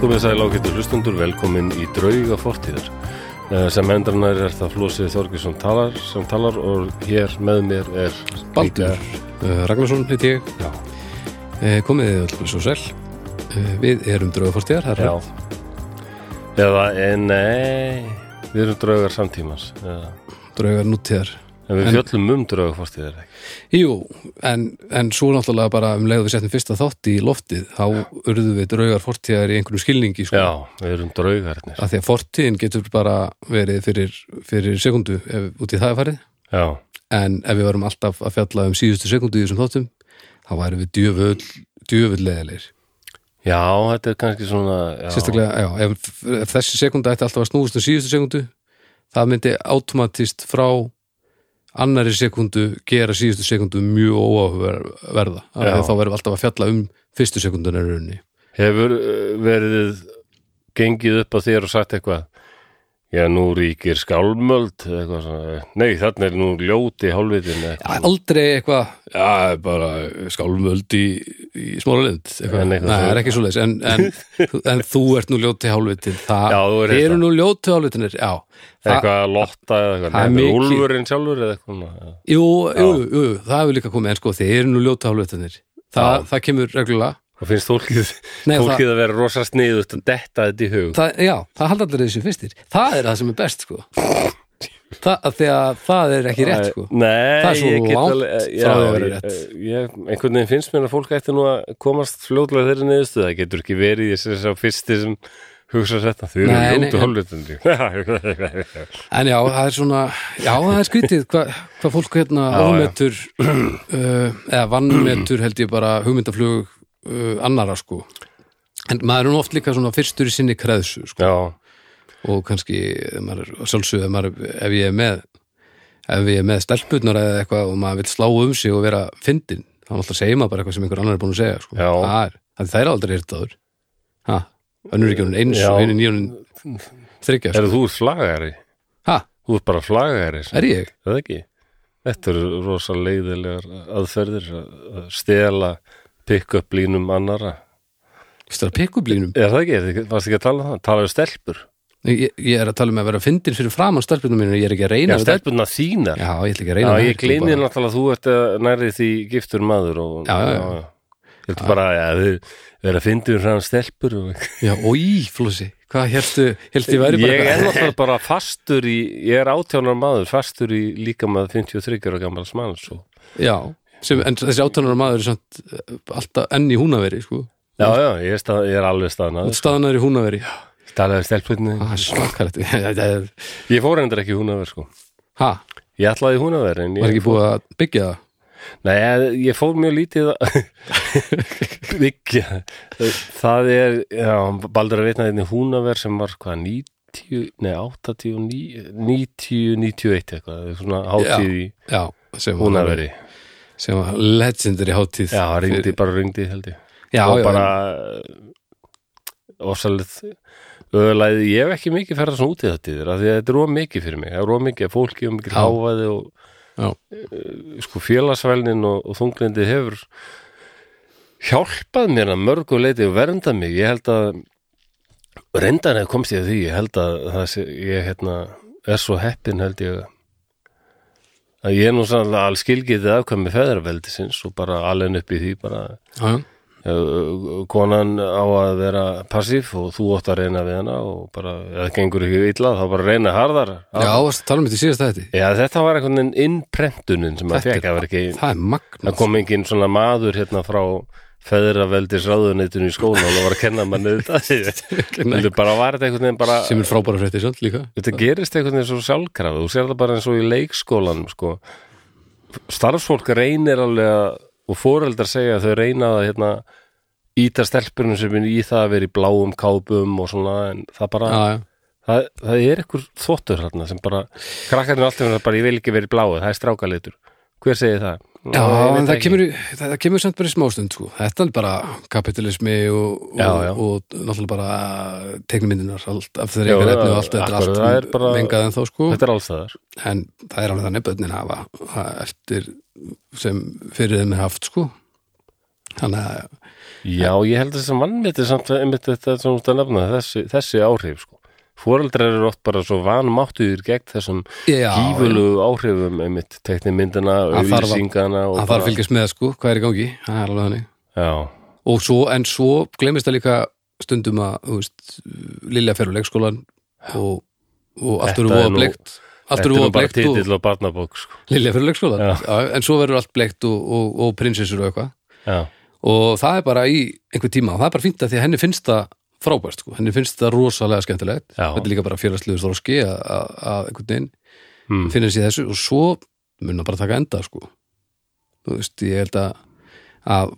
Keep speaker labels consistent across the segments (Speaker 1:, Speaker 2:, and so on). Speaker 1: Komið sæl ágættu hlustundur, velkomin í drauga fortíðar Eh, sem endranar er það Flósið Þorgesson talar, sem talar og hér með mér er
Speaker 2: Baldur uh, Ragnarsson heiti ég
Speaker 1: Já,
Speaker 2: uh, komiði öll svo sæl uh, við erum draugafortíðar það er
Speaker 1: já Eða, e, nei Við erum draugar samtímans eða.
Speaker 2: draugar nútíðar
Speaker 1: En við fjöllum um drauga fortíðar ekki
Speaker 2: Jú, en, en svo náttúrulega bara um leið og við settum fyrsta þátt í loftið þá urðum við draugar fortíðar í einhverjum skilningi sko,
Speaker 1: Já, við erum draugarnir
Speaker 2: af því að fortíðin getur bara verið fyrir, fyrir sekundu ef, út í það er farið
Speaker 1: Já,
Speaker 2: en ef við varum alltaf að fjalla um síðustu sekundu í þessum þáttum þá værum við djöfull, djöfull leðilegir
Speaker 1: já, þetta er kannski svona já.
Speaker 2: sérstaklega, já, ef, ef þessi sekunda ætti alltaf að snúast um síðustu sekundu það myndi automatist frá annari sekundu gera síðustu sekundu mjög óáverða
Speaker 1: Já.
Speaker 2: þá verðum við alltaf að fjalla um fyrstu sekundunar raunni
Speaker 1: Hefur eh, verið gengið upp að þér og sagt eitthvað Já, nú ríkir skálmöld eða eitthvað svona. Nei, þarna er nú ljóti hálfitin
Speaker 2: aldrei eitthvað já, bara skálmöld í, í smóralind
Speaker 1: En
Speaker 2: nei,
Speaker 1: eitthvað
Speaker 2: það
Speaker 1: svo-
Speaker 2: er ekki svo leis en, en, en þú ert nú ljóti hálfitin það
Speaker 1: Já, þú er
Speaker 2: eru
Speaker 1: þetta.
Speaker 2: nú ljóti hálfitinir já, það,
Speaker 1: eitthvað að lotta eða eitthvað
Speaker 2: það er
Speaker 1: Nei, þetta er
Speaker 2: mikið.
Speaker 1: úlfurinn sjálfur eða eitthvað svona, já.
Speaker 2: jú, jú, jú, það hefur líka komið en sko, þið eru nú ljóti hálfitinir
Speaker 1: Já.
Speaker 2: það, það kemur reglulega
Speaker 1: og finnst fólkið,
Speaker 2: Nei,
Speaker 1: fólkið að vera rosa sniðust að detta þetta í hug
Speaker 2: það, já, það halda allir þessu fyrstir það er það sem er best sko það, af því að það er ekki rétt sko
Speaker 1: Nei,
Speaker 2: Það er svo
Speaker 1: ég get
Speaker 2: langt
Speaker 1: alveg- eh,
Speaker 2: frá því að
Speaker 1: já,
Speaker 2: vera
Speaker 1: ég-
Speaker 2: rétt.
Speaker 1: ég- Einhvern veginn finnst mér að fólk ætti nú að komast fljótlega þeirri niðurstu það getur ekki verið ég sem sá fyrsti sem hugsa þetta, þau
Speaker 2: Nei,
Speaker 1: eru
Speaker 2: nei,
Speaker 1: ljótu hálfitin
Speaker 2: en já, það er svona já, það er skrítið hvað hva fólk hérna
Speaker 1: Já, já.
Speaker 2: ómetur uh, eða vannmetur held ég bara hugmyndaflug uh, annara sko en maður er nú oft líka svona fyrstur í sinni kreðsu sko
Speaker 1: Já,
Speaker 2: og kannski ef maður, er- sjálfsögðu ef, maður, ef ég er með ef ég er með stelpurnar eða eitthvað og maður vil slá um sig og vera fyndin þá alltaf segir maður bara eitthvað sem einhver annar er búin að segja sko.
Speaker 1: Já.
Speaker 2: það er, það það er aldrei hirtaður ha, önnur er ekki hún eins og
Speaker 1: Já.
Speaker 2: einu nýjón þryggja, sko.
Speaker 1: er þú slagari?
Speaker 2: ha,
Speaker 1: Þú ert bara flagari, er
Speaker 2: er ég?
Speaker 1: það ekki? Þetta eru rosa leiðilegar aðferðir að að stela pick-up línum annara.
Speaker 2: Vistu að pikk upp línum?
Speaker 1: Er það ekki? Er það ekki- Varstu ekki að tala um það? Tala um stelpur?
Speaker 2: Ég, ég er að tala um að vera fyndin fyrir framann stelpurnar mínu, ég er ekki að
Speaker 1: Já,
Speaker 2: reyna við þetta.
Speaker 1: stelpurna þínar.
Speaker 2: já, ég ætla ekki að
Speaker 1: Já,
Speaker 2: reyna við
Speaker 1: ég
Speaker 2: þetta, sko,
Speaker 1: gleyni
Speaker 2: bara-
Speaker 1: náttúrulega að þú ert eh, nærri því giftur maður og...
Speaker 2: Já, já, já.
Speaker 1: Ég held bara að ja, þið vera að fyndi um hrann stelpur og...
Speaker 2: já, ói, flósi, hvað hérstu hérstu ég væri bara
Speaker 1: Ég er náttúrulega bara fastur í... Ég er átjánar maður, fastur í líka maður 53 og gammal smann, svo...
Speaker 2: Já, sem, en þessi áttanar maður er samt eh, alltaf enn í húnaveri, sko.
Speaker 1: Já, já, ég er, stað, ég er alveg staðnaður.
Speaker 2: Staðanar í húnaveri.
Speaker 1: Talaði um stelpunni.
Speaker 2: Það er svakalegt. Það er-
Speaker 1: Ég fór endur ekki í húnaver sko
Speaker 2: Ha,
Speaker 1: Ég ætlaði í húnaver en
Speaker 2: var
Speaker 1: ég,
Speaker 2: ekki búið að byggja það?
Speaker 1: nei, ég- ég fór mjög lítið að byggja Það er, já, baldur að vitna þérna húnaver sem var hvað 90, nei 89 90, 91 eitthvað svona hátíð í
Speaker 2: Já, sem var-
Speaker 1: húnaveri
Speaker 2: Sem var legendary hátíð.
Speaker 1: Já, ringdi, bara ringdi held ég
Speaker 2: já,
Speaker 1: og
Speaker 2: já,
Speaker 1: bara eh,
Speaker 2: en-
Speaker 1: ósalið öðulæði, ég hef ekki mikið ferða svona út í þetta yfir, af því að þetta er róa mikið fyrir mig það er róa mikið að fólki og mikið
Speaker 2: Já.
Speaker 1: hávaði og
Speaker 2: Já.
Speaker 1: Eh, sko félagsvælnin og, og þunglindi hefur hjálpað mér að mörgu leiti og verndað mig, ég held að reyndan hefur komst ég að því ég held að það sé, ég hérna er svo heppin held ég að ég er nú sannlega alls skilgetið afkvæmi feðraveldisins og bara alveg upp í því bara
Speaker 2: Já, já.
Speaker 1: Uh, konan á að vera passíf og þú ótt að reyna við hana og bara, ef það gengur ekki illa þá bara reyna harðar
Speaker 2: Já, varstu að tala um þetta í síðasta þetta.
Speaker 1: Já, þetta var einhvern veginn innprentunin sem maður
Speaker 2: Þetta
Speaker 1: fekk, það var ekki
Speaker 2: Það er
Speaker 1: það
Speaker 2: magnað.
Speaker 1: kom enginn svona maður hérna frá feðraveldis ráðuneytinu í skóla og var að kenna manni þetta Þetta bara var þetta einhvern veginn bara
Speaker 2: Sem er frábæra frétti, svont líka.
Speaker 1: þetta gerist einhvern veginn svo sjálfkrafa þú sér það bara eins og í leikskólanum sko. starfsfólk reynir alveg að, og foreldar segja að þau reyna að hérna, íta stelpunum sem er í það að vera í bláum kápum og svona en það bara,
Speaker 2: Já, já.
Speaker 1: það, það er einhver þvottur hérna sem bara, krakkarnir alltaf eru bara ég vil ekki vera í bláu, það er strákalitur hver segir það?
Speaker 2: Já,
Speaker 1: Ég veit
Speaker 2: en það
Speaker 1: ekki.
Speaker 2: kemur, í- það, það kemur samt bara í smástund sko. Þetta er bara kapitalismi og,
Speaker 1: Já, já.
Speaker 2: og, og náttúrulega bara teiknumyndunar, allt af þeirra
Speaker 1: Já,
Speaker 2: ykkar
Speaker 1: já,
Speaker 2: efni og allt þetta er
Speaker 1: akkurat, það er
Speaker 2: allt
Speaker 1: bara-
Speaker 2: vengað en þá sko
Speaker 1: þetta er alls þaðar
Speaker 2: en það er alveg þannig börnin hafa það eftir sem fyrir þeim er haft sko þannig að
Speaker 1: Já, ég held þess að mannmyndi samt einmitt þetta sem út að nefna, þessi, þessi áhrif sko. Fóreldrar eru oft bara svo vanmáttuður gegn þessum
Speaker 2: Já,
Speaker 1: gífulegu áhrifum einmitt teknimyndina,
Speaker 2: Hann þarf að-
Speaker 1: auðlýsingana og
Speaker 2: hann þarf að fylgjast með sko, hvað er í gangi það er alveg þannig
Speaker 1: Já,
Speaker 2: og svo, en svo glemist það líka stundum að, þú veist, Lilja fer á leikskólan og, og allt
Speaker 1: Þetta
Speaker 2: eru
Speaker 1: er
Speaker 2: voða
Speaker 1: nú-
Speaker 2: bleikt allt
Speaker 1: þetta er
Speaker 2: eru
Speaker 1: nú
Speaker 2: voða
Speaker 1: bara
Speaker 2: bleikt og
Speaker 1: titill og barnabók sko.
Speaker 2: Lilja fer á leikskólan
Speaker 1: Já.
Speaker 2: Já, en svo verður allt bleikt og, og, og prinsessur og eitthvað
Speaker 1: Já,
Speaker 2: og það er bara í einhver tíma og það er bara fínt að því að henni finnst það frábært sko. henni finnst það rosalega skemmtilegt
Speaker 1: Já.
Speaker 2: þetta er líka bara félagsliður þróski að- að að einhvern veginn
Speaker 1: Mm.
Speaker 2: finna sér í þessu og svo mun það bara taka enda sko. þú veist, ég held að, að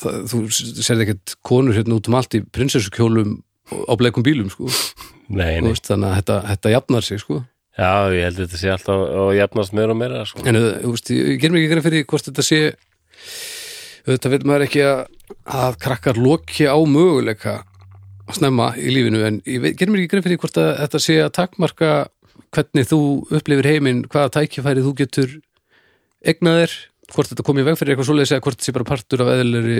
Speaker 2: það, þú serði ekkert konur hérna út um allt í prinsessukjólum á bleikum bílum sko.
Speaker 1: nei,
Speaker 2: Þú
Speaker 1: nei.
Speaker 2: veist, þannig að þetta, þetta jafnar sig sko.
Speaker 1: Já, ég held að þetta sé alltaf og jafnast meira og meira sko.
Speaker 2: en uh, þú veist, ég, ég ger mér ekki greið fyrir því hvort þetta sé þetta vil maður ekki að, að krakkar loki á möguleika að snemma í lífinu en ég veit- ger mér ekki greið fyrir því hvort að, þetta sé að takmarka hvernig þú upplifir heiminn hvaða tækifæri þú getur egnað þér, hvort þetta komi í veg fyrir eitthvað svoleiðis eða hvort þetta sé bara partur af eðlilegri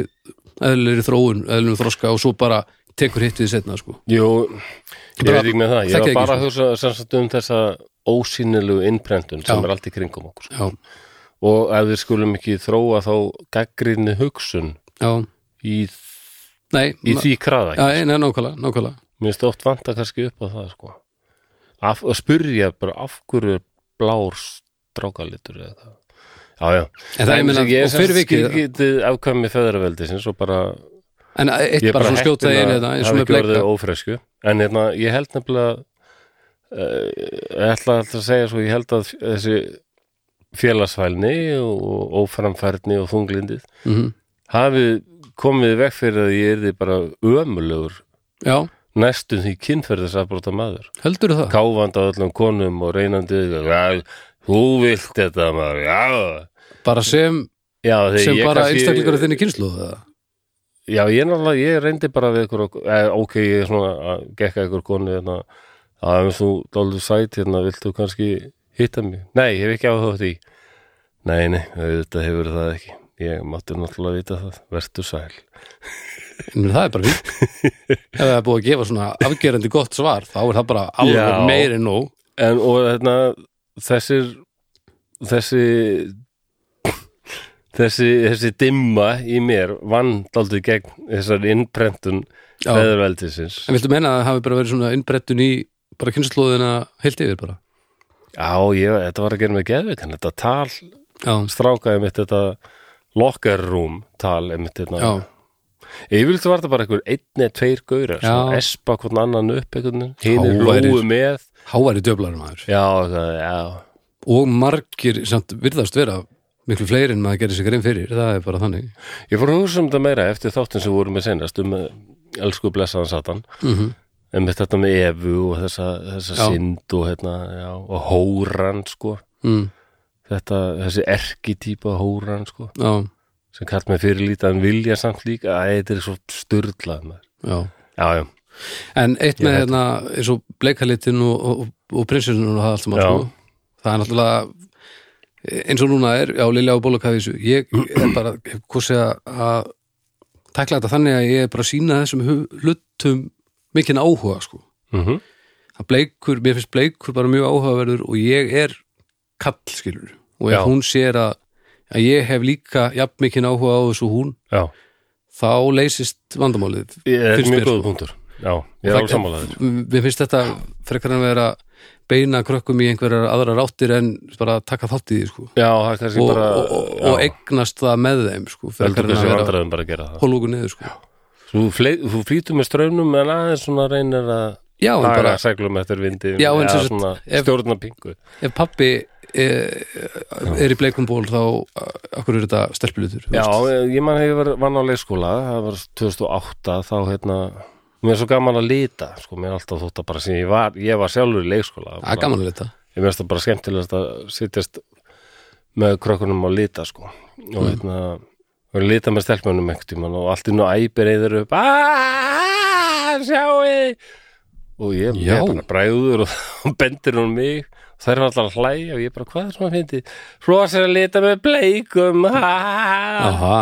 Speaker 2: eðlilegri þróun, eðlilegum þroska og svo bara tekur hitt við setna sko
Speaker 1: Jú, ég
Speaker 2: Bara-
Speaker 1: veit ekki með það
Speaker 2: þekki
Speaker 1: Ég var
Speaker 2: ekki, sko.
Speaker 1: bara að hugsa sem sagt um þessa ósýnilegu innprentun sem
Speaker 2: Já.
Speaker 1: er allt í kringum okkur sko.
Speaker 2: já,
Speaker 1: og ef við skulum ekki þróa þá gaggrinni hugsun
Speaker 2: já,
Speaker 1: í,
Speaker 2: nei
Speaker 1: í því kraða
Speaker 2: já,
Speaker 1: ekki.
Speaker 2: nei, nákvæmlega, nákvæmlega
Speaker 1: Mér finnst oft vanta kannski upp á það sko. af, að spurja bara af hverju er blár strákalitur eða það Já, já.
Speaker 2: En það er, ég meina,
Speaker 1: ég
Speaker 2: og fyrir vikið-
Speaker 1: skilgitið afkvæmi feðraveldisins og bara
Speaker 2: en eitt
Speaker 1: ég er
Speaker 2: bara
Speaker 1: bara
Speaker 2: svona skjóta
Speaker 1: heppinn
Speaker 2: einu
Speaker 1: að
Speaker 2: þetta eins og
Speaker 1: hafa
Speaker 2: með
Speaker 1: ekki
Speaker 2: bleika
Speaker 1: orðið ófresku en hérna, ég held nefnilega uh, ég ætla alltaf að segja svo ég held að þessi félagsfælni og óframfærni og þunglindið
Speaker 2: mm
Speaker 1: hafi komið vekk fyrir að ég erði bara ömulegur
Speaker 2: Já,
Speaker 1: næstum því kynferðisafbróta maður
Speaker 2: heldur það?
Speaker 1: káfandi á öllum konum og reynandi "Já, þú vilt þetta maður já,
Speaker 2: Bara sem,
Speaker 1: já þegar
Speaker 2: sem
Speaker 1: ég
Speaker 2: bara
Speaker 1: kannski-
Speaker 2: einstaklingur af þinni kynslu það?
Speaker 1: Já, ég náttúrulega, ég reyndi bara við ykkur, eh, ok, ég er svona að gekka ykkur konu hérna, að ef þú dálfur sæt hérna, viltu kannski hitta mig? Nei, ég hef ekki áhuga á því. Nei, nei, auðvitað hefur það ekki. Ég mátti náttúrulega vita það, vertu sæl.
Speaker 2: En það er bara fínt. Ef það er búið að gefa svona afgerandi gott svar, þá er það bara
Speaker 1: Já.
Speaker 2: alveg meir en nóg.
Speaker 1: En, og hérna, þessir, þessi, þessi, þessi dimma í mér vann dálfur gegn þessari innprentun
Speaker 2: Já.
Speaker 1: veðurveldisins.
Speaker 2: Eh, En viltu meina að það hafi bara verið svona innbrettun í bara kynnslóðina heilt yfir bara?
Speaker 1: Já, ég, þetta var að gera mig geðvikan, þetta tal
Speaker 2: Já,
Speaker 1: strákaði mitt þetta locker room tal einmitt
Speaker 2: já,
Speaker 1: þetta yfirleitt var þetta bara einhver einn eða tveir gaurar
Speaker 2: Já.
Speaker 1: svona espa hvern annan upp einhvern hinn
Speaker 2: Háværir.
Speaker 1: lóu með
Speaker 2: háværi döflarum aður.
Speaker 1: já, það, já,
Speaker 2: Og margir samt virðast vera miklu fleiri en maður gerir sér grein fyrir, það er bara þannig.
Speaker 1: ég fór að hugsa um þetta meira eftir þáttin sem vorum með senast um eh, elsku blessaðan satan
Speaker 2: Mm -hmm.
Speaker 1: einmitt þetta með evu og þessa, þessa
Speaker 2: Já.
Speaker 1: synd og hérna já, og hóran sko
Speaker 2: mm,
Speaker 1: þetta, þessi erki típa hóran sko
Speaker 2: já,
Speaker 1: sem kallt mig fyrirlítið en vilja samt líka að þetta er svo styrlað maður.
Speaker 2: já.
Speaker 1: já, já,
Speaker 2: En eitt
Speaker 1: Ég
Speaker 2: með
Speaker 1: veit
Speaker 2: hérna eins og bleikalitin og, og, og prinsessunum og það allt sem að
Speaker 1: Já.
Speaker 2: sko það er náttúrulega eins og núna er, já, Lilja og Bólokafísu ég er bara, hvorsi að að tækla þetta þannig að ég er bara að sína þessum hu- hlutum mikinn áhuga, sko
Speaker 1: mm
Speaker 2: að bleikur, mér finnst bleikur bara mjög áhugaverður og ég er kall, skilur og ef
Speaker 1: Já.
Speaker 2: hún sér að, að ég hef líka jafn mikinn áhuga á þessu og hún
Speaker 1: já
Speaker 2: þá leysist vandamálið
Speaker 1: Þetta er
Speaker 2: Finnst
Speaker 1: mjög
Speaker 2: mér,
Speaker 1: góð
Speaker 2: sko.
Speaker 1: punktur Já, ég er
Speaker 2: Það-
Speaker 1: alveg sammálaður
Speaker 2: Mér finnst þetta frekar en að vera beina krökkum í einhverjar aðra ráttir en bara taka þátt í því sko.
Speaker 1: Já, það er kannski
Speaker 2: og,
Speaker 1: bara
Speaker 2: og, og, og eignast það með þeim sko,
Speaker 1: Veldur
Speaker 2: frekar en
Speaker 1: kannski
Speaker 2: að vera
Speaker 1: vandræðum bara að gera það
Speaker 2: hólúku niður sko.
Speaker 1: Þú, fley- þú flýtur með strömmum en aðeins svona reynir að
Speaker 2: Já, en
Speaker 1: laga
Speaker 2: bara
Speaker 1: seglum eftir vindi
Speaker 2: Já, en sem sagt,
Speaker 1: svona
Speaker 2: ef-
Speaker 1: stjórna pingu
Speaker 2: ef pappi er, er í bleikum ból þá eh, akkur er þetta stelpilutur þú
Speaker 1: Já,
Speaker 2: veist.
Speaker 1: ég ég man hefur vann á leikskóla það var 2008 þá hérna Mér er svo gaman að lita, sko, mér er alltaf þótt að bara sem ég var, ég var sjálfur í leikskóla
Speaker 2: það er gaman að leta
Speaker 1: ég mér finnst það bara skemmtilegast að sittast með krökkunum og lita sko og
Speaker 2: Mm.
Speaker 1: hérna og lita með stelpunum einhvern tímann og allt inn og æpir eður upp aaaah, sjáu og ég, ég
Speaker 2: Já.
Speaker 1: er bara bræður og og bendir hún mig og þær eru alltaf að hlæja og ég bara hvað er svona fyndi svo að sér að lita með bleikum aaaah
Speaker 2: Aha,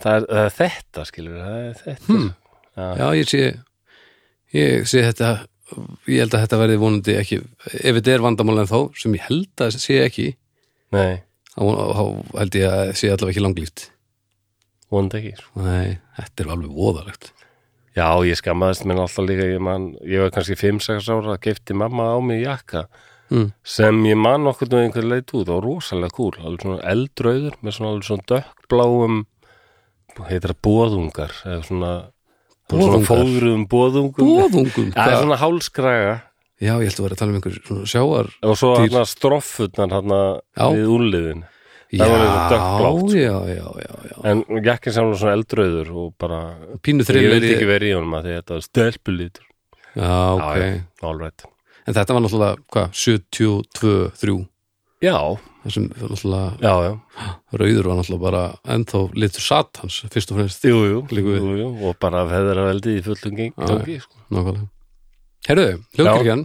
Speaker 1: það er, það er þetta skilur það er þetta
Speaker 2: Hmm.
Speaker 1: já,
Speaker 2: Já, ég sé ég sé þetta ég held að þetta verði vonandi ekki ef þetta er vandamál en þá, sem ég held að sé ekki
Speaker 1: nei,
Speaker 2: þá þá held ég að sé allavega ekki langlíft
Speaker 1: vonandi ekki sko.
Speaker 2: Nei, þetta er alveg voðalegt
Speaker 1: já, ég skammaðist minn alltaf líka ég, man, ég var kannski 5-6 ára að gefti mamma á mig jakka
Speaker 2: mm.
Speaker 1: sem ég man okkur með einhver leit út og rosalega kúl, alveg svona eldrauður með svona alveg svona dökkbláum heitir það bóðungar eða svona, svona
Speaker 2: Boðungar?
Speaker 1: fóðruðum bóðungum
Speaker 2: Bóðungum
Speaker 1: það er
Speaker 2: hvað-
Speaker 1: svona hálskraga
Speaker 2: Já, ég held að vera að tala um einhver svona sjáar
Speaker 1: og svo
Speaker 2: Dýr.
Speaker 1: hann stroffutnar hann
Speaker 2: Já.
Speaker 1: við úliðin
Speaker 2: Já,
Speaker 1: Það var eitthvað dökkblátt.
Speaker 2: já, já, já, já
Speaker 1: en jakkin sem var svona eldrauður og bara,
Speaker 2: Pínu
Speaker 1: ég
Speaker 2: þrillur
Speaker 1: vildi
Speaker 2: í-
Speaker 1: ekki verið í honum að því að þetta var stelpulítur
Speaker 2: Já, ok
Speaker 1: já, all right
Speaker 2: En þetta var náttúrulega, hvað, 72, 3
Speaker 1: já,
Speaker 2: þessum náttúrulega,
Speaker 1: já, já,
Speaker 2: rauður var náttúrulega bara ennþá litur satans, fyrst og fremst
Speaker 1: jú, jú,
Speaker 2: Líku við.
Speaker 1: jú, jú. og bara feðra veldið í fullum
Speaker 2: Já,
Speaker 1: geng tóki, sko
Speaker 2: Nákvæmlega Herðu, hljóðkirkjan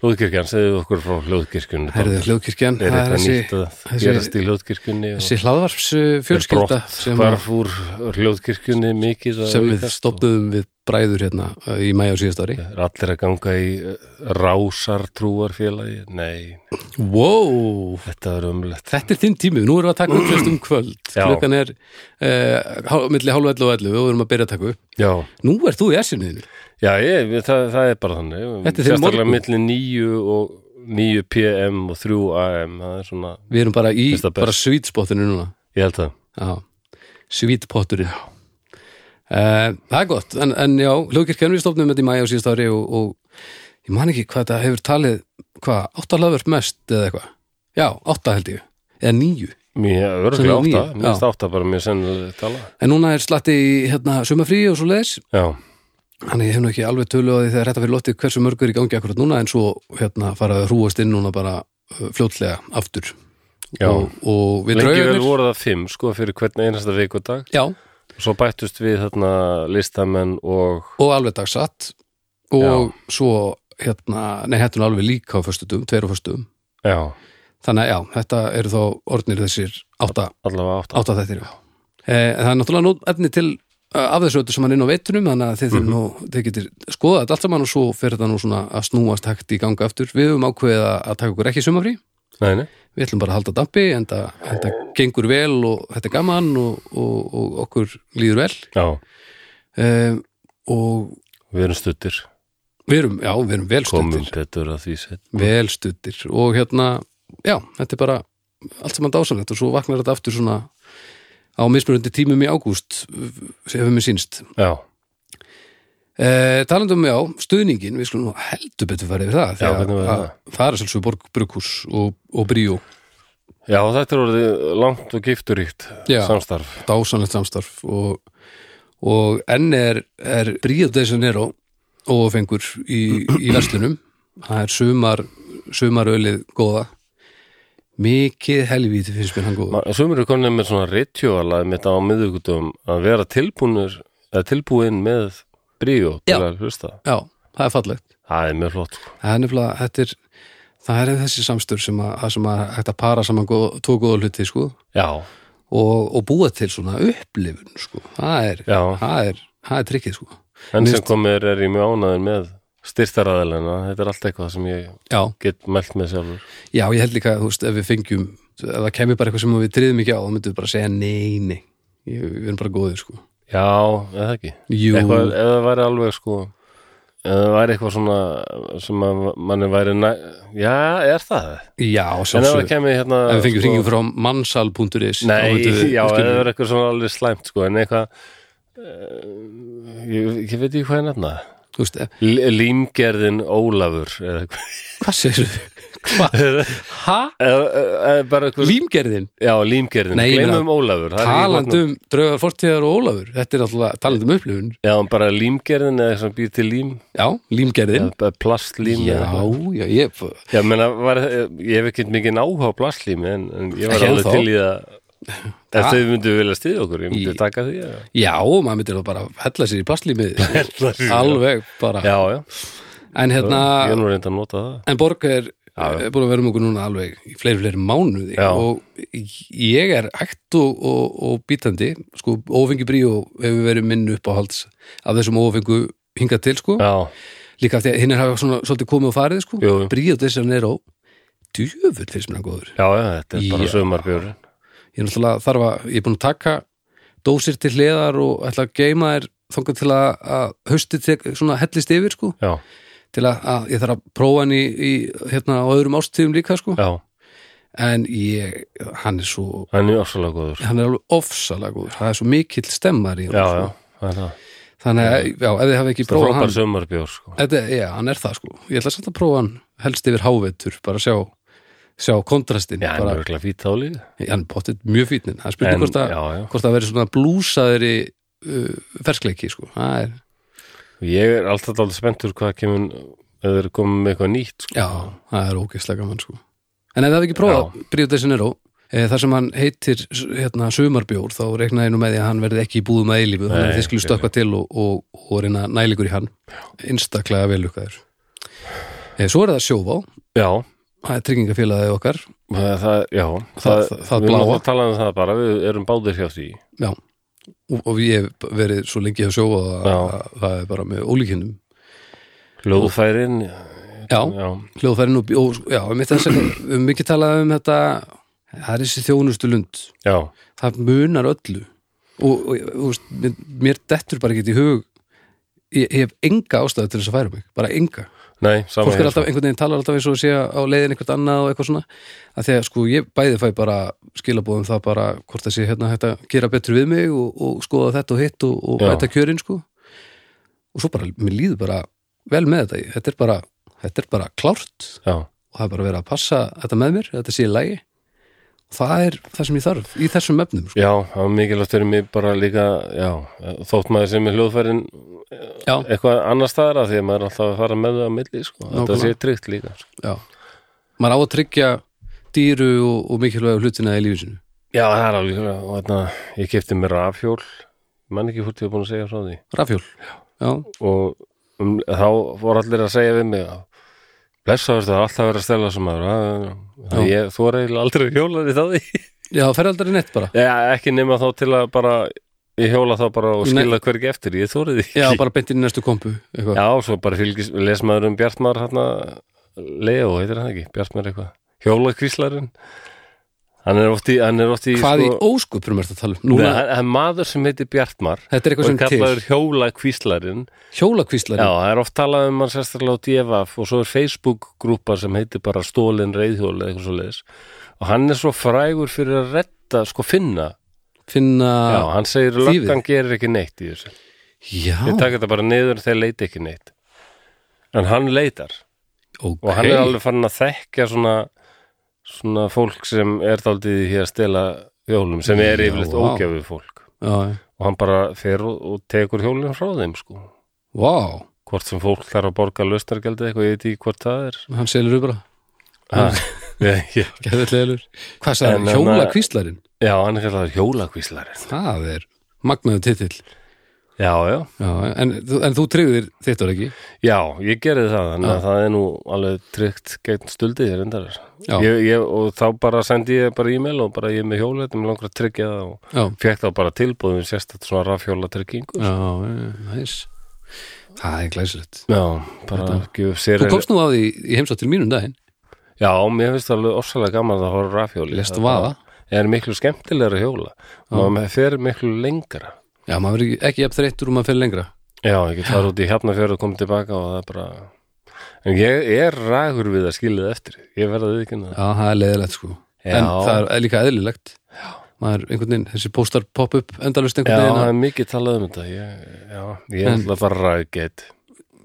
Speaker 1: Hljóðkirkjan, segðu okkur frá hljóðkirkjunni
Speaker 2: Herðu, hljóðkirkjan, það
Speaker 1: Er
Speaker 2: er
Speaker 1: eitthvað
Speaker 2: þessi,
Speaker 1: nýtt að
Speaker 2: þessi-
Speaker 1: gerast í hljóðkirkjunni og
Speaker 2: þessi hlaðvarps uh, fjölskylda sem,
Speaker 1: Hvar fór hljóðkirkjunni mikið að
Speaker 2: sem við
Speaker 1: aukast og
Speaker 2: stoppuðum við bræður hérna uh, í mæja á síðast ári
Speaker 1: er Allir að ganga í eh, rásartrúarfélagi Nei,
Speaker 2: Wow,
Speaker 1: þetta er umlegt
Speaker 2: þetta er þinn tími, nú erum við að taka upp fyrst um kvöld
Speaker 1: Já.
Speaker 2: Klukkan er uh, hál- milli hálfa 11 og 11 og við erum að byrja að taka upp
Speaker 1: Já,
Speaker 2: Nú ert þú í essinu
Speaker 1: já ég, það, það er bara þannig
Speaker 2: Þetta er þinn
Speaker 1: Sérstaklega
Speaker 2: morgun.
Speaker 1: milli 9 og 9 PM og 3 AM Það er svona,
Speaker 2: Við erum bara í
Speaker 1: Finnst það best.
Speaker 2: bara svítspotinu núna
Speaker 1: ég held það
Speaker 2: Já, svítpotturinn uh, Það er gott en, en já, hljóðkirkjan við stofnum þetta í mæja á síðast ári og, og ég man ekki hvað þetta hefur talið hvað, átta hlaðvörp mest eða eitthvað Já, átta held ég, eða níu
Speaker 1: Mér
Speaker 2: Sem
Speaker 1: örgulega
Speaker 2: er
Speaker 1: átta,
Speaker 2: níu,
Speaker 1: mér
Speaker 2: já.
Speaker 1: finnst átta bara mjög sennilega tala
Speaker 2: En núna er slatti í hérna, sumafrí og svo leis
Speaker 1: Já,
Speaker 2: Þannig ég hef nú ekki alveg tölu á því þegar þetta fyrir lotti hversu mörg er í gangi akkurat núna en svo hérna faraði að hrúast inn núna bara uh, fljótlega aftur
Speaker 1: já
Speaker 2: og, og við
Speaker 1: Lengi vel
Speaker 2: draugarnir
Speaker 1: voru það fimm sko fyrir hvern einasta vikudag
Speaker 2: Já,
Speaker 1: Svo bættust við þarna listamenn og
Speaker 2: og alveg dagsatt og svo hérna, nei, hættun alveg líka á föstudum, tveir á föstudum
Speaker 1: já,
Speaker 2: þannig að já, þetta eru þá orðnir þessir átta,
Speaker 1: allavega átta.
Speaker 2: átta þettir e, það er náttúrulega nú efni til eh, af þessu öllu sem hann er inn á veitunum þannig að þið,
Speaker 1: Mhm.
Speaker 2: mm nú, þið getur skoðað þetta allt saman og svo fer þetta nú svona að snúast hægt í ganga aftur við höfum ákveðið að að taka okkur ekki sumafrí
Speaker 1: Nei, nei,
Speaker 2: við ætlum bara að halda dampi en þetta gengur vel og þetta er gaman og, og, og okkur líður vel
Speaker 1: já,
Speaker 2: e, og
Speaker 1: við erum stuttir,
Speaker 2: við erum, já, við erum vel
Speaker 1: komum
Speaker 2: stuttir
Speaker 1: betur að því sett.
Speaker 2: vel stuttir og hérna, já, þetta er bara allt saman dásanlegt og svo vaknar þetta aftur svona á mismunandi tímum í ágúst hefur mér sínst
Speaker 1: Já,
Speaker 2: e, talandum já, stuðningin, við skulum nú heldur betur farið við það,
Speaker 1: Já, hvernig var
Speaker 2: að,
Speaker 1: það?
Speaker 2: það er sjálfsög borg brukus og, og bríó
Speaker 1: já, þetta er orðið langt og gifturíkt
Speaker 2: Já.
Speaker 1: samstarf.
Speaker 2: dásanlegt samstarf og, og enn er, er Bríó de Janeiro ófengur í, í verslunum það er sumar sumarölið góða mikið helvíti finnst mér hann góða
Speaker 1: Ma- Sumir eru komin með svona rituala með þetta á miðvíkutum að vera tilbúnir, eða tilbúin með bríó til
Speaker 2: Já.
Speaker 1: að hlusta.
Speaker 2: já, það er fallegt
Speaker 1: Það er mjög flott. sko.
Speaker 2: það er nefnilega, þetta er það er þessi samstur sem að, að sem að hægt að para saman góð, tvo góða hluti sko
Speaker 1: Já,
Speaker 2: og, og búa til svona upplifun sko, það er
Speaker 1: já,
Speaker 2: það er, það er trikkið sko
Speaker 1: en sem
Speaker 2: Mist-
Speaker 1: komir er ég mjög ánaður með styrtaraðalina, þetta er allt eitthvað sem ég
Speaker 2: já,
Speaker 1: get mælt með sjálfur.
Speaker 2: Já, ég held líka, þú veist, ef við fengjum ef það kemur bara eitthvað sem við triðum ekki á þá myndum við bara segja nei, nei Ég- við erum bara góðir, sko
Speaker 1: Já, eða ekki.
Speaker 2: Jú,
Speaker 1: eitthvað, ef það væri alveg sko ef það væri eitthvað svona sem að manni væri næ... já, er það?
Speaker 2: já,
Speaker 1: en ef það
Speaker 2: sjálfsög
Speaker 1: kemur hérna
Speaker 2: Ef við fengjum hringjum frá mannsal.is þá
Speaker 1: nei,
Speaker 2: myndum við-
Speaker 1: já, ef
Speaker 2: skilur
Speaker 1: það
Speaker 2: við.
Speaker 1: er eitthvað svona alveg slæmt sko, en eitthvað eh, ég, ég veit ekki hvað er nefna
Speaker 2: Þú veist, eh,
Speaker 1: L- límgerðin Ólafur eða eitthvað
Speaker 2: hvað segir við? Hvað? Ha?
Speaker 1: Eða- eða eh, bara eitthvað,
Speaker 2: Límgerðin?
Speaker 1: já, límgerðin,
Speaker 2: Nei, ég meina-
Speaker 1: gleymum Ólafur það er ekki gott nafn.
Speaker 2: Talandum draugar fortíðar og Ólafur Þetta er alltaf talandum upplifun
Speaker 1: já, bara límgerðin eða sem býr til lím
Speaker 2: Já, límgerðin
Speaker 1: eða plastlím eða
Speaker 2: Já,
Speaker 1: eitthvað.
Speaker 2: já, ég
Speaker 1: Já, meina, var, ég hef ekkert mikið áhuga á plastlími en, en ég var
Speaker 2: Ekki
Speaker 1: alveg
Speaker 2: ennþá.
Speaker 1: til í það ef
Speaker 2: Það-
Speaker 1: þau myndu vilja styðja okkur, ég myndi
Speaker 2: Í-
Speaker 1: taka því eða-
Speaker 2: Já, maður myndir þá bara hella sér í plastlímið
Speaker 1: sér í-
Speaker 2: Alveg bara
Speaker 1: Já, já,
Speaker 2: En
Speaker 1: ég
Speaker 2: hérna,
Speaker 1: er nú reynda að nota það
Speaker 2: En borg er
Speaker 1: Já,
Speaker 2: er búin að vera um okkur núna alveg í fleiri, fleiri mánuði
Speaker 1: Já.
Speaker 2: og ég er ægt og, og, og bítandi, sko, ófengi bríó hefur verið minn uppáhalds af þessum ófengu hingað til, sko
Speaker 1: já,
Speaker 2: líka af því að hinn er hafa svona, svolítið komið og farið, sko
Speaker 1: Jú, jú.
Speaker 2: bríó þess að nero djöfull finnst mér hann góður
Speaker 1: já, já, þetta er bara
Speaker 2: Já.
Speaker 1: sömarbjörn
Speaker 2: ég er náttúrulega þarf að, ég er búin að taka dósir til hliðar og ætla að geima þér þangað til að, að haustið tek- svona hellist yfir, sko
Speaker 1: Já,
Speaker 2: til að, að ég þarf að prófa hann í, í hérna á öðrum ástíðum líka, sko
Speaker 1: já,
Speaker 2: en ég, hann er svo
Speaker 1: hann er ofsalega góður
Speaker 2: hann er alveg ofsalega góður, það er svo mikill stemmar í
Speaker 1: Já,
Speaker 2: hann
Speaker 1: já,
Speaker 2: sko.
Speaker 1: það er það
Speaker 2: þannig að, já, ef þið hafi ekki
Speaker 1: Það er
Speaker 2: prófað
Speaker 1: frábær
Speaker 2: hann
Speaker 1: sömarbjörn, sko
Speaker 2: þetta, já, hann er það sko, ég ætla samt að prófa hann helst yfir hávetur, bara sjá sjá kontrastin,
Speaker 1: Já, hann er
Speaker 2: bara,
Speaker 1: örgulega fýtt þá líka
Speaker 2: hann potið mjög hérna. fítnin hann spurði
Speaker 1: En,
Speaker 2: hvort að,
Speaker 1: já, já.
Speaker 2: hvort að veri svona blúsaðri uh, ferskleiki, sko það er,
Speaker 1: Ég er alltaf dálítið spenntur hvað kemur eða þeir eru komið með eitthvað nýtt sko.
Speaker 2: já, það er ógeðslega gaman, sko en ef þið hafi ekki prófað, Bríu Desinero eh, þar sem hann heitir hérna, sumarbjór þá reikna einu með því að hann verði ekki í búðum að eilífu þannig
Speaker 1: Nei,
Speaker 2: að þið skulle
Speaker 1: ok.
Speaker 2: stökkva til og, og, og reyna nælingur í hann einstaklega velukkaður Eh, Svo er það sjóvá,
Speaker 1: Já,
Speaker 2: það er tryggingafélagið okkar
Speaker 1: það, það, já
Speaker 2: Það- það
Speaker 1: Við erum
Speaker 2: bláa.
Speaker 1: að tala um það bara, við erum báðir hjá því
Speaker 2: Já, og, og ég hef verið svo lengi að sjóa að,
Speaker 1: Já.
Speaker 2: að það er bara með ólíkinnum
Speaker 1: Ljóðfærin
Speaker 2: Já,
Speaker 1: Já,
Speaker 2: hljóðfærin og, og já, um mitt þess að við höfum mikið talað um þetta það er þessi þjónustu lund
Speaker 1: já,
Speaker 2: það munar öllu og, og, og þú veist, mér, mér dettur bara ekki í hug ég, ég hef enga ástæðu til þess að færa mig, bara enga
Speaker 1: nei, sko. saman
Speaker 2: fólk er alltaf, einhvern veginn talar alltaf eins og sé á leiðin einhvern annað og eitthvað svona að því að sko ég bæði fæ bara skilabóðum það bara hvort það sé hérna hægt að gera betur við mig og, og skoða þetta og hitt og, og
Speaker 1: Já.
Speaker 2: bæta kjörin sko og svo bara, mér líður bara vel með þetta, Ég- þetta er bara þetta er bara klárt
Speaker 1: Já,
Speaker 2: og það er bara verið að passa þetta með mér, þetta sé í lagi og það er það sem ég þarf í þessum efnum sko.
Speaker 1: já, það var mikilvægt fyrir mig bara líka, já, þótt maður sem er hljóðfærin
Speaker 2: Já,
Speaker 1: eitthvað annar staðar af því að maður er alltaf að fara með það á milli, sko, þetta sé
Speaker 2: Nákvæmlega.
Speaker 1: tryggt líka sko.
Speaker 2: já maður á að tryggja dýru og, og mikilvægu hlutina í lífið sinu
Speaker 1: Já, það er alveg, og þarna ég kefti mér rafhjól mann ekki hvort ég er búin að segja frá því
Speaker 2: rafjól, já,
Speaker 1: og um, þá voru allir að segja við mig að blessaður það er alltaf að vera að stela sem maður að, að
Speaker 2: Já.
Speaker 1: ég, þú er eiginlega aldrei hjólar í þá því
Speaker 2: já, feraldari nett bara
Speaker 1: Já, ekki nema þá til að bara ég hjóla þá bara og
Speaker 2: Nei.
Speaker 1: skila hvergi eftir ég þórið því
Speaker 2: Já, bara beint inn í næstu kompu eitthvað.
Speaker 1: Já, svo bara fylgis, les maður um Bjartmar hérna, Leo, heitir hann ekki Bjartmar eitthvað, hjólakvíslarinn hann er oft í, hann er oft í
Speaker 2: Hvað í
Speaker 1: sko,
Speaker 2: óskupurum er þetta að tala um?
Speaker 1: Nei,
Speaker 2: Núna,
Speaker 1: hann, hann maður sem heitir Bjartmar
Speaker 2: þetta er eitthvað
Speaker 1: og
Speaker 2: sem
Speaker 1: er
Speaker 2: til
Speaker 1: kallaður hjólakvíslarinn Já,
Speaker 2: Hjólakvíslari,
Speaker 1: það er oft talað um hann sérstaklega á DFF og svo er Facebook-grúpa sem heitir bara Stólin Reyðhjól eða eitthvað svo leiðis og hann er svo frægur fyrir að retta sko finna,
Speaker 2: finna
Speaker 1: já, hann segir
Speaker 2: Þýfið.
Speaker 1: löggan gerir ekki neitt í þessu,
Speaker 2: Já,
Speaker 1: þeir taka þetta bara niður þeir leita ekki neitt en hann leitar
Speaker 2: ok
Speaker 1: og hann er alveg farin að þekkja svona, svona fólk sem er daldið hér að stela hjólum sem er
Speaker 2: Já,
Speaker 1: yfirleitt
Speaker 2: vá.
Speaker 1: ógjöfið fólk
Speaker 2: Já, já.
Speaker 1: og hann bara fer og, og tekur hjólum frá þeim sko,
Speaker 2: Vá,
Speaker 1: hvort sem fólk þarf að borga löstargjaldið eitthvað, ég veit ekki hvort það er
Speaker 2: hann selur upp bara
Speaker 1: Ha, ég, ég,
Speaker 2: Geðutlegur Hvað
Speaker 1: En, hérna-
Speaker 2: sagði,
Speaker 1: en,
Speaker 2: hjólakvíslarin?
Speaker 1: já, hann er kallar hjólakvíslarinn
Speaker 2: Það er magnaðu titill
Speaker 1: Já, já,
Speaker 2: Já, en, þú- en þú tryggðir þitt var ekki
Speaker 1: já, ég gerði það þannig að það er nú alveg tryggt gegn stuldið þér endar
Speaker 2: Já.
Speaker 1: ég, ég, og þá bara sendi ég bara e-mail og bara ég er með hjólið, mér langar að tryggja það og
Speaker 2: Já,
Speaker 1: fekk þá bara tilbúðum sérstætt svona rafhjóla tryggingu
Speaker 2: já, næs Það er glæsilegt
Speaker 1: Já, bara ekki sér
Speaker 2: Þú komst nú á því í heimsótt til mínum daginn
Speaker 1: Já, mér finnst það alveg orsalega gaman að horfa á rafhjóli
Speaker 2: Lestu
Speaker 1: Það bara
Speaker 2: vaða?
Speaker 1: Er miklu skemmtilegra hjóla og maður fer miklu lengra
Speaker 2: Já, maður er ekki, ekki jafn þreyttur og maður fer lengra
Speaker 1: Já, ég get farið út í Hafnafjörð og komið tilbaka og það er bara En ég er rægur við að skilja það eftir Ég verða við ekki
Speaker 2: Já, það er leiðilegt sko
Speaker 1: Já.
Speaker 2: En það er líka eðlilegt maður einhvern veginn, þessi póstar pop upp endalust
Speaker 1: Já,
Speaker 2: einhvern veginn
Speaker 1: það
Speaker 2: að-
Speaker 1: er mikið talað um þetta Ég, já, ég er alltaf bara rægett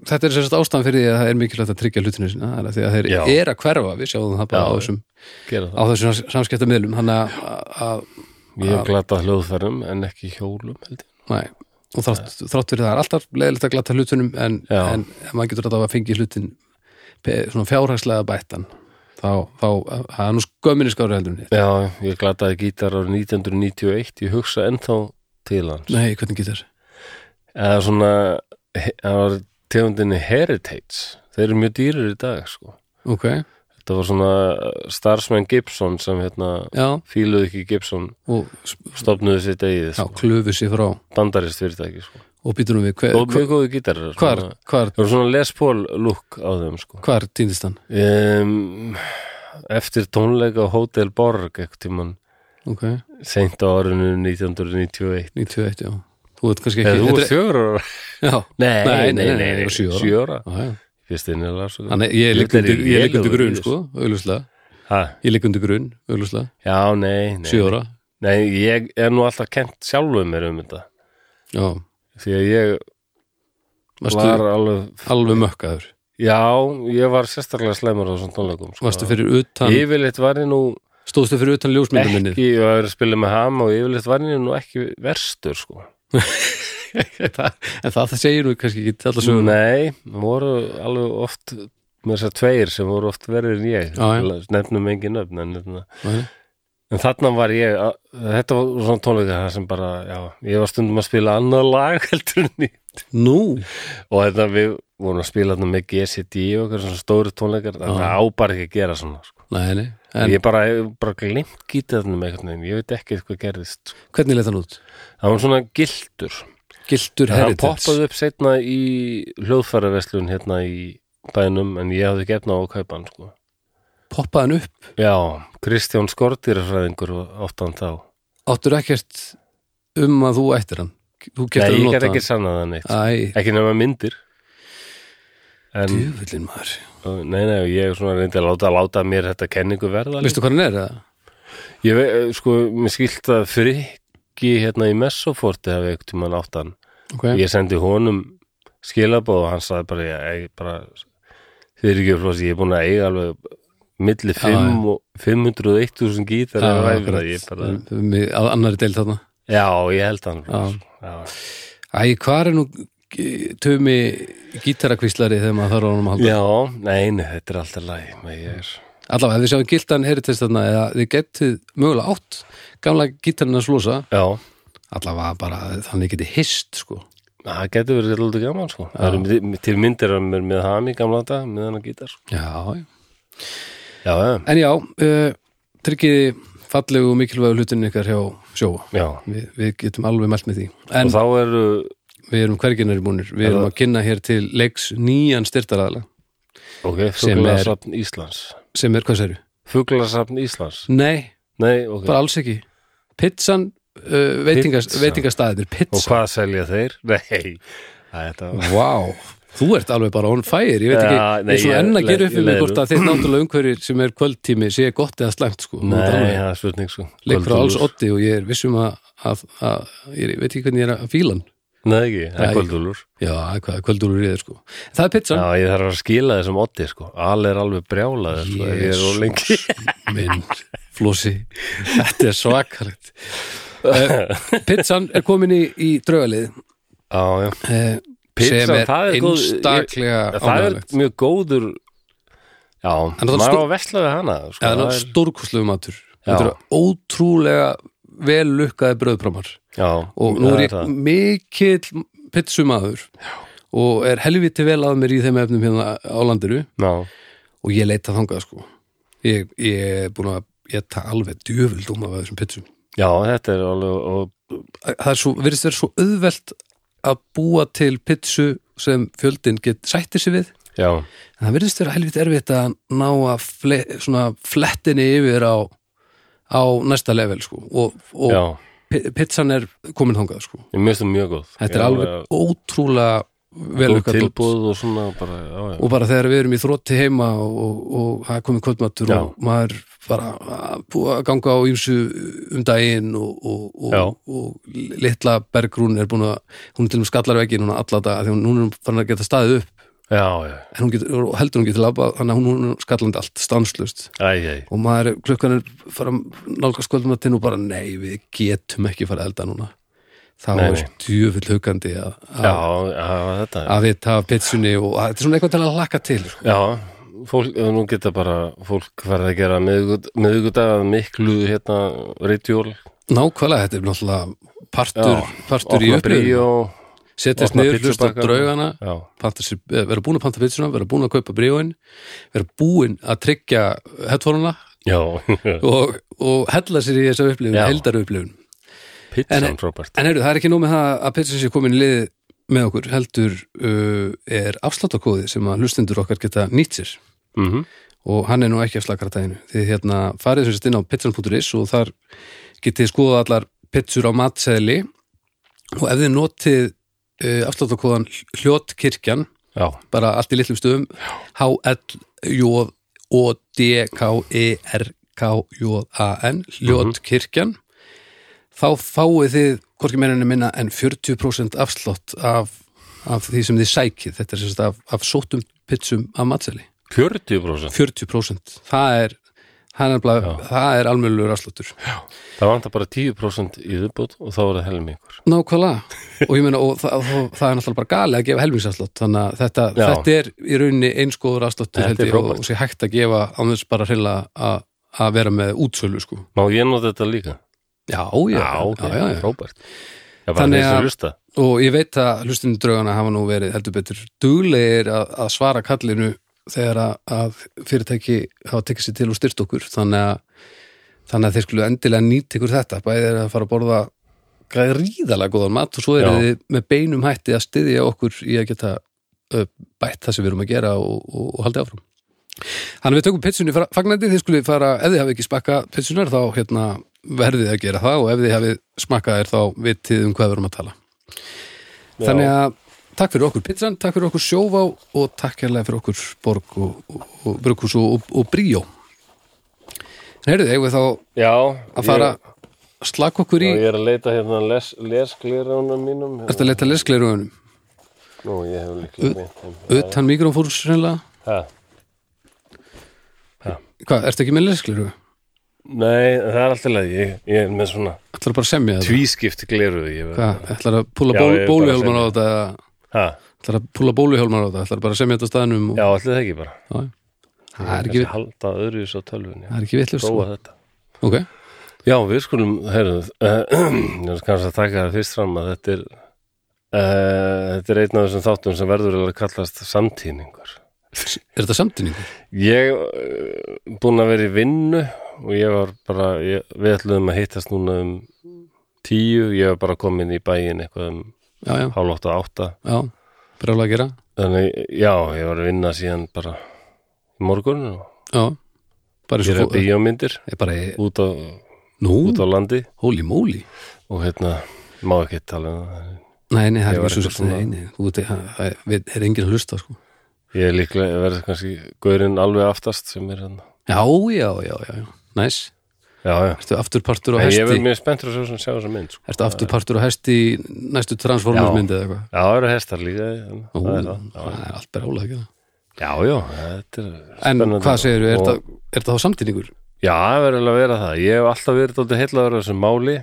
Speaker 2: þetta er sérst ástæðan fyrir því að það er mikilvægt að tryggja hlutinu sína það er að því að þeir
Speaker 1: Já.
Speaker 2: er að hverfa við sjáum það bara
Speaker 1: Já.
Speaker 2: á þessum,
Speaker 1: Gera
Speaker 2: á
Speaker 1: það
Speaker 2: þessum samskiptamiðlum hann að, að-
Speaker 1: Ég er glata hljóðfærum en ekki hjólum held ég
Speaker 2: nei og þrátt, þrátt fyrir það er alltaf leiðilegt að glata hlutunum en,
Speaker 1: Já.
Speaker 2: en ef maður getur þetta að fengi hlutin pe- svona fjárhagslega bættan þá, þá, það er nú skömminni skári heldur niður.
Speaker 1: Já, ég glataði gítar árið 1991 Ég hugsa ennþá til hans
Speaker 2: Nei, hvernig getur
Speaker 1: Eða svona he- Það var tegundinni Heritage Þeir eru mjög dýrir í dag, sko
Speaker 2: Ok,
Speaker 1: þetta var svona uh, starfsmenn Gibson sem hérna
Speaker 2: já,
Speaker 1: fíluðu ekki Gibson
Speaker 2: og s-
Speaker 1: stopnuðu sitt eigið
Speaker 2: já,
Speaker 1: sko,
Speaker 2: klöfu sér frá
Speaker 1: bandarist fyrirtæki sko.
Speaker 2: og býtunum við, hver,
Speaker 1: og mjög góðu gítarar
Speaker 2: hvar,
Speaker 1: svona-
Speaker 2: hvar,
Speaker 1: það var svona Les Paul look á þeim sko.
Speaker 2: hvar týndist hann?
Speaker 1: um, eftir tónleika á Hotel Borg ekkert tímann
Speaker 2: Ok,
Speaker 1: seint á árinu 1991
Speaker 2: 91, já Þú veit kannski
Speaker 1: eða
Speaker 2: ekki
Speaker 1: þú
Speaker 2: þetta
Speaker 1: voru fjögur ára
Speaker 2: er- Já,
Speaker 1: nei, nei, nei,
Speaker 2: ég
Speaker 1: nei,
Speaker 2: var sjö ára.
Speaker 1: sjö ára
Speaker 2: já, já
Speaker 1: fyrst inn í lasu
Speaker 2: Þannig, ég ligg
Speaker 1: Þetta er
Speaker 2: undir, ég ligg undir
Speaker 1: lélegur
Speaker 2: grun,
Speaker 1: í
Speaker 2: sko, auðlúslega
Speaker 1: ha,
Speaker 2: Ég ligg undir grun, auðlúslega,
Speaker 1: já, nei, nei,
Speaker 2: sjö ára
Speaker 1: nei ég er nú alltaf kent sjálfum mér um þetta
Speaker 2: Já,
Speaker 1: því að ég
Speaker 2: varstu
Speaker 1: var alveg
Speaker 2: alveg mökkaður
Speaker 1: já, ég var sérstaklega slæmur á svona tónleikum sko.
Speaker 2: Varstu fyrir utan,
Speaker 1: yfirleitt var ég nú
Speaker 2: stóðstu fyrir utan ljósmyndum minni
Speaker 1: ekki, ég var að spila með ham og yfirleitt var ég nú ekki verstur sko.
Speaker 2: En það, það segir nú kannski ekki allar sögur
Speaker 1: nei, voru alveg oft með þess að segja tveir sem voru oft verður en ég
Speaker 2: Já, já.
Speaker 1: nefnum engin öfn en, nefna.
Speaker 2: Nei.
Speaker 1: en þarna var ég að, þetta var svona tónleika það sem bara, já, ég var stundum að spila annað lag heldur en ég
Speaker 2: Nú,
Speaker 1: og þetta við vorum að spila þarna með GCD og okkar svona stóru tónleikar þannig að á bara ekki að gera svona sko.
Speaker 2: nei, nei En
Speaker 1: ég bara, ég bara glimt gítarnum einhvern veginn, ég veit ekki hvað gerðist sko.
Speaker 2: hvernig leit hann út?
Speaker 1: það var svona gildur
Speaker 2: Giltur
Speaker 1: hann
Speaker 2: Heritage
Speaker 1: poppaði upp setna í hljóðfæraverslun hérna í bænum en ég hafði gefna á að kaupa hann sko.
Speaker 2: Poppaði hann upp,
Speaker 1: já, Kristján Skortýrfræðingur áttan þá
Speaker 2: áttur ekkert um að þú ættir hann Þú getur
Speaker 1: Nei,
Speaker 2: að
Speaker 1: ég
Speaker 2: nota
Speaker 1: get
Speaker 2: hann
Speaker 1: ekki sannað það neitt
Speaker 2: Æ,
Speaker 1: ekki nema myndir en,
Speaker 2: djöfullin maður
Speaker 1: nei, nei, ég svona reyndi að láta, láta mér þetta kenningu verða
Speaker 2: Veistu hvað hann er? eða?
Speaker 1: Ég veit, sko, mér skilt að frikki hérna í Messoforti hafi ekkert um hann áttan.
Speaker 2: Ok,
Speaker 1: Ég sendi honum skilabóð og hann sagði bara, ég, ég bara þið er ekki flósi, ég er búin að eiga alveg milli
Speaker 2: já.
Speaker 1: 5 og 501.000 gítar
Speaker 2: Já,
Speaker 1: að ræfina,
Speaker 2: Ah, akkurat.
Speaker 1: ég bara,
Speaker 2: Um, í- á annarri deil þarna
Speaker 1: já, ég held hann
Speaker 2: Já.
Speaker 1: já.
Speaker 2: Æ, hvað er nú g- tumi gítarakvíslari þegar maður þarf á honum að halda
Speaker 1: já, nei, nei, þetta er alltaf læg, maður ég er
Speaker 2: allavega, ef þið sjáum gildan heritist þarna eða þið getið mögulega átt gamla gítarinn að slúsa
Speaker 1: Já,
Speaker 2: allavega bara þannig getið hist sko.
Speaker 1: það getur verið alltaf gaman, sko Það eru til myndir af mér með ham í gamla dag með hann að gítar, sko
Speaker 2: já, já.
Speaker 1: Já, já,
Speaker 2: en já, uh, tryggiði fallegu og mikilvægu hlutin ykkar hjá sjóa
Speaker 1: já
Speaker 2: við, við getum alveg mælt með því en
Speaker 1: Og þá eru,
Speaker 2: við erum hverginari búnir við erum að kynna hér til leiks nýjan styrtaraðala
Speaker 1: ok,
Speaker 2: Sem er-
Speaker 1: fuglasafn Íslands
Speaker 2: sem er, hvað séru?
Speaker 1: Fuglasafn Íslands
Speaker 2: Nei,
Speaker 1: Nei, ok
Speaker 2: bara alls ekki Pizzan, uh, veitingast,
Speaker 1: Pizza.
Speaker 2: veitingastæðir
Speaker 1: Og
Speaker 2: Pizza,
Speaker 1: hvað selja þeir? Nei, það er þetta
Speaker 2: vá Þú ert alveg bara on fire, ég veit
Speaker 1: Já,
Speaker 2: ekki Ég
Speaker 1: nei,
Speaker 2: er svona
Speaker 1: ég-
Speaker 2: enn að gera upp um
Speaker 1: ég
Speaker 2: mig
Speaker 1: leiði
Speaker 2: hvort að þitt náttúrulega umhverjir sem er kvöldtími sé gott eða slæmt sko
Speaker 1: Nei, það er spurning sko. svo
Speaker 2: Leik frá alls
Speaker 1: Kvöldúlfur.
Speaker 2: otti og ég er vissum að, að, að ég veit ekki hvernig ég er að fíla hann
Speaker 1: Nei, ekki, það
Speaker 2: Nei.
Speaker 1: er kvöldulur
Speaker 2: Já, hvað kvöldúlur ég er sko Það er
Speaker 1: Já,
Speaker 2: pizzan
Speaker 1: ég þarf að skila þessum otti, sko Al er alveg brjálaður, sko ef Ég er of lengi
Speaker 2: minn flósi Þetta er svakalegt uh, Pizzan er komin í, í draugalið
Speaker 1: Já, já
Speaker 2: uh,
Speaker 1: Pizzan,
Speaker 2: sem er
Speaker 1: það er góð- ég-
Speaker 2: einstaklega
Speaker 1: Það er
Speaker 2: ánægulegt
Speaker 1: mjög góður Já,
Speaker 2: er það
Speaker 1: maður á
Speaker 2: stór-
Speaker 1: að vesla við hana, sko
Speaker 2: Já, það
Speaker 1: það
Speaker 2: er
Speaker 1: er-
Speaker 2: stórkostlegu matur
Speaker 1: Já.
Speaker 2: Þetta eru ótrúlega vel lukkaði bröðpramar
Speaker 1: Já,
Speaker 2: og nú
Speaker 1: það
Speaker 2: er ég
Speaker 1: það.
Speaker 2: mikill pizzumaður og er helviti vel að mér í þeim efnum hérna á landinu
Speaker 1: Já,
Speaker 2: og ég leita þangað sko ég, ég er búin að ég ta alveg djöfuld um af þessum pizzum
Speaker 1: já, þetta er alveg og,
Speaker 2: það er svo, virðist verið svo auðvelt að búa til pizzu sem fjöldin get sættir sig við
Speaker 1: Já,
Speaker 2: en það virðist verið helviti erfitt að ná að fle, svona flettinni yfir á á næsta level sko og, og
Speaker 1: já
Speaker 2: pi- pizzan er komin þangað sko.
Speaker 1: Ég mjög mjög góð
Speaker 2: þetta er
Speaker 1: Já,
Speaker 2: alveg ótrúlega vel
Speaker 1: Góð
Speaker 2: lukkað dót.
Speaker 1: tilbúð og svona bara, já, já.
Speaker 2: og bara þegar við erum í þrótti heima og- og og það er komið kvöldmatur
Speaker 1: Já.
Speaker 2: og maður bara að búa að ganga á ímsu um daginn og, og,
Speaker 1: Já.
Speaker 2: og, og litla bergrún er búin að hún er til og með skallar veginn hún alla dag því hún hún er farin að geta staðið upp
Speaker 1: já, já,
Speaker 2: en hún getur, og heldur hún getur labba þannig að hún, hún er skallandi allt, stanslust
Speaker 1: æ, æ
Speaker 2: og maður er- klukkan er fara nálgast kvöldmatinn og bara nei við getum ekki fara að elda núna þá
Speaker 1: Nei,
Speaker 2: er
Speaker 1: nei.
Speaker 2: stjöfull hugandi að, að,
Speaker 1: Já, já, þetta
Speaker 2: að við tafa pitsunni og að, þetta er svona eitthvað til að laka til sko.
Speaker 1: Já, fólk, nú geta bara fólk verið að gera miðugudagað miklu hérna ritual
Speaker 2: nákvæmlega, þetta er náttúrulega partur, partur í
Speaker 1: opna
Speaker 2: upplifun
Speaker 1: bríó
Speaker 2: setjast
Speaker 1: Opna
Speaker 2: niður, hlusta á
Speaker 1: pizzubakkana.
Speaker 2: draugana
Speaker 1: já,
Speaker 2: panta sér- eh, vera búin að panta pizzuna, vera búin að kaupa bríóin vera búin að tryggja headfónuna
Speaker 1: já,
Speaker 2: og, og hella sér í þessu upplifun,
Speaker 1: Já.
Speaker 2: heldar upplifun
Speaker 1: pizzan, Robert
Speaker 2: En heyrðu, það er ekki nóg með það að pizzan sé komin í lið með okkur, heldur uh, er afsláttakóði sem að hlustendur okkar geta nýtt sér
Speaker 1: mm
Speaker 2: og hann er nú ekki af slagratæginu því hérna farið sem sett inn á pizzan.is og þar getið skoða allar pizzur á matseðli og ef þið notið uh, afsláttakóðan hljótkirkjan
Speaker 1: já,
Speaker 2: bara allt í litlum stöðum E H-L-J-O-D-K-E-R-K-J-A-N Ljótkirkjan þá fáið þið hvorki meirinu minna en 40% afslott af, af því sem þið sækið þetta er sem sagt af, af sóttum pitsum af matseli
Speaker 1: 40%
Speaker 2: 40% það er, það er, nefnilega- það er almennlegur afslottur
Speaker 1: það vantar bara 10% í viðbútt og þá er það helmingur
Speaker 2: Nákvæmlega og ég meina og það, það, það er náttúrulega bara gali að gefa helmingsafslott þannig að þetta,
Speaker 1: Já.
Speaker 2: þetta er í rauninni einskóður afslottur
Speaker 1: Þetta
Speaker 2: held
Speaker 1: er
Speaker 2: ég, og,
Speaker 1: frábært.
Speaker 2: og sé hægt að gefa án þess bara hreinlega að- að vera með útsölu sko.
Speaker 1: má ég nota þetta líka?
Speaker 2: Já, já,
Speaker 1: já, ok,
Speaker 2: já, já, já.
Speaker 1: Robert já, bara
Speaker 2: Þannig
Speaker 1: þeir
Speaker 2: að-
Speaker 1: sem hlusta
Speaker 2: og ég veit að hlustinu draugana hafa nú verið heldur betur duglegir að, að svara kallinu þegar að, að fyrirtæki hafa tekið sér til og styrt okkur þannig að, þannig að þeir skulu endilega nýta ykkur þetta, bæði er að fara að borða gríðalega góðan mat og svo er
Speaker 1: Já.
Speaker 2: þið með beinum hætti að styðja okkur í að geta ö, bætt það sem við erum að gera og, og, og haldi áfram Þannig að við tökum pitsunni fagnandi, þið skulle fara, ef þið hafið ekki smakkað pitsunar þá hérna verðið að gera það og ef þið hafið smakkað þér þá vitið um hvað við erum að tala.
Speaker 1: Já.
Speaker 2: Þannig að takk fyrir okkur pizzan, takk fyrir okkur sjóvá og takk hérlega fyrir okkur borg og, og, og brukus og, og, og bríó. En heyrðu, eigum við þá að
Speaker 1: já,
Speaker 2: fara
Speaker 1: ég,
Speaker 2: að slaka okkur í,
Speaker 1: já, ég er að leita hérna les, lesglirana mínum
Speaker 2: þetta að leta leskleirugunum,
Speaker 1: nú, ég hef líklega meint þeim
Speaker 2: utan mikrofórs reynilega.
Speaker 1: Ha.
Speaker 2: Hvað, ertu ekki með leskleirugu?
Speaker 1: nei, það er alltaf leið ég, ég er með svona
Speaker 2: Ætlar bara að semja þetta?
Speaker 1: tvískipt gliru ég verð-
Speaker 2: Hvað, ætlar að púla
Speaker 1: Já, ég er bara að
Speaker 2: bóluhjálmar á
Speaker 1: semja.
Speaker 2: þetta? eða-
Speaker 1: ha,
Speaker 2: ætlar að púla bóluhjálmar á þetta, ætlar bara að semja þetta á staðnum og,
Speaker 1: já, allir það ekki bara
Speaker 2: já, já. það er
Speaker 1: Þessi
Speaker 2: ekki,
Speaker 1: halda öðru í svo tölvun
Speaker 2: það er ekki vitlust
Speaker 1: prófa þetta
Speaker 2: ok,
Speaker 1: Já, við skulum, heyrðu, uh, ég er kannski að taka það fyrst fram að þetta er, uh, þetta er einn af þessum þáttum sem verður að kallast samtíningur.
Speaker 2: er þetta samtíningur?
Speaker 1: Ég uh, búin að vera í vinnu og ég var bara, ég, við ætluðum að hittast núna um tíu, ég var bara komin í bæin eitthvað um
Speaker 2: já, já,
Speaker 1: hálótt og átta.
Speaker 2: já, brjálega að gera
Speaker 1: Þannig, já, ég var að vinna síðan bara í morgun og
Speaker 2: já, bara
Speaker 1: gera
Speaker 2: svo fó,
Speaker 1: bíómyndir
Speaker 2: er bara, í-
Speaker 1: út á,
Speaker 2: nú,
Speaker 1: út á landi
Speaker 2: holy moly
Speaker 1: og hérna, má ekki tala um það.
Speaker 2: nei, nei, það
Speaker 1: Ég
Speaker 2: er
Speaker 1: var
Speaker 2: ekki svo
Speaker 1: eitthvað
Speaker 2: sem
Speaker 1: svona-
Speaker 2: nei, nei, þú veit, það- það- við- það er enginn að hlusta, sko
Speaker 1: Ég er líklega að verða kannski gaurinn alveg aftast sem er hann.
Speaker 2: já, já, já, já, já, næs
Speaker 1: Já, já.
Speaker 2: ertu afturpartur á
Speaker 1: En ég verð
Speaker 2: hesti
Speaker 1: mjög spenntur að sjá sem sjá þessa mynd. Sko.
Speaker 2: ertu afturpartur á hesti í næstu transformersmyndi eða eitthvað
Speaker 1: Já, það eru hestar líka. þannig
Speaker 2: Ú,
Speaker 1: að Það er það.
Speaker 2: það er allt brjálega að gera
Speaker 1: Já, já, þetta er
Speaker 2: en
Speaker 1: spennandi.
Speaker 2: hvað segirðu, er
Speaker 1: Og-
Speaker 2: þetta- er þetta þá samtíningur?
Speaker 1: Já, það verður alveg að vera það. Ég hef alltaf verið dálítið heillaður af þessu máli.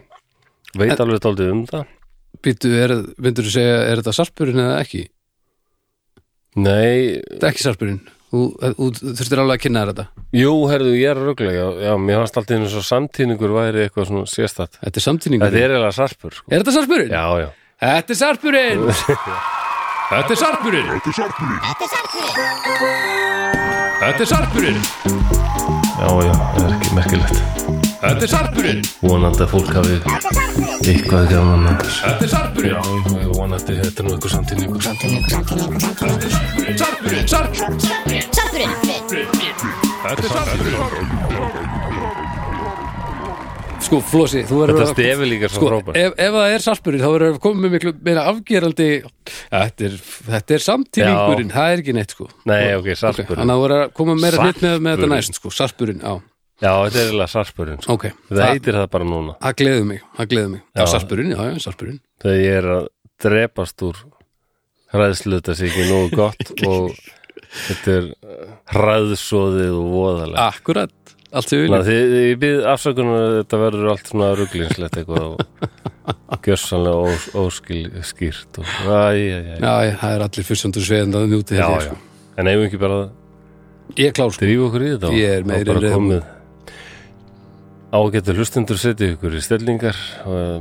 Speaker 1: Veit alveg dálítið um það.
Speaker 2: Býtu, myndur þú segja, er þetta sarpurinn eða ekki?
Speaker 1: Nei,
Speaker 2: Þetta er ekki sarpurinn. Þú, þú þú þurftir alveg að kynna þér þetta.
Speaker 1: jú, herðu, ég er að rugla. Já, já, mér fannst alltaf eins og samtíningur væri eitthvað svona sérstætt.
Speaker 2: Þetta er
Speaker 1: Þetta
Speaker 2: samtíningur.
Speaker 1: er eiginlega sarpur, sko.
Speaker 2: Er þetta sarpurinn?
Speaker 1: Já, já.
Speaker 2: Þetta er sarpurinn! þetta er sarpurinn! Þetta er sarpurinn!
Speaker 1: Já, já, það er ekki merkilegt.
Speaker 2: Þetta er sarpurinn!
Speaker 1: Vonandi að fólk hafi eitthvað gaman að þessu.
Speaker 2: Þetta er sarpurinn!
Speaker 1: Já, ég vona að þetta er nú eitthvað samtíningur
Speaker 2: Sarpurinn! Sarpurinn! Þetta er sarpurinn! Sko, Flósi, þú verður
Speaker 1: Þetta stefi líka svo
Speaker 2: Sko,
Speaker 1: frábær
Speaker 2: ef, ef það er sarpurinn þá verður að koma með miklu meira afgerandi þetta er, þetta er samtílingurinn það er ekki neitt sko
Speaker 1: Nei, ok, sarpurinn.
Speaker 2: þannig að voru að koma meira neitt með, með þetta
Speaker 1: Sarpurinn.
Speaker 2: næst sko, sarpurinn, á,
Speaker 1: Já, þetta er eiginlega sarpurinn sko.
Speaker 2: ok
Speaker 1: Það
Speaker 2: það,
Speaker 1: heitir það bara núna
Speaker 2: það gleður mig, það gleður mig já,
Speaker 1: Já.
Speaker 2: sarpurinn, já, já, sarpurinn
Speaker 1: Þegar ég er að drepast úr hræðslu þetta sé ekki nógu gott og þetta er hræðsóðið og voðalega
Speaker 2: akkurat, allt sem við viljum
Speaker 1: Þannig að þið, ég byrð afsökunar að þetta verður allt svona ruglinslegt eitthvað og gjössanlega ós, óskýrt og æ, æ, æ,
Speaker 2: já, já, það er allir fyrstjöndur sveðan að njúti
Speaker 1: já,
Speaker 2: þetta
Speaker 1: já
Speaker 2: sko.
Speaker 1: En eigum við ekki bara að
Speaker 2: ég er klár sko,
Speaker 1: drífa okkur í þetta og-
Speaker 2: Ég er
Speaker 1: og
Speaker 2: meiri
Speaker 1: bara
Speaker 2: reiðubúinn.
Speaker 1: komið ágættu uh, hlustendur setja ykkur í stellingar eh,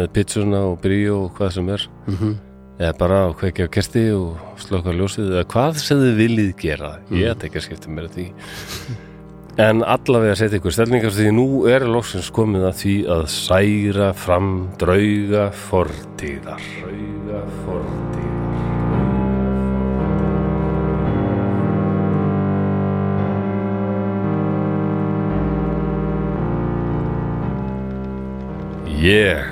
Speaker 1: með pizzuna og bríó og hvað sem er
Speaker 2: Mhm.
Speaker 1: eða bara að kveikja á kerti og slökka á ljósið eða hvað sem þið viljið gera
Speaker 2: Mhm.
Speaker 1: ég ætti ekki að skipta mér að því en allavega setja ykkur stelningar því nú er loksins komið að því að særa fram drauga fortíðar drauga fortíðar Ég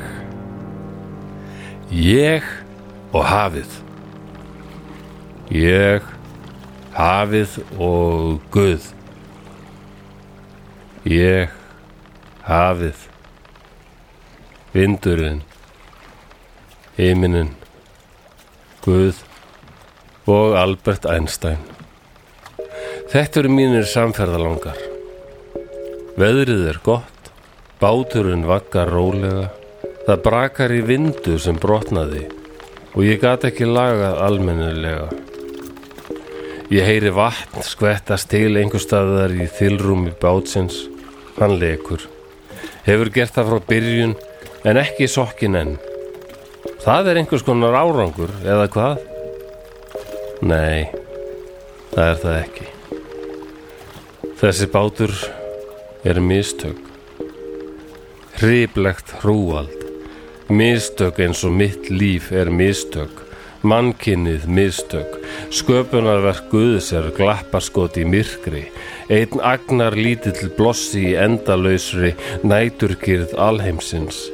Speaker 1: Ég og hafið Ég hafið og Guð Ég hafið Vindurinn Eiminin Guð og Albert Einstein Þetta eru mínir samferðalangar Veðrið er gott Báturinn vaggar rólega Það brakar í vindu sem brotnaði og ég gat ekki lagað almennilega. Ég heyri vatn skvettast til einhverstaðar í þilrúmi bátsins. Hann lekur. Hefur gert það frá byrjun en ekki sokkin enn. Það er einhvers konar árangur, eða hvað? Nei, það er það ekki. Þessi bátur er mistök. Hriplegt hrúald. Mistök eins og mitt líf er mistök. Mannkinnið mistök. Sköpunarverk Guðs er glappaskot í myrkri. Einn agnar lítill blossi í endalausri næturkýrð alheimsins.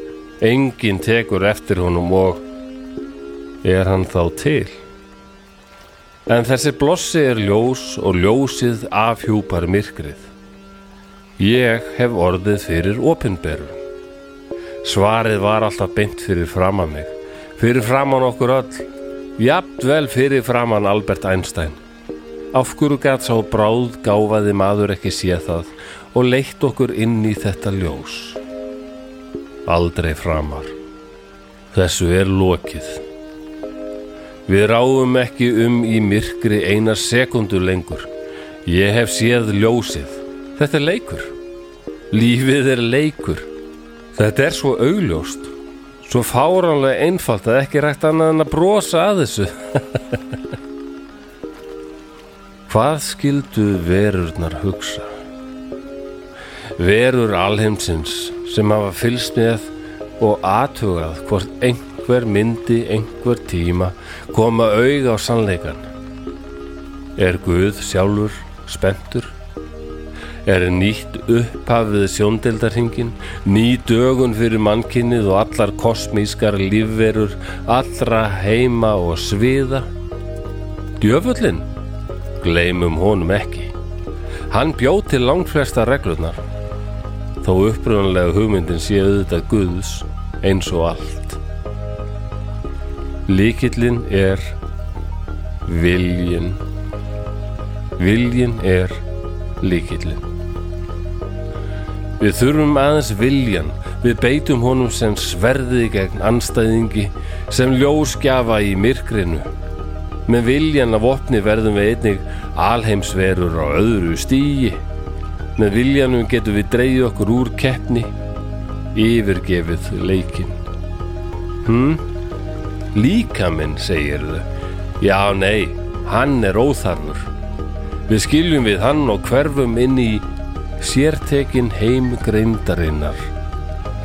Speaker 1: Engin tekur eftir honum og er hann þá til? En þessi blossi er ljós og ljósið afhjúpar myrkrið. Ég hef orðið fyrir opinberun. Svarið var alltaf beint fyrir framan mig, fyrir framan okkur öll, jafnvel fyrir framan Albert Einstein. Af hverju gæt sá bráð gáfaði maður ekki sé það og leitt okkur inn í þetta ljós. Aldrei framar. Þessu er lokið. Við ráum ekki um í myrkri eina sekundu lengur. Ég hef séð ljósið. Þetta er leikur. Lífið er leikur. Þetta er svo augljóst, svo fáránlega einfalt að ekki rægt annað en að brosa að þessu. Hvað skildu verurnar hugsa? Verur alheimsins sem hafa fylst með og athugað hvort einhver myndi einhver tíma koma auga á sannleikan. Er Guð sjálfur spenntur? er nýtt upphafið sjóndeldarhingin, ný dögun fyrir mannkinnið og allar kosmískar lífverur, allra heima og sviða. Djöfullin? Gleimum honum ekki. Hann bjó til langt flesta reglurnar. Þó upprunanlega hugmyndin sé auðvitað Guðs eins og allt. Líkillin er viljin. Viljin er líkillin. Við þurfum aðeins viljan, við beitum honum sem sverði gegn anstæðingi, sem ljósgjafa í myrkrinu. Með viljan af opni verðum við einnig alheimsverur á öðru stígi. Með viljanum getum við dreyið okkur úr keppni, yfirgefið leikinn. Hm? Líkaminn, segir þau. Já, nei, hann er óþarfur. Við skiljum við hann og hverfum inn í sértekin heim greindarinnar,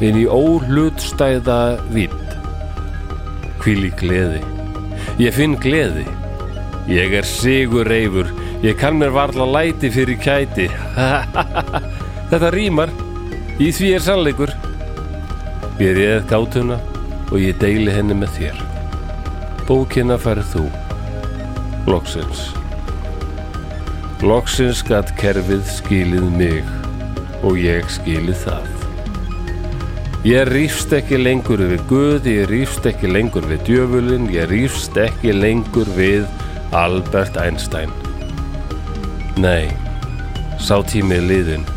Speaker 1: inn í óhlutstæða vitt. Hvíl í gleði. Ég finn gleði. Ég er sigur reyfur. Ég kann mér varla læti fyrir kæti. Þetta rýmar. Í því er sannleikur. Ég reið gátuna og ég deili henni með þér. Bókina færð þú. Loksins. Loksins gatt kerfið skilið mig og ég skilið það. Ég rýfst ekki lengur við Guð, ég rýfst ekki lengur við djöfulinn, ég rýfst ekki lengur við Albert Einstein. Nei, sá tími er liðin.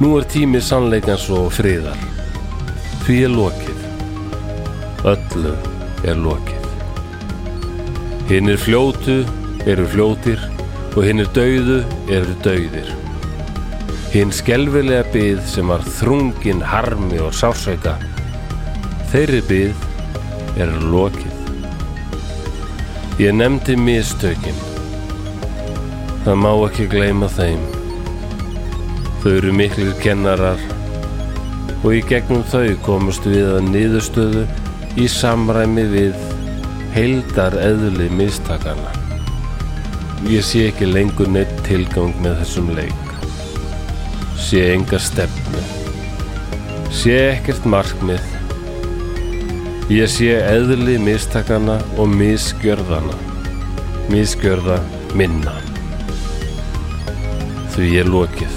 Speaker 1: Nú er tími sannleikans og friðar. Því er lokið. Öllu er lokið. Hinn er fljótu, eru fljótir og hinn er dauðu, eru dauðir. Hinn skelfilega byð sem var þrungin harmi og sásauka, þeirri byð er lokið. Ég nefndi mistökin. Það má ekki gleyma þeim. Þau eru miklir kennarar og í gegnum þau komust við að niðurstöðu í samræmi við heildar eðli mistakana. Ég sé ekki lengur neitt tilgang með þessum leik. Sé enga stefnu. Sé ekkert markmið. Ég sé eðli mistakana og misgjörðana. Misgjörða minna. Því ég lokið.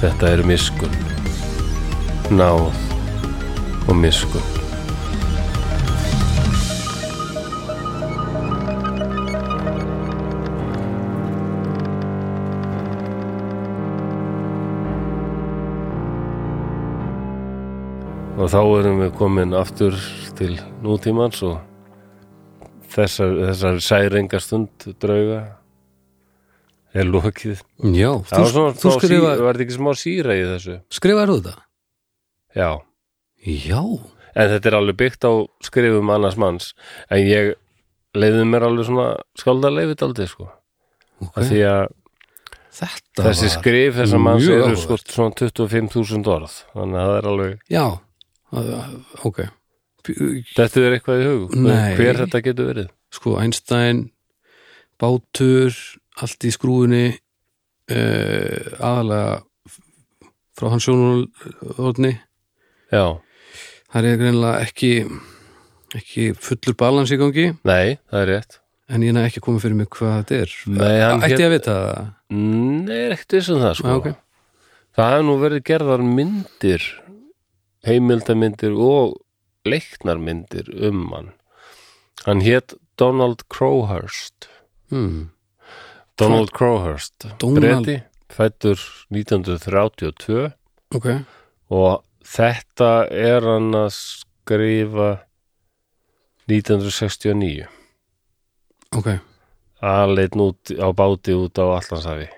Speaker 1: Þetta er miskun. Náð og miskun. Og þá erum við komin aftur til nútímans og þessar, þessar særingastund drauga er lokið.
Speaker 2: Já,
Speaker 1: Það
Speaker 2: þú,
Speaker 1: var svona,
Speaker 2: þú
Speaker 1: smá sí,
Speaker 2: skrifa,
Speaker 1: var þetta ekki smá síra í þessu?
Speaker 2: skrifaðu þetta?
Speaker 1: Já,
Speaker 2: Já,
Speaker 1: en þetta er alveg byggt á skrifum annars manns, en ég leiði mér alveg svona skáldarleifit aldrei, sko.
Speaker 2: ok.
Speaker 1: Okay. Því að
Speaker 2: Þetta
Speaker 1: þessi
Speaker 2: var...
Speaker 1: skrif þessar manns
Speaker 2: mjög
Speaker 1: eru
Speaker 2: áhugavert.
Speaker 1: sko svona 25.000 orð, þannig að það er alveg,
Speaker 2: Já, að- að- ok. P-
Speaker 1: þetta er eitthvað í hug,
Speaker 2: Nei.
Speaker 1: hver þetta getur verið.
Speaker 2: Sko, Einstein, bátur, allt í skrúðinni, uh, aðalega f- frá hans sjónulorni.
Speaker 1: Já,
Speaker 2: Það er greinlega ekki, ekki fullur balans í gangi,
Speaker 1: nei, það er rétt.
Speaker 2: en ég nefði ekki komið fyrir mig hvað þetta er.
Speaker 1: Nei, hann
Speaker 2: Ætti
Speaker 1: hét-
Speaker 2: ég að vita það?
Speaker 1: Nei, er ekkert vissum það sko
Speaker 2: Já, ok.
Speaker 1: Það hefur nú verið gerðar myndir heimildamindir og leiknarmyndir um hann Hann hétt Donald Crowhurst
Speaker 2: Hmm.
Speaker 1: Donald Crowhurst
Speaker 2: Donald-
Speaker 1: Breti, fættur 1932
Speaker 2: Ok,
Speaker 1: og þetta er hann að skrifa 1969
Speaker 2: ok,
Speaker 1: aðleitin út á báti út á Allansafi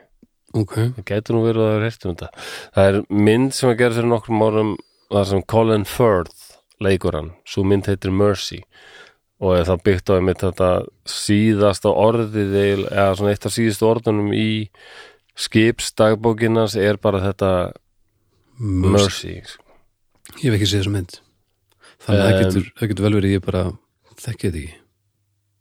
Speaker 2: ok.
Speaker 1: Það gæti nú verið að það er um þetta. Það er mynd sem að gera fyrir nokkrum árum þar sem Colin Firth leikur hann. Svo mynd heitir Mercy og er það byggt á einmitt þetta síðasta orðið eil- eða svona eitt af síðustu orðunum í skipsdagbókinans er bara þetta
Speaker 2: Mörst.
Speaker 1: Mercy.
Speaker 2: Ég hef ekki séð þessa mynd. Þannig að það
Speaker 1: Em.
Speaker 2: getur, það getur vel verið ég bara þekki þetta ekki.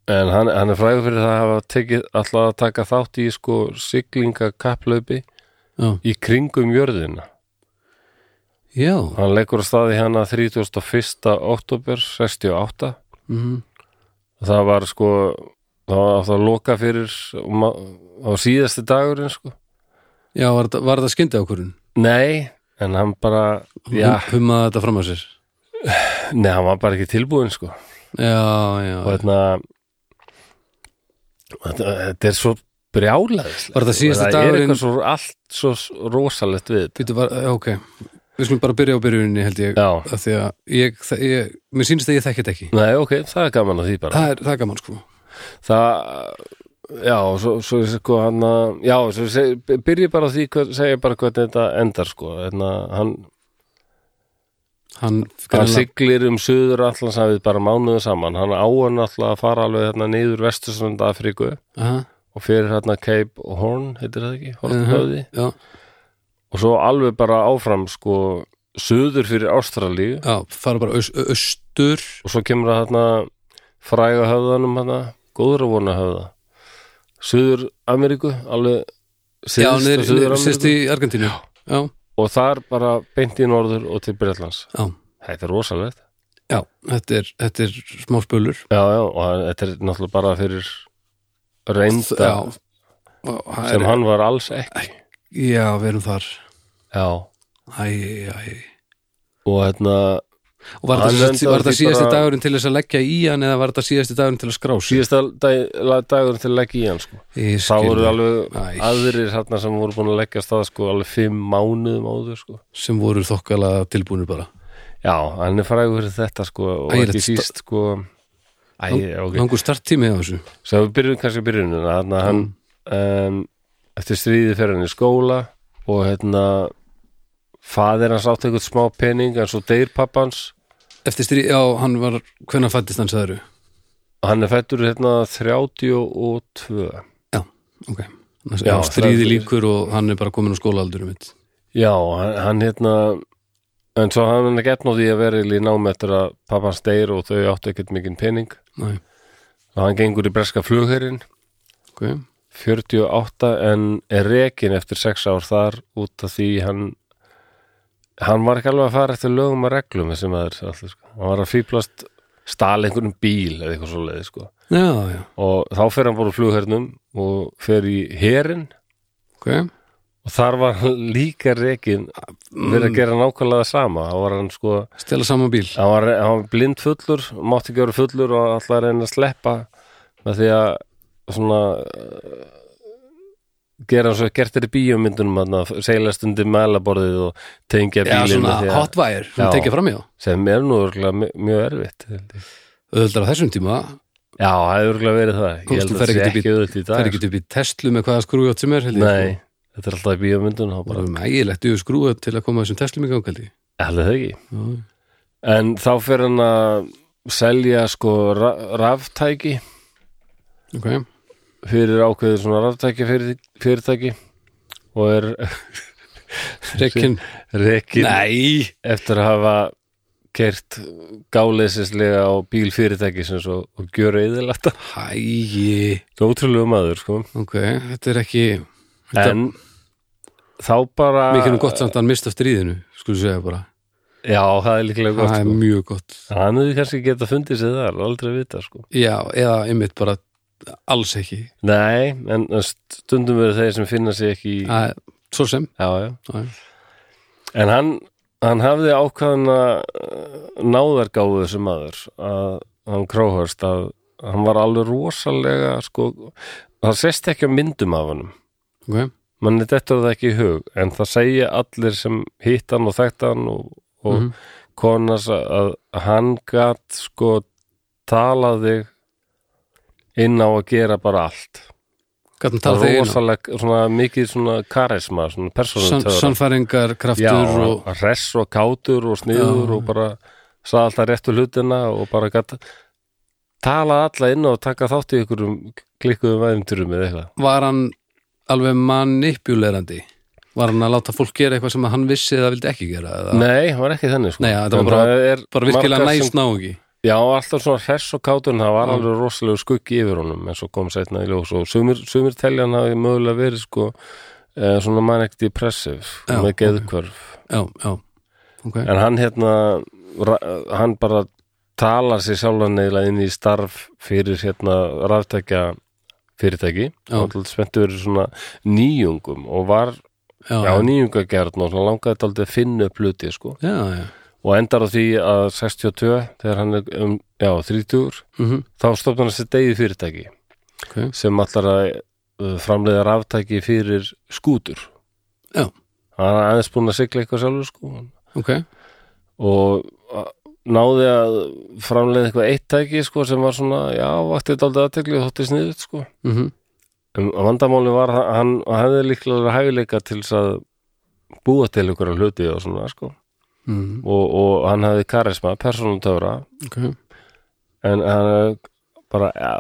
Speaker 1: En hann, hann er frægur fyrir það að hafa tekið alltaf að taka þátt í sko siglingakapplaupi
Speaker 2: Já,
Speaker 1: í kringum jörðina.
Speaker 2: já.
Speaker 1: Hann leikur á staði hana 31. oktober 68
Speaker 2: mhm.
Speaker 1: það var sko það var alltaf að loka fyrir ma- á síðasti dagurinn sko
Speaker 2: Já, var þetta- var þetta skyndi ákvörðun?
Speaker 1: nei, en hann bara já,
Speaker 2: Hum- Hummaði þetta fram að sér?
Speaker 1: nei, hann var bara ekki tilbúin sko
Speaker 2: Já, já.
Speaker 1: og þarna þetta þetta er svo brjálaðislega
Speaker 2: Var þetta síðasti
Speaker 1: það er
Speaker 2: dagurinn-
Speaker 1: eitthvað svo allt svo s- rosalegt við þetta
Speaker 2: Býtu var, já, ok. Við skulum bara byrja á byrjuninni held ég.
Speaker 1: já,
Speaker 2: Af því að ég, það, ég, mér sýnst að ég þekki þetta ekki.
Speaker 1: nei, ok, það er gaman að því bara
Speaker 2: Það er, það er gaman sko.
Speaker 1: það já, svo, svo sko hann að- já, svo seg, byrja bara á því hvað, segja bara hvernig þetta endar sko, þannig hann
Speaker 2: Hann,
Speaker 1: hann
Speaker 2: greinilega-
Speaker 1: siglir um söður allansafið bara mánuðu saman hann áan alltaf að fara alveg hérna niður vesturströnd Afríku
Speaker 2: Aha,
Speaker 1: og fyrir hérna Cape Horn heitir það ekki, Horn
Speaker 2: Mhm. já,
Speaker 1: og svo alveg bara áfram sko söður fyrir Ástralíu
Speaker 2: já, fara bara aus, austur.
Speaker 1: og svo kemur það hérna fræga höfðanum hérna, góðra vona höfða söður Ameríku alveg
Speaker 2: Já,
Speaker 1: syðst á
Speaker 2: niður, sérst
Speaker 1: Suður-Ameríku
Speaker 2: í Argentínu. Já,
Speaker 1: og þar bara beint í norður og til Bretlands
Speaker 2: já,
Speaker 1: þetta er rosalegt
Speaker 2: já, þetta er, þetta er smá spölur.
Speaker 1: já, já, og hann- þetta er náttúrulega bara fyrir reynda
Speaker 2: Já, og það
Speaker 1: sem
Speaker 2: er,
Speaker 1: hann var alls ekki
Speaker 2: já, við erum þar.
Speaker 1: já.
Speaker 2: Æ, æ, æ.
Speaker 1: og hérna
Speaker 2: Og var
Speaker 1: Hann
Speaker 2: þetta,
Speaker 1: endaði
Speaker 2: var þetta
Speaker 1: því
Speaker 2: síðasti
Speaker 1: bara-
Speaker 2: dagurinn til þess að leggja í hann eða var þetta síðasti dagurinn til að skrá sig?
Speaker 1: síðasta dag, la- dagurinn til að leggja í hann sko.
Speaker 2: Ég
Speaker 1: þá
Speaker 2: skil
Speaker 1: voru
Speaker 2: það.
Speaker 1: alveg
Speaker 2: Æ.
Speaker 1: aðrir hérna sem voru búin að leggja af stað sko, alveg fimm mánuðum áður sko.
Speaker 2: sem voru þokkala tilbúinir bara
Speaker 1: já, hann er frægur fyrir þetta sko, og
Speaker 2: Ægilegt
Speaker 1: ekki
Speaker 2: sta-
Speaker 1: síst sko, Æ, ok
Speaker 2: langur starttími á þessu
Speaker 1: svo við byrjum kannski byrjunina þannig að hann um, eftir stríði fer hann í skóla og hérna faðir hans átti eitthvað smá pening en svo deyr pappans
Speaker 2: eftir stríð, já, hann var hvenær fættist hann sagður
Speaker 1: hann er fættur hérna 32
Speaker 2: ok Næs-
Speaker 1: Já,
Speaker 2: já, stríði
Speaker 1: það er-
Speaker 2: líkur og hann er bara komin á skólaaldurum mitt
Speaker 1: Já, hann, hann hérna en svo hann er gett nóði að vera í námi eftir að pappans deyr og þau áttu ekkert mikinn pening
Speaker 2: Næ,
Speaker 1: og hann gengur í breska flugherinn
Speaker 2: ok,
Speaker 1: 48 en er rekin eftir 6 ár þar út af því hann hann var ekki alveg að fara eftir lögum og reglum sem að er alltaf sko. hann var að fýblast stala einhverjum bíl eða eitthvað svo leiði sko
Speaker 2: já, já,
Speaker 1: og þá fer hann bara úr flughernum og fer í herinn
Speaker 2: ok
Speaker 1: og þar var hann líka rekin verið að gera nákvæmlega það sama þá var hann sko
Speaker 2: stela saman bíl
Speaker 1: hann var, hann var blind fullur, mátti ekki vera fullur og alltaf að reyna að sleppa með því að svona eh, gera eins og gert er í bíómyndunum þarna, seilast undir mælaborðið og tengja
Speaker 2: já,
Speaker 1: bílinn
Speaker 2: svona
Speaker 1: með því að-
Speaker 2: hotvire, svona
Speaker 1: Já.
Speaker 2: tekja fram í þá
Speaker 1: sem er nú örugglega mj- mjög erfitt held ég.
Speaker 2: auðvitað á þessum tíma,
Speaker 1: já, það er örgulega verið það
Speaker 2: Komst
Speaker 1: ég held
Speaker 2: þú
Speaker 1: að það
Speaker 2: fer
Speaker 1: sé
Speaker 2: ekkert upp í-
Speaker 1: ekki auðvitað í
Speaker 2: það er
Speaker 1: dag sko.
Speaker 2: ekki upp í testlu með hvaða skrújátt sem er held ég,
Speaker 1: nei, þetta er alltaf í bíómyndunum þá
Speaker 2: sko. bara
Speaker 1: bara,
Speaker 2: um ægilegt yfir skrújátt til að koma þessum testlum í gangaldi
Speaker 1: held það ekki
Speaker 2: já,
Speaker 1: en þá fer hann að selja sko ra raftæki
Speaker 2: ok,
Speaker 1: fyrir ákveðið svona raftæki fyrir, fyrirtæki og er
Speaker 2: rekin
Speaker 1: rekin
Speaker 2: nei,
Speaker 1: eftir að hafa kert gáleisislega á bíl fyrirtækisins og, og gjöra eðilata
Speaker 2: hægi
Speaker 1: ótrúlegu maður sko
Speaker 2: ok, þetta er ekki þetta
Speaker 1: en þá bara
Speaker 2: mikið nú gott samt að hann mista stríðinu skulum segja bara,
Speaker 1: já það er líklega gott
Speaker 2: það er
Speaker 1: sko.
Speaker 2: mjög gott
Speaker 1: hann hefði kannski geta fundið sér þar aldrei að vita sko
Speaker 2: já, eða einmitt bara alls ekki
Speaker 1: nei en stundum verður þeir sem finna sér ekki í...
Speaker 2: að, svo sem
Speaker 1: já já
Speaker 2: já,
Speaker 1: En hann, hann hafði ákvæðna náðargáfu þessu maður að hann króhörst að hann var alveg rosalega sko, það sést ekki á myndum af honum
Speaker 2: ok,
Speaker 1: manni dettur það ekki í hug en það segja allir sem hitt hann og þekkt hann og, og mm
Speaker 2: Mhm.
Speaker 1: að hann gat sko talað þig inn á að gera bara allt
Speaker 2: gætum
Speaker 1: það
Speaker 2: tala
Speaker 1: er
Speaker 2: þegar inn á
Speaker 1: rosalega svona, mikið svona karisma, svona
Speaker 2: Sann-
Speaker 1: persónutöður
Speaker 2: sannfæringar,
Speaker 1: Já,
Speaker 2: kraftur og
Speaker 1: hann hress og kátur og sniður
Speaker 2: Já.
Speaker 1: og bara sagði alltaf réttu hlutina og bara gata, tala alla inn og taka þátt í ykkurum klikkuðum æfinturum eða eitthvað.
Speaker 2: var hann alveg manipulerandi var hann að láta fólk gera eitthvað sem hann vissi eða vildi ekki gera eða
Speaker 1: Nei, hann var ekki þannig sko.
Speaker 2: Nei, já, þetta var
Speaker 1: En
Speaker 2: bara-
Speaker 1: það er
Speaker 2: bara virkilega
Speaker 1: margar
Speaker 2: næst
Speaker 1: sem-
Speaker 2: náungi
Speaker 1: Já, alltaf svona hress og kátur en það var
Speaker 2: Já.
Speaker 1: alveg rosalegu skuggi yfir honum eins og kom sætna í ljós og sumir, sumir telja hann hafi mögulega verið sko eh, svona manic depressive
Speaker 2: Já,
Speaker 1: með geðkvörf.
Speaker 2: já, já, ok
Speaker 1: En hann hérna ra- hann bara talar sér sjálfan neila inn í starf fyrir hérna ráftækja fyrirtæki
Speaker 2: Já.
Speaker 1: og alltaf spenntu verið svona nýjungum og var
Speaker 2: já,
Speaker 1: já, nýjungagjarn og svona langaði daldið að finna upp hluti sko
Speaker 2: já, já,
Speaker 1: og endar á því að 62 þegar hann er um, já, 30
Speaker 2: mhm,
Speaker 1: þá stofnar hann sér degið fyrirtæki
Speaker 2: ok
Speaker 1: sem allar að uh, framleiða ráftæki fyrir skútur
Speaker 2: Já.
Speaker 1: hann er aðeins búin að sigla eitthvað sjálfur sko hann
Speaker 2: ok,
Speaker 1: og a- náði að framleiða eitthvað eitt tæki sko, sem var svona, já, vakti þetta aldrei aðtekli og þótti sniðut sko.
Speaker 2: mhm,
Speaker 1: En vandamáli var að hann að hann hefði líklega hæfileika til þess að búa til ykkur hluti og svona sko.
Speaker 2: mhm,
Speaker 1: og, og hann hefði karisma, persónutöfra
Speaker 2: ok
Speaker 1: en hann hefði bara ja,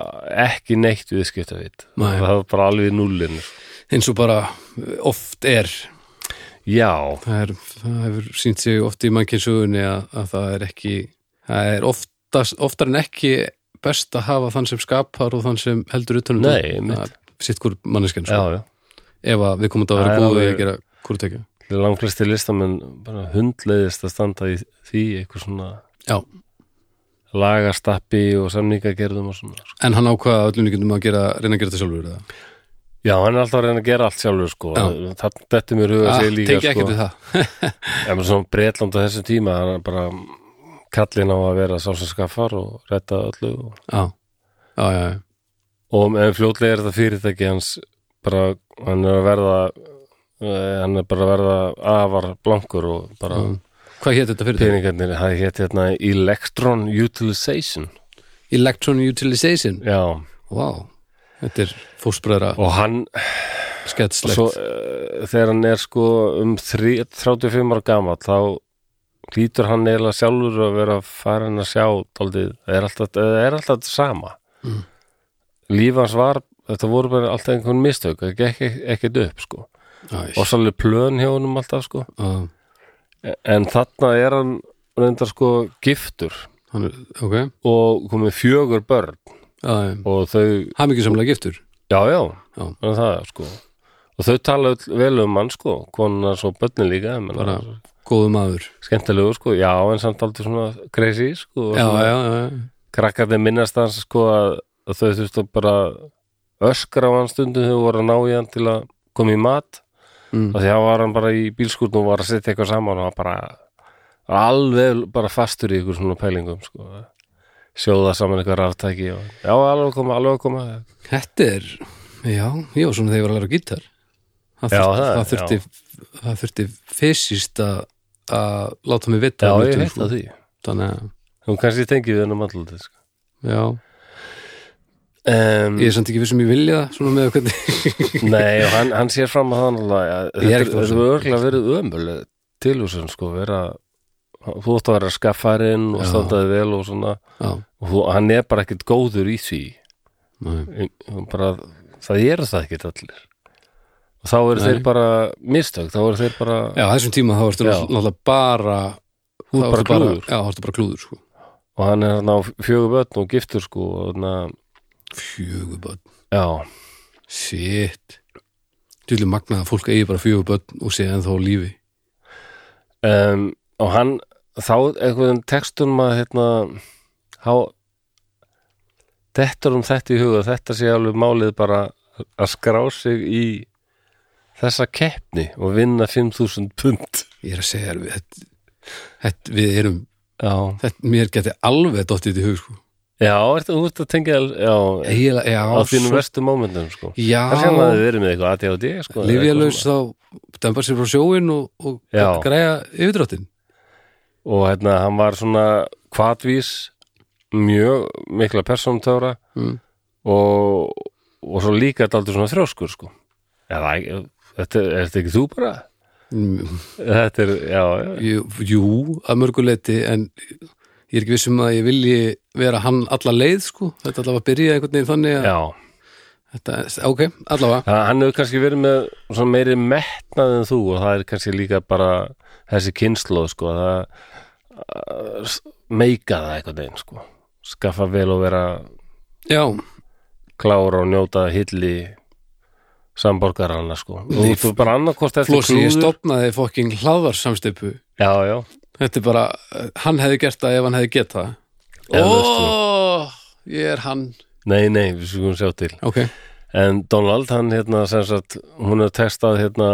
Speaker 1: ekki neitt viðskiptavit
Speaker 2: Nei.
Speaker 1: það var bara alveg í núllinu sko.
Speaker 2: eins og bara eh, oft er
Speaker 1: já,
Speaker 2: það, er, það hefur sínt sig oft í mannkinsögunni að, að það er ekki það er oftast, oftar en ekki best að hafa þann sem skapar og þann sem heldur utanum
Speaker 1: Nei, einmitt.
Speaker 2: það sitt hvort manneskjan
Speaker 1: já,
Speaker 2: sko.
Speaker 1: já
Speaker 2: ef að við komum þetta að
Speaker 1: Það
Speaker 2: vera
Speaker 1: er
Speaker 2: góðu
Speaker 1: alveg-
Speaker 2: að gera hvort ekki
Speaker 1: langflesti listamenn bara hundleiðist að standa í því eitthvað svona
Speaker 2: Já.
Speaker 1: lagastappi og samningagerðum og svona sko.
Speaker 2: En hann ákvaða öllum líkundum að gera, reyna að gera þetta sjálfur eða?
Speaker 1: já, hann er alltaf að reyna að gera allt sjálfur sko.
Speaker 2: Já. Ah,
Speaker 1: það dettur mér huga sig líka
Speaker 2: teki
Speaker 1: sko.
Speaker 2: ekkert við það.
Speaker 1: ef maður svona bretland á þessum tíma hann er bara kallinn á að vera sá sem skaffar og retta öllu og,
Speaker 2: Já, já, já, já.
Speaker 1: og en fljótlega er þetta fyrirtæki hans bara, hann er að verða eh, hann er bara að verða afar blankur og bara
Speaker 2: Já. Hvað hétt þetta fyrir þetta?
Speaker 1: peningarnir, það hétt hérna Electron Utilization
Speaker 2: Electron Utilization.
Speaker 1: já,
Speaker 2: Vá, þetta er fóstbræðra
Speaker 1: og hann
Speaker 2: sketslegt.
Speaker 1: svo, uh, þegar hann er sko um þrí- 35 ára gamall þá hlýtur hann eiginlega sjálfur að vera farin að sjá daldið, það er alltaf, það er alltaf þetta sama
Speaker 2: Mm.
Speaker 1: líf hans var þetta voru bara alltaf einhvern mistök það gekk ek- ekkert upp sko og svolítið plön hjá honum alltaf sko
Speaker 2: Ah,
Speaker 1: en þarna er hann reyndar sko giftur
Speaker 2: hann er, ok
Speaker 1: og komið fjögur börn
Speaker 2: ah,
Speaker 1: og þau,
Speaker 2: Hamingisamlega giftur
Speaker 1: já já,
Speaker 2: Já.
Speaker 1: en það er sko og þau tala öll vel um hann sko konan svo börnin líka menn,
Speaker 2: Bara góðu maður
Speaker 1: skemmtilegu sko, já en samt aldrei svona crazy sko og
Speaker 2: Já,
Speaker 1: svona-
Speaker 2: já, já, já.
Speaker 1: krakkarnir minnast hans sko að, að þau þurftu bara öskra á hann stundum þegar þau voru að ná í hann til að koma í mat
Speaker 2: Mm.
Speaker 1: og því að var hann bara í bílskúrn og var að setja eitthvað saman og hann bara alveg bara fastur í ykkur svona pælingum sko sjóða saman eitthvað ráftæki og já, alveg að koma, alveg að koma
Speaker 2: Þetta er, já, ég var svona þegar ég var að læra á gítar Það
Speaker 1: Já,
Speaker 2: þurfti,
Speaker 1: það-
Speaker 2: það, þurfti, það þurfti fysiskt að, að láta mig vita
Speaker 1: Já,
Speaker 2: af
Speaker 1: ég
Speaker 2: hlutum,
Speaker 1: heilt
Speaker 2: sko.
Speaker 1: að því
Speaker 2: Þannig að,
Speaker 1: Hún kannski tengi við hennum allir sko.
Speaker 2: já,
Speaker 1: um,
Speaker 2: ég er samt ekki vissum ég vilja það svona með hvernig
Speaker 1: Nei, og hann, hann sér fram að það náttúrulega að
Speaker 2: Ég er
Speaker 1: þetta
Speaker 2: ekki
Speaker 1: þetta
Speaker 2: fórsam.
Speaker 1: hefur örgulega verið ömuleg tilhúsin sko, vera þú ætti að vera skaffarinn og
Speaker 2: Já.
Speaker 1: standaði vel og svona
Speaker 2: Já,
Speaker 1: og þú, hann er bara ekkert góður í því
Speaker 2: nei,
Speaker 1: Hann bara, það eru það ekkert allir og þá eru
Speaker 2: Nei.
Speaker 1: þeir bara mistök, þá eru þeir bara
Speaker 2: já þessum tíma þá ertu
Speaker 1: Já.
Speaker 2: náttúrulega bara þá
Speaker 1: Þú ert
Speaker 2: ertu
Speaker 1: bara klúður.
Speaker 2: Já, þá ertu bara klúður, sko
Speaker 1: og hann er hann á fjögur börn og giftur sko og þannig að,
Speaker 2: Fjöguböld,
Speaker 1: já,
Speaker 2: shit Tullu magnað að fólk eigi bara fjöguböld og sé ennþá á lífi
Speaker 1: um, og hann þá einhvern textunum að hérna há dettur um þetta í huga þetta sé alveg málið bara að skrá sig í þessa keppni og vinna 5000 pund
Speaker 2: Ég er að segja, þér, við, þetta, þetta, við erum
Speaker 1: já,
Speaker 2: þetta, mér geti alveg dottið í hug, sko
Speaker 1: já ertu, þú ert að tengja já,
Speaker 2: Eiginlega, já,
Speaker 1: á þínum
Speaker 2: svo-
Speaker 1: verstu momentum sko. það sem að
Speaker 2: já
Speaker 1: þið verið með eitthvað ADHD sko, eða
Speaker 2: Livjalaus
Speaker 1: eitthvað svona.
Speaker 2: þá dæmbar sér frá sjóin og, og
Speaker 1: Já.
Speaker 2: græja yfirdráttin
Speaker 1: og hérna, hann var svona kvatvís mjög mikla persóntöfra
Speaker 2: mm.
Speaker 1: og, og svo líka þetta aldrei svona þrjóskur sko Eða, þetta er þetta ekki þú bara
Speaker 2: Mm,
Speaker 1: þetta er, já, já,
Speaker 2: jú, jú, að mörguleiti en ég er ekki viss um að ég vilji vera hann alla leið sko þetta allavega byrja einhvern veginn þannig að
Speaker 1: já
Speaker 2: þetta, ok, allavega
Speaker 1: Þannig að hann hefur kannski verið með svona meiri metnað en þú og það er kannski líka bara þessi kynnslóð sko að það að s- meika það einhvern veginn sko skaffa vel og vera
Speaker 2: já,
Speaker 1: klára og njóta hilli samborgarana sko og þú bara annarkost eftir
Speaker 2: Flósi, ég stopnaði fokking hlaðvarsamstipu
Speaker 1: já, já,
Speaker 2: þetta er bara, eh, hann hefði gert það ef hann hefði gett það
Speaker 1: Eflaust,
Speaker 2: Ó, ég er hann
Speaker 1: nei, nei, við skulum sjá til
Speaker 2: ok,
Speaker 1: En Donald, hann hérna sem sagt, hún hefur textað hérna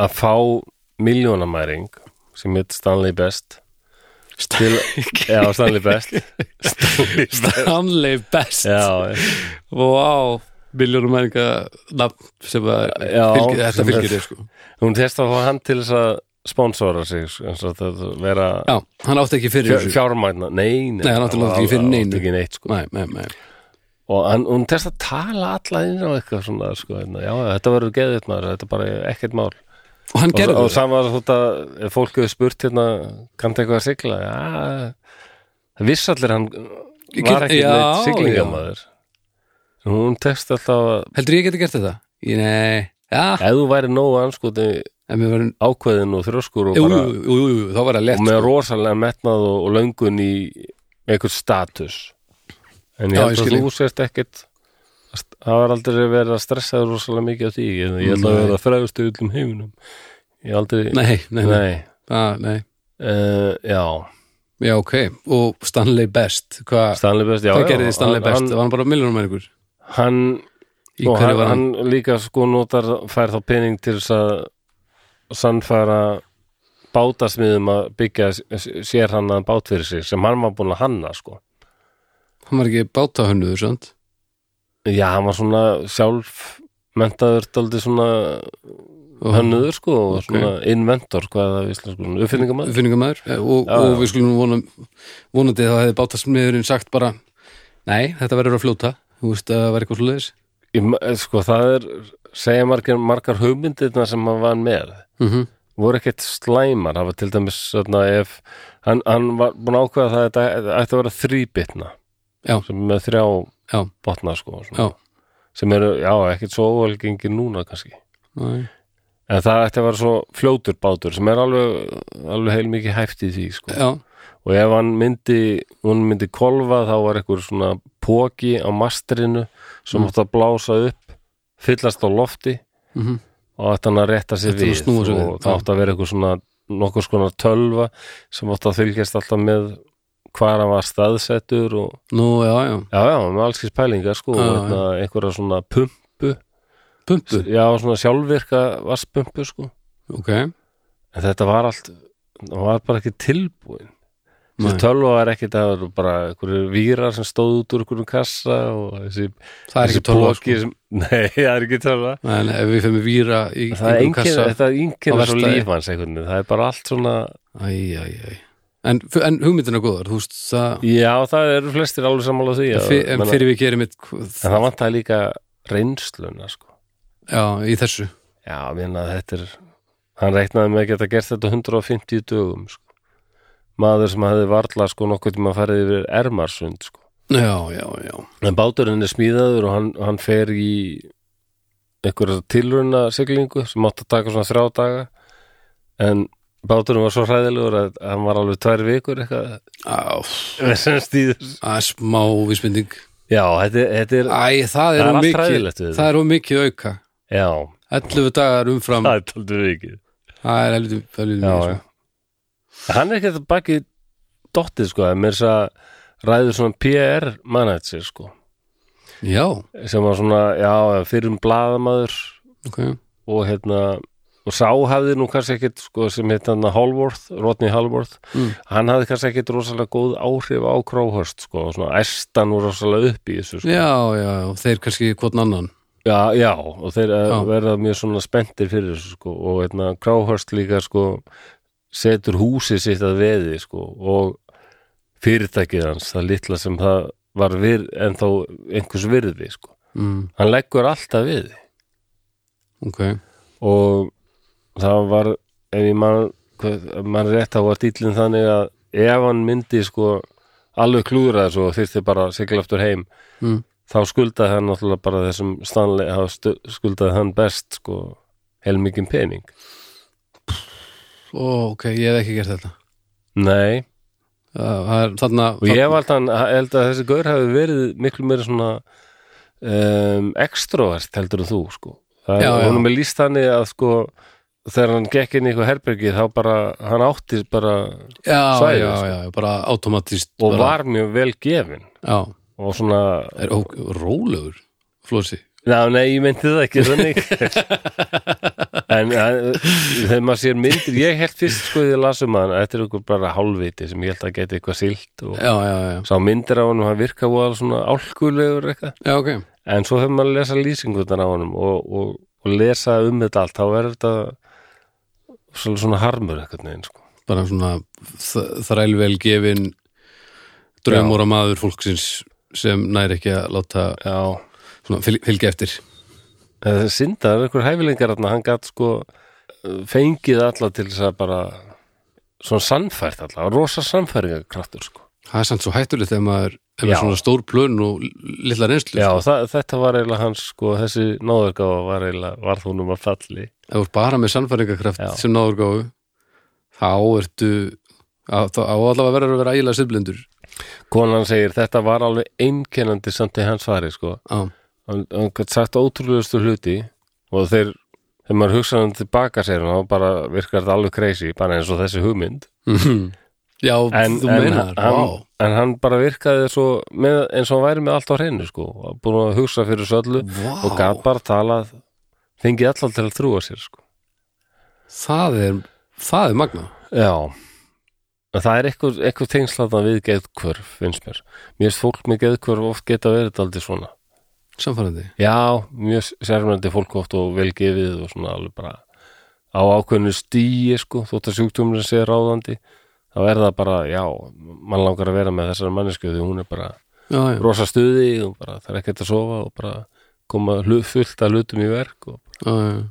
Speaker 1: að fá miljónamæring sem heit Stanley Best til, já, Stanley Best Stanley Best
Speaker 2: Stanley Best
Speaker 1: Já,
Speaker 2: Vá, miljónum mæringa nafn sem að
Speaker 1: Já,
Speaker 2: fylgir, þetta
Speaker 1: sem
Speaker 2: fylgir
Speaker 1: er-
Speaker 2: þér sko
Speaker 1: hún textað að fá hann til þess að sponsora sig, sko, eins og það vera
Speaker 2: Já, hann átti ekki fyrir
Speaker 1: fjár,
Speaker 2: þessu
Speaker 1: fjármægna, nei, nei
Speaker 2: Nei, hann átti ekki fyrir
Speaker 1: átti
Speaker 2: neinu.
Speaker 1: ekki neitt, sko.
Speaker 2: Nei, nei, nei
Speaker 1: og hann, hún textað að tala alla inn á eitthvað svona, sko, hérna, já, þetta verður geðið maður, þetta er bara ekkert mál
Speaker 2: Og hann gerði
Speaker 1: og, og
Speaker 2: það
Speaker 1: sama þótt að ef fólk hefur spurt hérna kannti eitthvað að sigla ja, það viss allir hann var ekki
Speaker 2: Já,
Speaker 1: neitt siglingamæður hún tekst alltaf að
Speaker 2: Heldur ég geti gert þetta? Ég, nei, já,
Speaker 1: ef þú væri nógu anskoti
Speaker 2: en mér verðum
Speaker 1: ákveðin og þrjóskur og,
Speaker 2: Jú,
Speaker 1: bara,
Speaker 2: jú, jú, jú, jú, þá var það
Speaker 1: og
Speaker 2: lett
Speaker 1: með rosalega metnað og, og löngun í eitthvað status en
Speaker 2: Já,
Speaker 1: ég held
Speaker 2: ég
Speaker 1: að
Speaker 2: skil
Speaker 1: þú sért ekkit að st- það var aldrei verið að stressa þér rosalega mikið af því ég ég held að
Speaker 2: Nei.
Speaker 1: vera fræðustu öllum heiminum ég aldrei
Speaker 2: Nei, nei, nei,
Speaker 1: nei.
Speaker 2: ah, nei.
Speaker 1: Eh, já
Speaker 2: Já, ok, og Stanley Best Hva,
Speaker 1: Stanley Best, já,
Speaker 2: Hvað
Speaker 1: já,
Speaker 2: gerði Stanley
Speaker 1: hann,
Speaker 2: Best? var hann bara miljónum mæringur?
Speaker 1: Hann,
Speaker 2: Í
Speaker 1: og
Speaker 2: hverju
Speaker 1: hann,
Speaker 2: var hann?
Speaker 1: hann líka sko notar, fær þá pening til þess að sannfæra bátasmiðum að byggja s- s- sér hann að bát fyrir sig sem hann var búin að hanna sko
Speaker 2: Hann var ekki bátahönnuður, sant?
Speaker 1: Já, hann var svona sjálf mentaður daldi svona
Speaker 2: Og hann-
Speaker 1: hönnuður sko og
Speaker 2: Ok.
Speaker 1: svona inventor hvað er það við slum sko, uppfinningamæður
Speaker 2: uppfinningamæður eh, og,
Speaker 1: Já,
Speaker 2: og
Speaker 1: já.
Speaker 2: við skulum vona, vonandi þá hefði bátasmiðurinn sagt bara nei, þetta verður að fljóta þú veist að það var eitthvað svoleiðis
Speaker 1: Ég ma- Sko það er, segja margar, margar hugmyndirna sem hann var með
Speaker 2: mm -hmm.
Speaker 1: voru ekkert slæmar það var til dæmis svona, ef, hann, hann var búin að ákveða það að þetta ætti að vera þrýbitna
Speaker 2: Já.
Speaker 1: sem með þrjá
Speaker 2: Já.
Speaker 1: botna sko svona.
Speaker 2: Já.
Speaker 1: sem eru, já, ekkert svo óvalgengi núna kannski
Speaker 2: Nei.
Speaker 1: en það ætti að vera svo fljótur bátur sem er alveg, alveg heil mikið hæft í því sko.
Speaker 2: Já,
Speaker 1: og ef hann myndi, hún myndi kolfa þá var einhver svona póki á mastrinu sem
Speaker 2: Mm.
Speaker 1: átti að blása upp fyllast á lofti
Speaker 2: mm
Speaker 1: og ætti hann að rétta sér
Speaker 2: Þetta var
Speaker 1: við
Speaker 2: snúa sér við,
Speaker 1: og það
Speaker 2: já.
Speaker 1: átti að vera einhver svona nokkur skona tölva sem átti að fylgjast alltaf með hvar hann var staðsettur og
Speaker 2: nú, já, já
Speaker 1: já, já, með allskis pælingar sko
Speaker 2: Já,
Speaker 1: og hérna, einhverja svona pumpu
Speaker 2: Pumpu,
Speaker 1: já, svona sjálfvirka vasspumpu sko
Speaker 2: ok
Speaker 1: en þetta var allt, það var bara ekki tilbúin
Speaker 2: Nei.
Speaker 1: þessi tölva var ekkit að það voru bara einhverju vírar sem stóð út úr einhverjum kassa og þessi,
Speaker 2: Það er
Speaker 1: þessi
Speaker 2: ekki tölva sko.
Speaker 1: poki sem, nei, það er ekki tölva
Speaker 2: Nei, nei, ef við fyrir með víra í
Speaker 1: það er
Speaker 2: einhverjum
Speaker 1: engin,
Speaker 2: kassa
Speaker 1: þetta
Speaker 2: á
Speaker 1: er engin svo
Speaker 2: verkstæði.
Speaker 1: líf hans einhvern veginn, það er bara allt svona
Speaker 2: Æ, æ, æ En, en hugmyndina góðar, þú veist það
Speaker 1: já, það eru flestir alveg sammála því að,
Speaker 2: fyr, En
Speaker 1: menna,
Speaker 2: fyrir við gerum eitt
Speaker 1: en það vantaði líka reynsluna sko
Speaker 2: Já, í þessu
Speaker 1: Já, ég meina þetta er hann reiknaði með að geta gert þetta á 150 dögum sko. maður sem hafði varla sko nokkuð tíma farið yfir Ermarsund sko.
Speaker 2: Já, já, já
Speaker 1: en báturinn er smíðaður og hann, hann fer í einhverja tilruna siglingu sem átti að taka svona þrjá daga en báturinn var svo hræðilegur að að hann var alveg tvær vikur eitthvað
Speaker 2: Á, pff,
Speaker 1: sem stíður
Speaker 2: Það er smá vísmynding
Speaker 1: Já, þetta, er- þetta er
Speaker 2: Æ, það er
Speaker 1: Það er
Speaker 2: of
Speaker 1: allt
Speaker 2: mikið
Speaker 1: hræðilegt við
Speaker 2: Það er of mikið auka
Speaker 1: Já,
Speaker 2: 11 dagar umfram
Speaker 1: það er taldið vikið
Speaker 2: Það er heldur, heldur
Speaker 1: Já,
Speaker 2: mikið
Speaker 1: já.
Speaker 2: sko.
Speaker 1: Hann er ekkert baki dottið sko, en mér þess að ræður svona PR manager sko,
Speaker 2: já,
Speaker 1: sem var svona, já, fyrir um blaðamaður
Speaker 2: ok
Speaker 1: og hérna og sá hafði nú kannski ekkert sko, sem heit hann Hallworth, Rodney Hallworth
Speaker 2: Mm.
Speaker 1: hann hafði kannski ekkert rosalega góð áhrif á Króhörst, sko, og svona æstan og rosalega upp í þessu, sko
Speaker 2: Já, já, já, þeir kannski hvort annan
Speaker 1: já, já, og þeir já.
Speaker 2: Já.
Speaker 1: verða mjög svona spenntir fyrir þessu, sko og hérna Króhörst líka, sko setur húsið sitt að veði, sko og fyrirtækið hans það litla sem það var virð, en þá einhvers virði, sko
Speaker 2: mm,
Speaker 1: hann leggur alltaf við
Speaker 2: Ok,
Speaker 1: og það var ef ég man, hvað, man rétt þá var dýtlinn þannig að ef hann myndi sko alveg klúðra þessu og þyrfti bara að sigla aftur heim
Speaker 2: Mm.
Speaker 1: þá skuldaði hann náttúrulega bara þessum Stanley, þá stu- skuldaði hann best sko heilmikinn pening
Speaker 2: Ó, ok, ég hef ekki gert þetta
Speaker 1: Nei,
Speaker 2: Já, Það er þarna
Speaker 1: og ég held, hann, held að þessi gaur hafi verið miklu meira svona um, extrovert heldur en þú sko Það
Speaker 2: Já,
Speaker 1: er
Speaker 2: já.
Speaker 1: honum er líst þannig að sko þegar hann gekk inn í eitthvað herbergi þá bara, hann átti bara
Speaker 2: já,
Speaker 1: svæðið,
Speaker 2: já,
Speaker 1: sko.
Speaker 2: já, já, bara automatist
Speaker 1: og
Speaker 2: bara,
Speaker 1: var mjög vel gefin
Speaker 2: Já,
Speaker 1: og svona,
Speaker 2: er ó, rólegur Flósi
Speaker 1: já nei, ég myndi það ekki þannig en að, þegar maður sér myndir ég held fyrst sko því að lasum hann þetta er einhver bara hálfviti sem ég held að geta eitthvað silt og
Speaker 2: Já, já, já,
Speaker 1: sá myndir á hann og hann virka voða svona álkulegur eitthvað,
Speaker 2: já, ok
Speaker 1: en svo hefur maður að lesa lýsingutan á hann og, og, og lesa um þetta allt, þá er þetta svolítið svona harmur eitthvað neginn sko
Speaker 2: Bara svona þ- þrælvel gefin draumóra maður fólksins sem næri ekki að láta
Speaker 1: já,
Speaker 2: svona, fyl, fylgja eftir
Speaker 1: Það er synda, það Eh, er einhver hæfilingar þarna, hann gat sko uh, fengið alla til þess að bara svona sannfært alla, rosa sannfæringarkraftur sko.
Speaker 2: Það er samt svo hættulegt þegar maður er með
Speaker 1: Já.
Speaker 2: svona stór plön og litla reynslu
Speaker 1: Já, það, þetta var eiginlega hans sko, þessi náðurgáfa var eiginlega varð húnum að falli.
Speaker 2: ef þú er bara með sannfæringarkraft
Speaker 1: Já.
Speaker 2: sem náður gáfu þá ertu á, þá á allavega verður að vera ægilega siðblindur
Speaker 1: Konan segir, þetta var alveg einkennandi samt í hans svari sko.
Speaker 2: Já,
Speaker 1: Hann, hann gat sagt ótrúlegustu hluti og þeir, þegar maður hugsa hann tilbaka sér hann, þá bara virkar þetta alveg crazy, bara eins og þessi hugmynd.
Speaker 2: Mhm. já
Speaker 1: en,
Speaker 2: þú
Speaker 1: en,
Speaker 2: meinar
Speaker 1: hann,
Speaker 2: vá.
Speaker 1: en hann bara virkaði svo með, eins og hann væri með allt á hreinu sko, og búin að hugsa fyrir söllu
Speaker 2: Vá.
Speaker 1: og gat bara talað fengið allan til að trúa sér sko.
Speaker 2: það er það er magna
Speaker 1: já En það er eitthvað, eitthvað tengslaðan við geðkvörf, finnst mér. Mér finnst fólk með geðkvörf oft geta verið aldrei svona.
Speaker 2: samfærandi
Speaker 1: Já, mjög sérmjöndi fólk oft og vel gefið og svona alveg bara á ákveðnu stíi, sko, þótt að sjúkdómurinn sé ráðandi, þá er það bara, já, mann langar að vera með þessar mannesku því hún er bara
Speaker 2: já, já.
Speaker 1: rosa stuði og bara það er ekkert að sofa og bara koma hlu, fullt að hlutum í verk og,
Speaker 2: Já, já.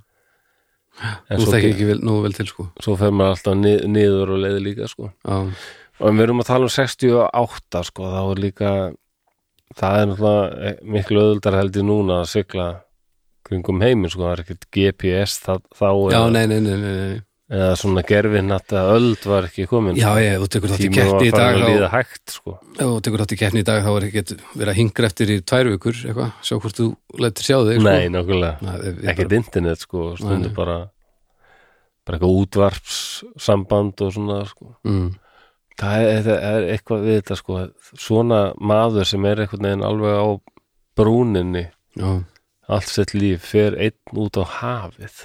Speaker 1: en
Speaker 2: þú
Speaker 1: svo,
Speaker 2: þekki ekki vel, nú vel til sko
Speaker 1: svo fer maður alltaf nið, niður og leiði líka sko
Speaker 2: já,
Speaker 1: og en við erum að tala um 68 sko þá er líka það er náttúrulega eh, miklu öðuldar heldur núna að sigla kringum heiminn sko, það er ekkert GPS það, þá
Speaker 2: já,
Speaker 1: eða,
Speaker 2: nei, nei, nei, nei, nei.
Speaker 1: eða svona gerfin að öld var ekki komin
Speaker 2: já, ég, þú tekur þátt í
Speaker 1: tíma
Speaker 2: keppni
Speaker 1: var
Speaker 2: í dag
Speaker 1: farin að líða
Speaker 2: þá-
Speaker 1: hægt sko.
Speaker 2: ef þú tekur þátt í keppni í dag þá er ekki verið að hingra eftir í tvær vikur eitthvað, sjá hvort þú lætur sjá þig sko.
Speaker 1: nei, sko. nákvæmlega,
Speaker 2: ekki
Speaker 1: ekkert internet sko, stundu
Speaker 2: Nei.
Speaker 1: bara bara eitthvað útvarpssamband og svona sko.
Speaker 2: mm,
Speaker 1: það er, það er eitthvað við þetta sko, svona maður sem er einhvern veginn alveg á brúninni
Speaker 2: já,
Speaker 1: allt sitt líf fer einn út á hafið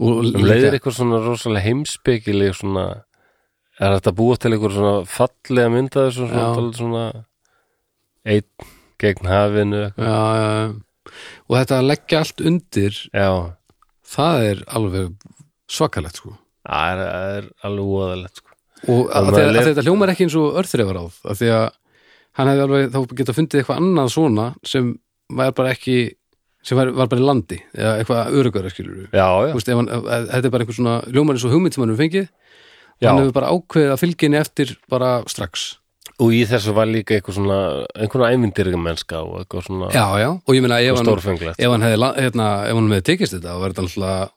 Speaker 2: og
Speaker 1: um leiðir eitthvað svona rosalega heimspekileg svona er þetta búa til eitthvað svona fallega mynda þessu svona,
Speaker 2: Já.
Speaker 1: dálítið svona einn gegn hafinu
Speaker 2: já, já, já. og þetta að leggja allt undir
Speaker 1: já,
Speaker 2: það er alveg svakalegt sko
Speaker 1: það er, það er alveg óðalegt sko.
Speaker 2: og
Speaker 1: Að
Speaker 2: að
Speaker 1: maður
Speaker 2: því að,
Speaker 1: les-
Speaker 2: að þetta hljómar ekki eins og örþreifar áð að því að hann hefði alveg þá geta fundið eitthvað annað svona sem var bara ekki sem var, var bara í landi eða eitthvað örugara skilur við
Speaker 1: já, já,
Speaker 2: Veist, ef hann, ef, ef- þetta er bara einhver svona hljómar eins og hugmynd sem hann hefur fengið og
Speaker 1: Já.
Speaker 2: hann hefur bara ákveðið að fylginni eftir bara strax
Speaker 1: og í þessu var líka eitthvað svona einhverjum æmyndirgum mennska og eitthvað svona
Speaker 2: já, já, og ég meina ef hann,
Speaker 1: stórfenglegt já,
Speaker 2: ef hann hefði la- hérna, ef hann hefði tekist þetta þá var þetta alltaf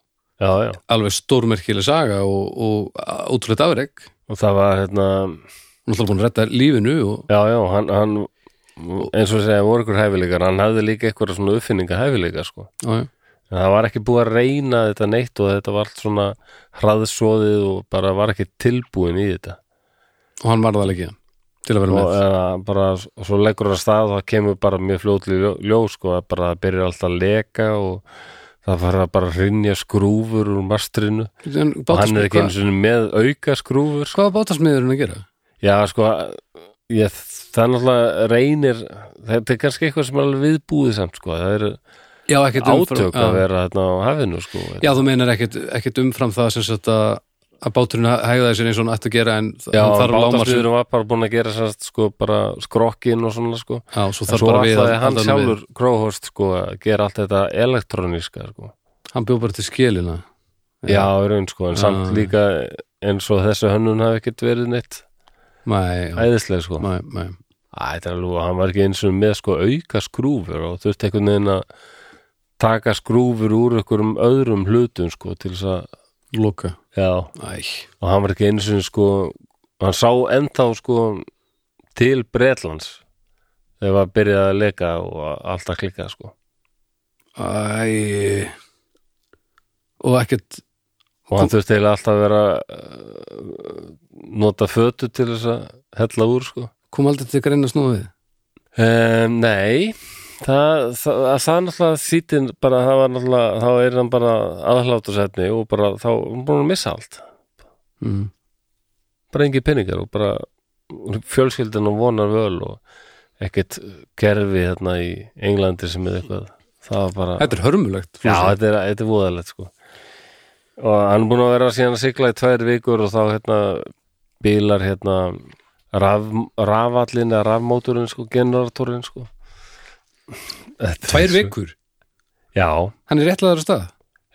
Speaker 1: já,
Speaker 2: alveg stórmerkileg saga og, og a- ótrúlegt afrek
Speaker 1: og það var hérna
Speaker 2: hann er búin að redda lífinu og
Speaker 1: Já, já, hann, hann eins og segja voru ykkur hæfileikar, hann hafði líka eitthvað svona uppfinninga hæfileika, sko.
Speaker 2: já, já.
Speaker 1: En það var ekki búið að reyna þetta neitt og þetta var allt svona hraðsóðið og bara var ekki tilbúin í þetta.
Speaker 2: og hann varð það ekki til að vera
Speaker 1: Og eh,
Speaker 2: með
Speaker 1: eða, bara, og svo leggur það af stað og það kemur bara mjög fljótlega ljós, sko, að bara það byrjar alltaf að leka og það fara bara að hrinja skrúfur úr
Speaker 2: En
Speaker 1: mastrinu og hann er
Speaker 2: bátasmið,
Speaker 1: ekki
Speaker 2: hvað,
Speaker 1: einu sinni með auka skrúfur,
Speaker 2: hvað var bátasmiðurinn að gera?
Speaker 1: Já, sko, ég, það er náttúrulega reynir, þetta er kannski eitthvað sem er alveg viðbúið samt, sko, það eru
Speaker 2: Já, ekkert
Speaker 1: átök að
Speaker 2: já.
Speaker 1: vera þarna á hafinu, sko.
Speaker 2: já, þú meinar ekkert, ekkert umfram það sem sagt að, að báturinn hegðaði sér eins og hann ætti að gera en já, hann þarf lámar sér
Speaker 1: bátasmiðurum var bara búin að gera sérst, sko, bara skrokkin og svona, sko.
Speaker 2: Já, svo
Speaker 1: En
Speaker 2: þarf
Speaker 1: svo
Speaker 2: bara við
Speaker 1: alltaf hann
Speaker 2: halda honum
Speaker 1: sjálfur, Króhorst, sko, að gera allt þetta elektróníska, sko.
Speaker 2: við. Hann bjóð bara til skilina
Speaker 1: Já, í raun, sko, en samt
Speaker 2: Já.
Speaker 1: líka eins og þessu hönnun hafi ekkert verið neitt
Speaker 2: Mæ, já,
Speaker 1: æðislega, sko.
Speaker 2: mæ, mæ
Speaker 1: Æ, þetta er alveg, hann var ekki eins og með sko auka skrúfur og þurfti einhvern veginn að taka skrúfur úr einhverjum öðrum hlutum sko til þess að,
Speaker 2: Loka,
Speaker 1: já,
Speaker 2: æ
Speaker 1: og hann var ekki eins og sko, hann sá ennþá sko til Bretlands þegar var byrjað að leika og allt að klikka sko
Speaker 2: Æ Og ekkert
Speaker 1: og hann þurfti eiginlega alltaf að vera eh, nota fötu til þess að hella úr sko
Speaker 2: kom aldrei til að greina snúið
Speaker 1: Um, nei, það, það, það, það er náttúrulega þýttin bara, það var náttúrulega, þá er hann bara aðhlátusetni og bara þá er hann búin að missa allt,
Speaker 2: mm.
Speaker 1: bara engi peningar og bara fjölskyldan og vonar völ og ekkert kerfi þarna í Englandi sem er eitthvað, það var bara
Speaker 2: Þetta er hörmulegt
Speaker 1: Já, þetta er, þetta er voðalegt sko og hann er búin að vera síðan að sigla í tvær vikur og þá hérna bílar hérna raf, rafallin eða rafmóturinn sko, generatorinn sko Þetta er
Speaker 2: Tvær
Speaker 1: svo-
Speaker 2: vikur,
Speaker 1: Já,
Speaker 2: hann er réttlaður á stað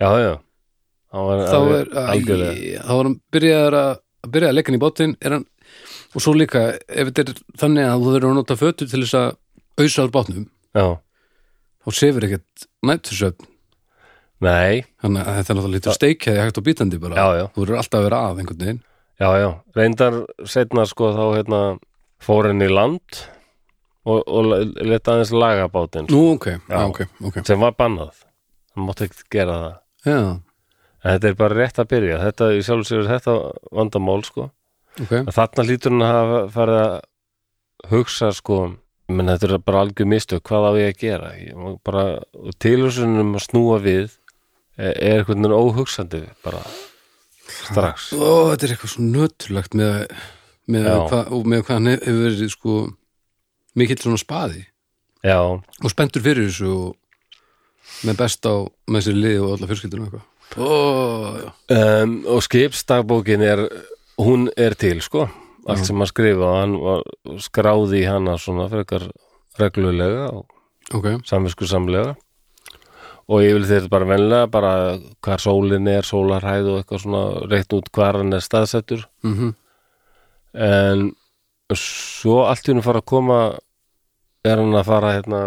Speaker 1: já, já Hann var,
Speaker 2: þá er
Speaker 1: algjörlega
Speaker 2: æ, þá var hann byrjaður að að byrja að leika hann í bátinn er hann, og svo líka ef þetta er þannig að þú verður að nota fötu til þess að ausa úr bátnum
Speaker 1: Já,
Speaker 2: þá sefur ekkert nættursöfn
Speaker 1: nei,
Speaker 2: þannig að þetta er náttúrulega lítur steikjaði hægt og bítandi bara
Speaker 1: já, já
Speaker 2: þú verður alltaf að vera að einhvern veginn
Speaker 1: Já, já, reyndar setna sko þá hérna fór henni í land og, og leta aðeins laga bátinn sko,
Speaker 2: nú ok, já.
Speaker 1: Já.
Speaker 2: ok, ok
Speaker 1: sem var bannað hann mátti ekkert gera það
Speaker 2: já,
Speaker 1: En Þetta er bara rétt að byrja, þetta í sjálf sér er þetta vandamál sko.
Speaker 2: ok,
Speaker 1: En Þarna lítur hann að hafa farið að hugsa sko, menn þetta er bara algjör mistök, hvað á ég að gera? Ég má bara, og tilhugsunum að snúa við er er einhvern veginn óhugsandi bara strax.
Speaker 2: ó, þetta er eitthvað svo nöturlegt með, með,
Speaker 1: Já.
Speaker 2: hvað, og með hvað hann hef- hefur verið sko mikill svona spaði
Speaker 1: Já,
Speaker 2: og spendur fyrir þessu og með best á með sér lið og alla fjörskildinu eitthvað oh, já.
Speaker 1: um, og skipstagbókin er, hún er til sko, allt sem að skrifa og hann var skráði í hana svona frekar reglulega og
Speaker 2: ok,
Speaker 1: samvisku samlega og ég vil þeir bara venlega bara hvar sólin er, sólarhæð og eitthvað svona reynt út hvar hann er staðsettur
Speaker 2: mm
Speaker 1: en svo allt í henni fara að koma er hann að fara hérna,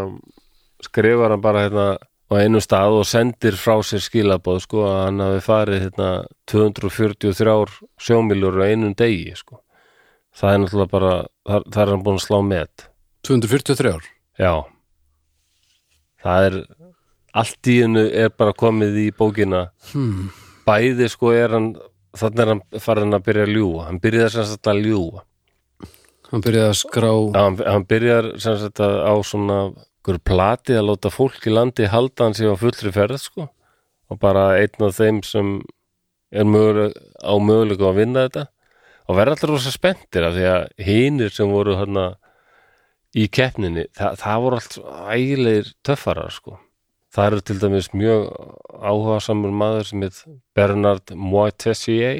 Speaker 1: skrifar hann bara hérna á einu stað og sendir frá sér skilabóð sko að hann hafi farið hérna 243 sjómiljur á einum degi sko það er náttúrulega bara, þar, þar er hann búin að slá met
Speaker 2: 243 ár
Speaker 1: já það er allt í hennu er bara komið í bókina
Speaker 2: hmm.
Speaker 1: bæði sko er hann þannig er hann farin að byrja að ljúga hann byrjaði sem sagt að ljúga
Speaker 2: Hann byrjaði að skrá
Speaker 1: Já, hann, hann byrjar sem sagt að á svona ykkur plati að láta fólk í landi halda hann sér á fullri ferð sko og bara einn af þeim sem er möguleg, á möguleika að vinna þetta og verða allir rosa spenntir af því að hinir sem voru hana í keppninni, það, það voru allt ægilegir töffarar sko það eru til dæmis mjög áhugasamur maður sem heit Bernard Moitessier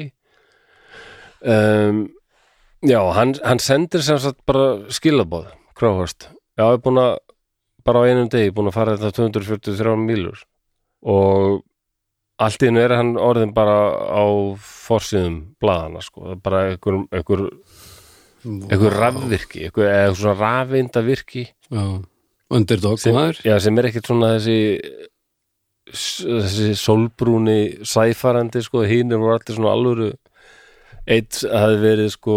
Speaker 1: um, Já, hann, hann sendir sem sagt bara skilabóð, Crowhurst. Já, ég er búin að, bara á einum degi, búin að fara þetta 243 mílur og allt í hennu er hann orðin bara á forsýðum blaðana, sko, Það er bara einhver, einhver, einhver rafvirki, einhver, eða einhver svona rafeinda virki
Speaker 2: Já. Underdog
Speaker 1: sem,
Speaker 2: maður
Speaker 1: já, sem er ekkert svona þessi s- þessi sólbrúni sæfarandi sko, hínir voru allir svona alvöru eitt hafði verið sko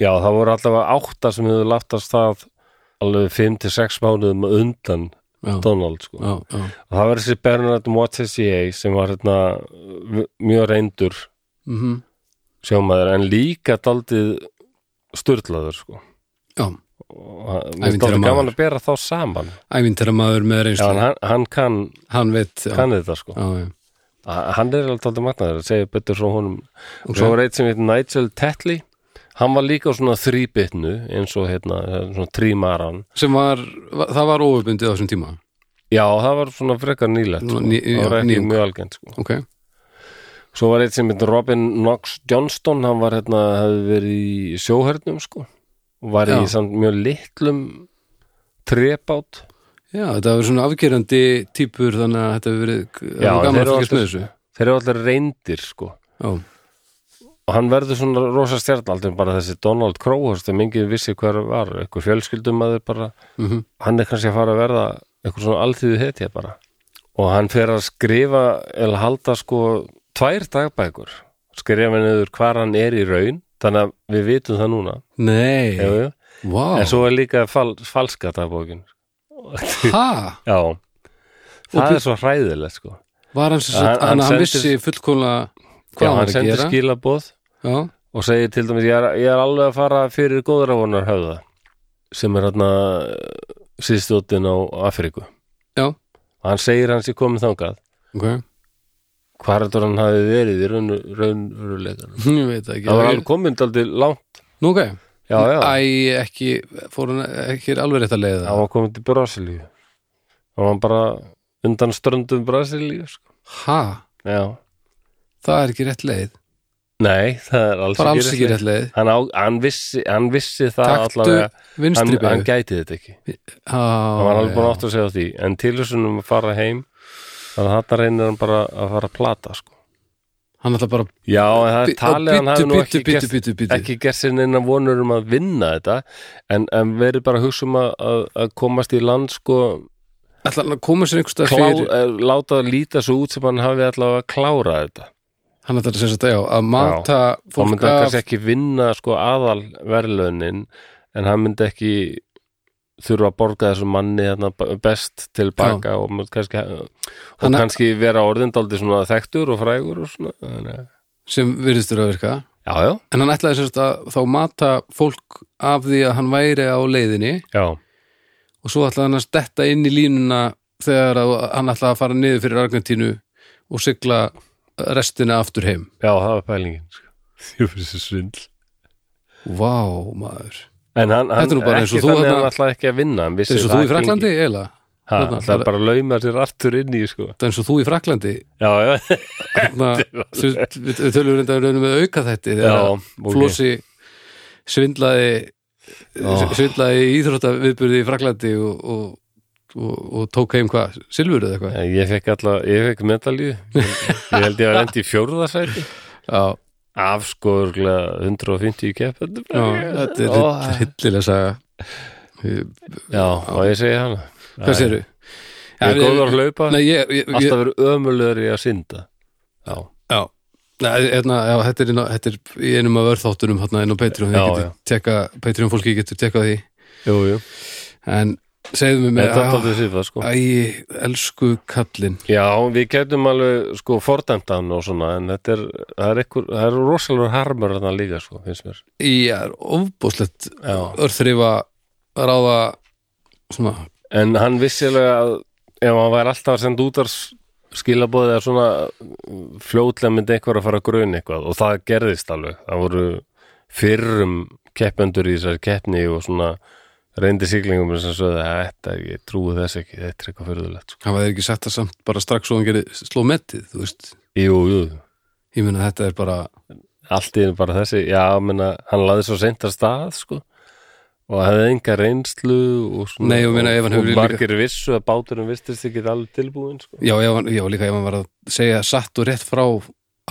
Speaker 1: já, það voru allavega átta sem hefur laftast það alveg 5-6 mánuðum á undan
Speaker 2: Já.
Speaker 1: Donald sko
Speaker 2: Já, já,
Speaker 1: og það var þessi Bernard Montessier sem var hérna v- mjög reyndur
Speaker 2: mm
Speaker 1: sjómaður en líka daldið sturlaður sko
Speaker 2: já.
Speaker 1: og hann- mér er daldið
Speaker 2: Ævintýramaður.
Speaker 1: gaman að bera þá saman
Speaker 2: Ævintara maður með
Speaker 1: já,
Speaker 2: reynslu
Speaker 1: en hann, hann kann,
Speaker 2: Hann veit já.
Speaker 1: kann þetta sko
Speaker 2: Já, já.
Speaker 1: A- hann er alveg tóldið magnaður að segja betur frá honum og svo var eitt sem heit Nigel Tetley hann var líka á svona þrýbytnu eins og hérna, svona trímaran
Speaker 2: Sem var, va- það var óöfbundið á þessum tíma
Speaker 1: já, það var svona frekar nýlegt sko.
Speaker 2: Nú, ný-
Speaker 1: það var
Speaker 2: já,
Speaker 1: ekki
Speaker 2: nýjung.
Speaker 1: mjög algjönd sko.
Speaker 2: Ok,
Speaker 1: svo var eitt sem heit Robin Knox Johnston hann var hérna, hefði verið í sjóhernum sko, og var
Speaker 2: Já.
Speaker 1: í samt mjög litlum trébát
Speaker 2: já, þetta var svona afgerandi típur þannig að þetta hefur verið það
Speaker 1: Já,
Speaker 2: var gaman
Speaker 1: þeir
Speaker 2: að
Speaker 1: eru
Speaker 2: fylgjast með
Speaker 1: alltaf-
Speaker 2: þessu
Speaker 1: þeir eru allir reyndir sko
Speaker 2: Já,
Speaker 1: og hann verður svona rosa stjarnaldur bara þessi Donald Crowhurst sem enginn vissi hver var, einhver fjölskyldumæður bara,
Speaker 2: Mhm.
Speaker 1: hann er kannski að fara að verða einhver svona alþýðu hetja bara og hann fer að skrifa eða halda sko tvær dagbækur skrifa niður hvar hann er í raun þannig að við vitum það núna
Speaker 2: nei,
Speaker 1: jú, jú.
Speaker 2: vá
Speaker 1: en svo er líka fal, falska dagbókin
Speaker 2: Ha,
Speaker 1: já,
Speaker 2: Og
Speaker 1: það
Speaker 2: bu-
Speaker 1: er svo hræðilegt sko
Speaker 2: var hann sem
Speaker 1: Hann-
Speaker 2: sagt,
Speaker 1: hann
Speaker 2: hann, hann
Speaker 1: sendir-
Speaker 2: vissi fullkomlega hvað
Speaker 1: já,
Speaker 2: hann
Speaker 1: hann
Speaker 2: var að
Speaker 1: sendir
Speaker 2: gera
Speaker 1: skilaboð
Speaker 2: Já,
Speaker 1: og segir til dæmis ég er, ég er alveg að fara fyrir góðravonar höfða sem er hérna síðstjóttin á Afríku
Speaker 2: já,
Speaker 1: og hann segir hans ég komið þangað
Speaker 2: ok
Speaker 1: hvar heldur hann hafi verið í raun- raunveruleikanum
Speaker 2: Ég veit það ekki
Speaker 1: það var alveg komin aldrei langt
Speaker 2: Nú ok,
Speaker 1: já, já,
Speaker 2: æ, ekki fór hann ekki alveg rétt að leiða
Speaker 1: það var komin til Brasilíu og hann bara undan ströndum Brasilíu sko.
Speaker 2: Ha,
Speaker 1: já,
Speaker 2: það er ekki rétt leið
Speaker 1: nei, það er alls
Speaker 2: Bara alls ekki
Speaker 1: rétt.
Speaker 2: rétt leið
Speaker 1: hann, á, hann, vissi, hann vissi það
Speaker 2: Taktu
Speaker 1: allavega hann,
Speaker 2: vinstri
Speaker 1: hann
Speaker 2: beig
Speaker 1: gæti þetta ekki hann var alveg búin að átt að segja á því en tilhjóðsunum að fara heim þannig að þetta reynir hann bara að fara að plata sko.
Speaker 2: Hann ætla bara
Speaker 1: já, en það er talið að hann hafi nú ekki
Speaker 2: Bittu,
Speaker 1: gert,
Speaker 2: bittu, bittu
Speaker 1: ekki gert sér neina vonur um að vinna þetta en, en verið bara að hugsa um að, að, að komast í land sko,
Speaker 2: Ætla hann að koma sér einhver stað
Speaker 1: klá,
Speaker 2: fyrir
Speaker 1: eh, láta að líta svo út sem hann hafi allavega að klára þetta
Speaker 2: hann ætlar að segja þetta, já, að mata
Speaker 1: þá
Speaker 2: fólk
Speaker 1: myndi hann
Speaker 2: af
Speaker 1: kannski ekki vinna sko, aðal verðlaunin en hann myndi ekki þurfa að borga þessum manni þarna b- best til baka og myndi kannski, eh, og
Speaker 2: Hann-
Speaker 1: kannski vera orðindaldi svona þekktur og frægur og svona þannig að-
Speaker 2: sem virðistur að virka
Speaker 1: já, já,
Speaker 2: en hann ætlaði sérst að þá mata fólk af því að hann væri á leiðinni
Speaker 1: já,
Speaker 2: og svo ætlaði hann að stetta inn í línuna þegar að hann ætlaði að fara niður fyrir Argentínu og sigla restina aftur heim
Speaker 1: já, það var pælingin sko. ég fyrir þessu svindl
Speaker 2: Vá, maður
Speaker 1: en hann, hann
Speaker 2: Þetta er nú bara eins og
Speaker 1: ekki
Speaker 2: þú
Speaker 1: þannig að
Speaker 2: þarna-
Speaker 1: hann alltaf ekki að vinna hann
Speaker 2: Það
Speaker 1: vissi
Speaker 2: er svo
Speaker 1: það
Speaker 2: þú í
Speaker 1: gengi.
Speaker 2: Fraklandi, eiginlega
Speaker 1: ha,
Speaker 2: Þarna,
Speaker 1: það er
Speaker 2: það-
Speaker 1: bara að lauma sér aftur inn í sko.
Speaker 2: Það er eins og þú í Fraklandi
Speaker 1: já, já,
Speaker 2: Þarna, þú- Við við tölum reynda raunum með auka þetta
Speaker 1: já
Speaker 2: þegar að
Speaker 1: ok.
Speaker 2: Flósi svindlaði
Speaker 1: Ó.
Speaker 2: svindlaði í íþróttaviðburði í Fraklandi og, og, og, og tók heim hvað, silfur eða eitthvað
Speaker 1: Já, Eh, Ég fekk alltaf, ég fekk medalju ég ég held ég að lendi í fjórðasæti
Speaker 2: Já,
Speaker 1: af sko örugglega 150 kepp
Speaker 2: já þetta er
Speaker 1: Ó. eh.
Speaker 2: hill- hillilega saga
Speaker 1: Já, og ég segi hana
Speaker 2: Hvað sérðu?
Speaker 1: Ég er góður að hlaupa,
Speaker 2: Nei, ég, ég, ég,
Speaker 1: alltaf verið ömulegur í að synda Já,
Speaker 2: já, Nei, hérna, já þetta, er inn á, þetta er í einum af örþáttunum hérna inn á Patreon,
Speaker 1: Já,
Speaker 2: þið getur
Speaker 1: já.
Speaker 2: tekka Patreon fólki getur tekka því
Speaker 1: jú, jú
Speaker 2: en segðu mér
Speaker 1: Þetta er
Speaker 2: með
Speaker 1: alltaf sýfa, sko
Speaker 2: Æ, elsku kallinn
Speaker 1: Já, við getum alveg, sko, fordæmt hann og svona, en þetta er, það er ekkur, það er rosalur harmur hann líka, sko, finnst mér
Speaker 2: Ég er ofbúslegt
Speaker 1: Já.
Speaker 2: örþrifa ráða svona,
Speaker 1: En hann vissilega að ef hann væri alltaf að senda út skilabóðið eða svona mm, fljótlega myndi einhver að fara að grun eitthvað og það gerðist alveg. Það voru fyrrum keppendur í þessari keppni og svona reyndi siglingum sem sögðu að þetta, ég trúi þess ekki, þetta er eitthvað fyrðulegt. Sko.
Speaker 2: hafa þeir ekki sett það samt bara strax svo hann gerir sló metið, þú veist
Speaker 1: Jú, jú,
Speaker 2: ég meina þetta er bara
Speaker 1: allt í einu bara þessi, já, menna, hann laði svo seint að stað, sko og hefði enga reynslu og, svona,
Speaker 2: Nei, og meina, ef hann hefur
Speaker 1: og
Speaker 2: líka-
Speaker 1: margir vissu að báturinn vistist ekki alveg tilbúin, sko
Speaker 2: já, já, já, líka ef hann var að segja satt og rétt frá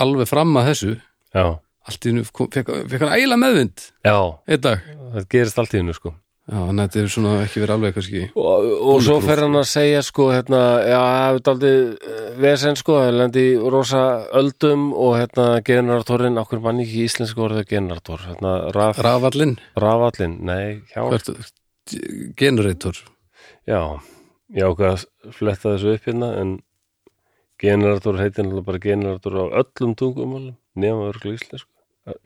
Speaker 2: alveg fram að þessu
Speaker 1: Já,
Speaker 2: allt í hennu fekk, fekk hann ægilega meðvind
Speaker 1: já,
Speaker 2: einn dag
Speaker 1: það gerist allt í hennu sko
Speaker 2: Já, en þetta er svona ekki verið alveg kannski
Speaker 1: og, og svo fer hann að segja sko hérna, já, það er aldrei vesen sko, það lendi í rosa öldum og hérna generatorinn okkur mann ekki í íslensku orðið generator hérna raf,
Speaker 2: Rafallinn,
Speaker 1: rafallin nei, hjá,
Speaker 2: hvert generator
Speaker 1: já já, hvað fletta þessu upp hérna en generator heitir náttúrulega bara generator á öllum tungumálum nema örgulega íslensku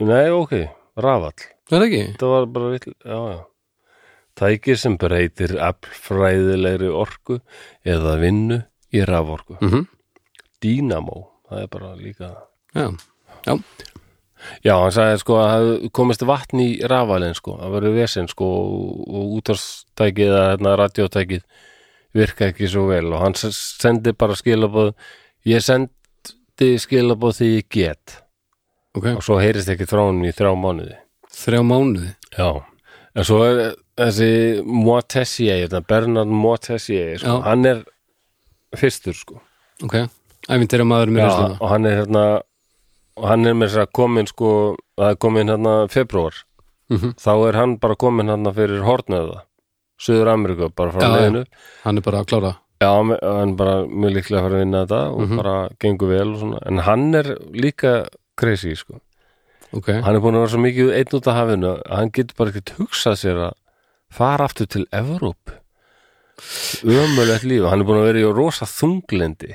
Speaker 1: nei, ok, rafall
Speaker 2: Er það ekki?
Speaker 1: þetta var bara vill, já, já tæki sem breytir aflfræðilegri orku eða vinnu í raforku
Speaker 2: Mm
Speaker 1: dínamó, það er bara líka
Speaker 2: Já, já,
Speaker 1: já, hann sagði sko að það komist vatn í rafalinn sko, það verður vesinn sko og- og útarstækið eða hérna radiotækið virka ekki svo vel og hann s- sendi bara skilabóð ég sendi skilabóð því ég get
Speaker 2: ok
Speaker 1: og svo heyrist ekki þróun í þrjá mánuði
Speaker 2: Þrjá mánuði
Speaker 1: Já, en svo er þessi Montessier, þetta Bernard Montessier, sko,
Speaker 2: Já.
Speaker 1: hann er fyrstur, sko.
Speaker 2: Ok, æfintir að maður með
Speaker 1: Já,
Speaker 2: reynsluna
Speaker 1: og hann er hérna og hann er með þess að komin, sko það er komin hérna februar
Speaker 2: Mhm.
Speaker 1: þá er hann bara komin hérna fyrir hortnöða, Suður Ameríku bara frá
Speaker 2: Já, já.
Speaker 1: leiðinu.
Speaker 2: Hann er bara að klára
Speaker 1: Já, hann er bara mjög líklega að fara að vinna þetta og
Speaker 2: Mhm.
Speaker 1: bara gengur vel og svona, en hann er líka crazy, sko.
Speaker 2: Ok,
Speaker 1: Hann er búin að vera svo mikið einn út af hafinu að hann getur bara ekkert hugsað sér að fara aftur til Evróp ömulegt líf hann er búin að vera í rosa þunglindi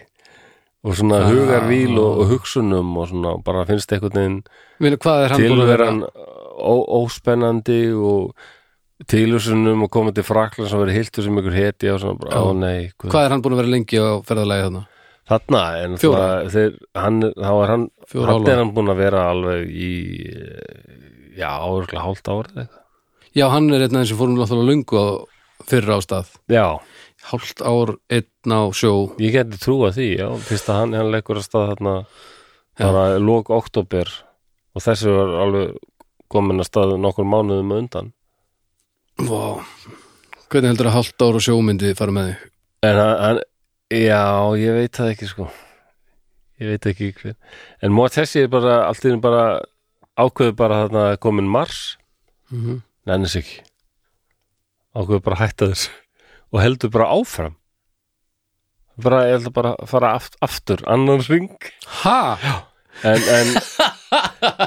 Speaker 1: og svona
Speaker 2: Ah.
Speaker 1: hugarvíl og, og hugsunum og svona bara finnst einhvern veginn
Speaker 2: Minu, hvað er hann búin að vera?
Speaker 1: tilveran ó- óspennandi og tilhugsunum og komið til fraklan sem verið hiltur sem ykkur heti og svona bara,
Speaker 2: Já.
Speaker 1: ó nei guð."
Speaker 2: Hvað er hann búin að vera lengi á ferðalagi þarna?
Speaker 1: þarna, en
Speaker 2: Fjóra.
Speaker 1: það, þeir, hann, þá er hann
Speaker 2: Fjóra
Speaker 1: hann
Speaker 2: hálfa.
Speaker 1: er hann búin að vera alveg í eh, já, áurlega hálft árið eitthvað
Speaker 2: Já, hann er einn aðeins sem fórum náttúrulega löngu á fyrra á stað
Speaker 1: Já,
Speaker 2: Hálft ár, einn á sjó
Speaker 1: ég geti trúa því, já, fyrst að hann, hann leikur að stað þarna bara lók oktober og þessi var alveg komin að stað nokkur mánuðum á undan
Speaker 2: Vá Hvernig heldur að hálft ár og sjó myndi fara með þig?
Speaker 1: en hann, hann já, ég veit það ekki sko ég veit ekki hver en Mótessi er bara, allt í einu bara ákveður bara þarna að komin mars
Speaker 2: Mm
Speaker 1: nennis ekki ákveður bara að hætta þessu og heldur bara áfram bara, ég heldur bara að fara aft, aftur annan ring
Speaker 2: Ha?
Speaker 1: en, en,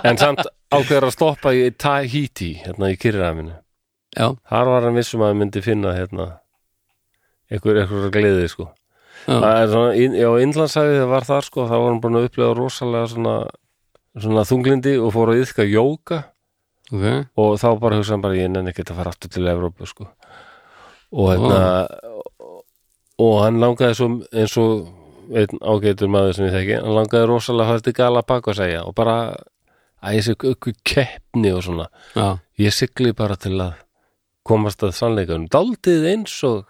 Speaker 1: en samt ákveður að stoppa í Tahiti hérna í Kyrrafinu
Speaker 2: Já,
Speaker 1: þar var hann vissum að hann myndi finna hérna einhver, einhver gleði sko
Speaker 2: já,
Speaker 1: Það er svona, inn- já, Indlandsæfið það var þar sko þá var hann búin að upplega rosalega svona, svona þunglindi og fór að yðka jóka
Speaker 2: ok
Speaker 1: og þá bara hugsaði hann bara ég nenni ekki að fara aftur til Evrópu sko. og hérna
Speaker 2: Ah.
Speaker 1: og hann langaði svo eins og einn ágætur maður sem ég þekki hann langaði rosalega að fara til Galapagos segja og bara að ég sé ykkur keppni og svona
Speaker 2: Já,
Speaker 1: ég sigli bara til að komast að sannleikanum daldið eins og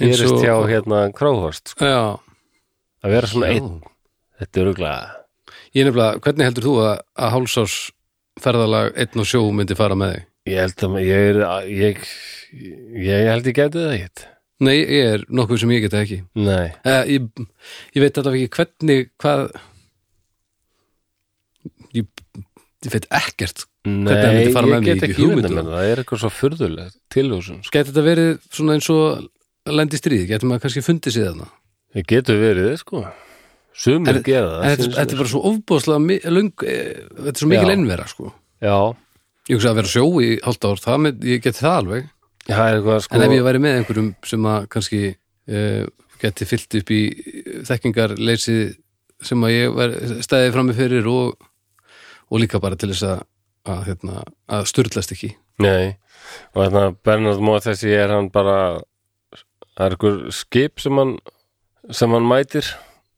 Speaker 2: Eins
Speaker 1: gerist
Speaker 2: og-
Speaker 1: hjá hérna kráhorst sko.
Speaker 2: já
Speaker 1: að vera svona
Speaker 2: Já.
Speaker 1: einn, þetta er ruglega
Speaker 2: Ég nefnilega, hvernig heldur þú að, að hálsás ferðalag einn og sjó myndi fara með þig?
Speaker 1: ég held að ma- ég, er- ég, ég held ég gæti það ekkert
Speaker 2: Nei, ég er nokkuð sem ég geta ekki.
Speaker 1: nei
Speaker 2: Eh, ég, ég veit alltaf ekki hvernig, hvað... Ég, ég veit ekkert Hvernig hann myndi
Speaker 1: Nei,
Speaker 2: fara með
Speaker 1: ég
Speaker 2: mig,
Speaker 1: get
Speaker 2: ekki
Speaker 1: ekki hugmynda
Speaker 2: hugmynd um
Speaker 1: með það Það er eitthvað svo furðulegt tilhjóðsum sko.
Speaker 2: Gæti þetta verið svona eins og lendi stríð, getur maður kannski fundið sér þarna
Speaker 1: Það getur verið, sko Sumir
Speaker 2: En-
Speaker 1: gera
Speaker 2: En
Speaker 1: það
Speaker 2: þetta,
Speaker 1: sýnist
Speaker 2: þetta er
Speaker 1: mér.
Speaker 2: bara svo ofbóðslega mi- löng, eh, þetta er svo mikil
Speaker 1: Já.
Speaker 2: ennvera sko.
Speaker 1: Já,
Speaker 2: Ég hugsa að vera á sjó í hálft ár, það með, ég geti það alveg
Speaker 1: það er eitthvað sko
Speaker 2: En ef ég væri með einhverjum sem að kannski uh, geti fyllt upp í þekkingarleysi sem að ég var stæði frammi fyrir og, og líka bara til þess að, að, hérna, að styrlast ekki
Speaker 1: Nei, og þannig að Bernard Móa þessi er hann bara það er einhver skip sem hann sem hann mætir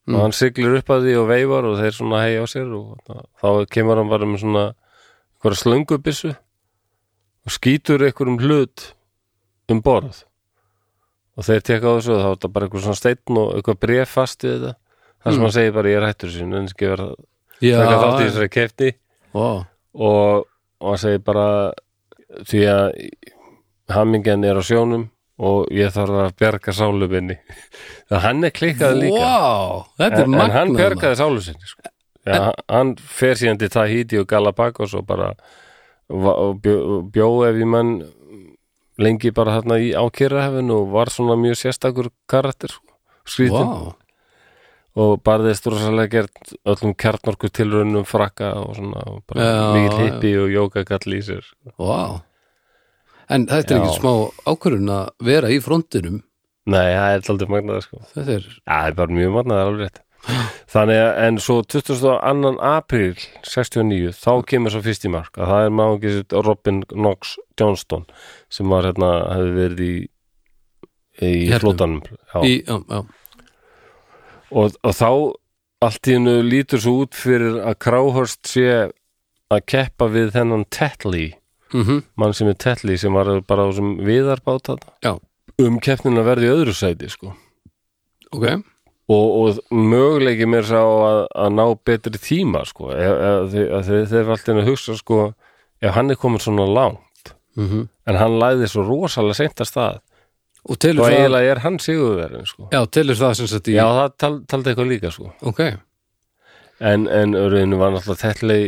Speaker 2: Mm.
Speaker 1: og hann siglir upp að því og veifar og þeir svona hei á sér og þarna- þá kemur hann bara með svona einhverja slöngubissu og skýtur einhverjum hlut um borð og þeir tekka á þessu og þá er þetta bara einhver svona steinn og eitthvað bref fast við þetta þar sem hann segir bara ég er hættur sín en ekki vera
Speaker 2: Mm. Já,
Speaker 1: taka þátt í þessari kefti
Speaker 2: ó,
Speaker 1: og, og hann segir bara því að hamingjan er á sjónum og ég þarf að bjarga sálu minni það hann er klikkað líka
Speaker 2: Vá, þetta er
Speaker 1: en, en
Speaker 2: magnað
Speaker 1: hann
Speaker 2: maður.
Speaker 1: bjargaði sálu sinni sko. ja, hann- hann fer síðan til Tahiti og Galapagos og bara va- og bjó, bjó ef ég menn lengi bara hérna í ákýrahefinu og var svona mjög sérstakur karakter sko, skrýtin
Speaker 2: Vá,
Speaker 1: og barðist rosalega gert öllum kjarnorku tilraunum frakka og svona og bara
Speaker 2: Já,
Speaker 1: mikið hippi og jókagall í sér sko.
Speaker 2: vá En þetta er
Speaker 1: Já.
Speaker 2: ekki smá ákvörun að vera í frontinum
Speaker 1: Nei, það er aldrei magnað sko.
Speaker 2: Þetta er,
Speaker 1: Já, það er bara mjög magnað, það er alveg rétt Þannig að, en svo 22. apríl 69, þá kemur svo fyrst í mark að það er maður ekki Robin Knox Johnston sem var hérna, hefði verið í í
Speaker 2: Hernum.
Speaker 1: flótanum Já.
Speaker 2: í, já, já,
Speaker 1: og, og þá allt í hennu lítur svo út fyrir að Kráhorst sé að keppa við þennan Tetley
Speaker 2: mm
Speaker 1: mann sem er Tetley sem var bara á þessum viðarbát þarna.
Speaker 2: já,
Speaker 1: um keppnin að verði í öðru sæti sko.
Speaker 2: ok
Speaker 1: og, og möguleiki mér sá að, að ná betri tíma sko. e, e, þe þe þeir eru alltaf að hugsa sko, ef hann er komin svona langt
Speaker 2: mm
Speaker 1: en hann læði svo rosalega seint að stað
Speaker 2: Og telur
Speaker 1: og
Speaker 2: það,
Speaker 1: eiginlega er hann sigurverðin sko.
Speaker 2: já, telur það sem sagt í
Speaker 1: já, það tal, taldi eitthvað líka sko.
Speaker 2: Ok,
Speaker 1: en, en öruðinu var náttúrulega Tetley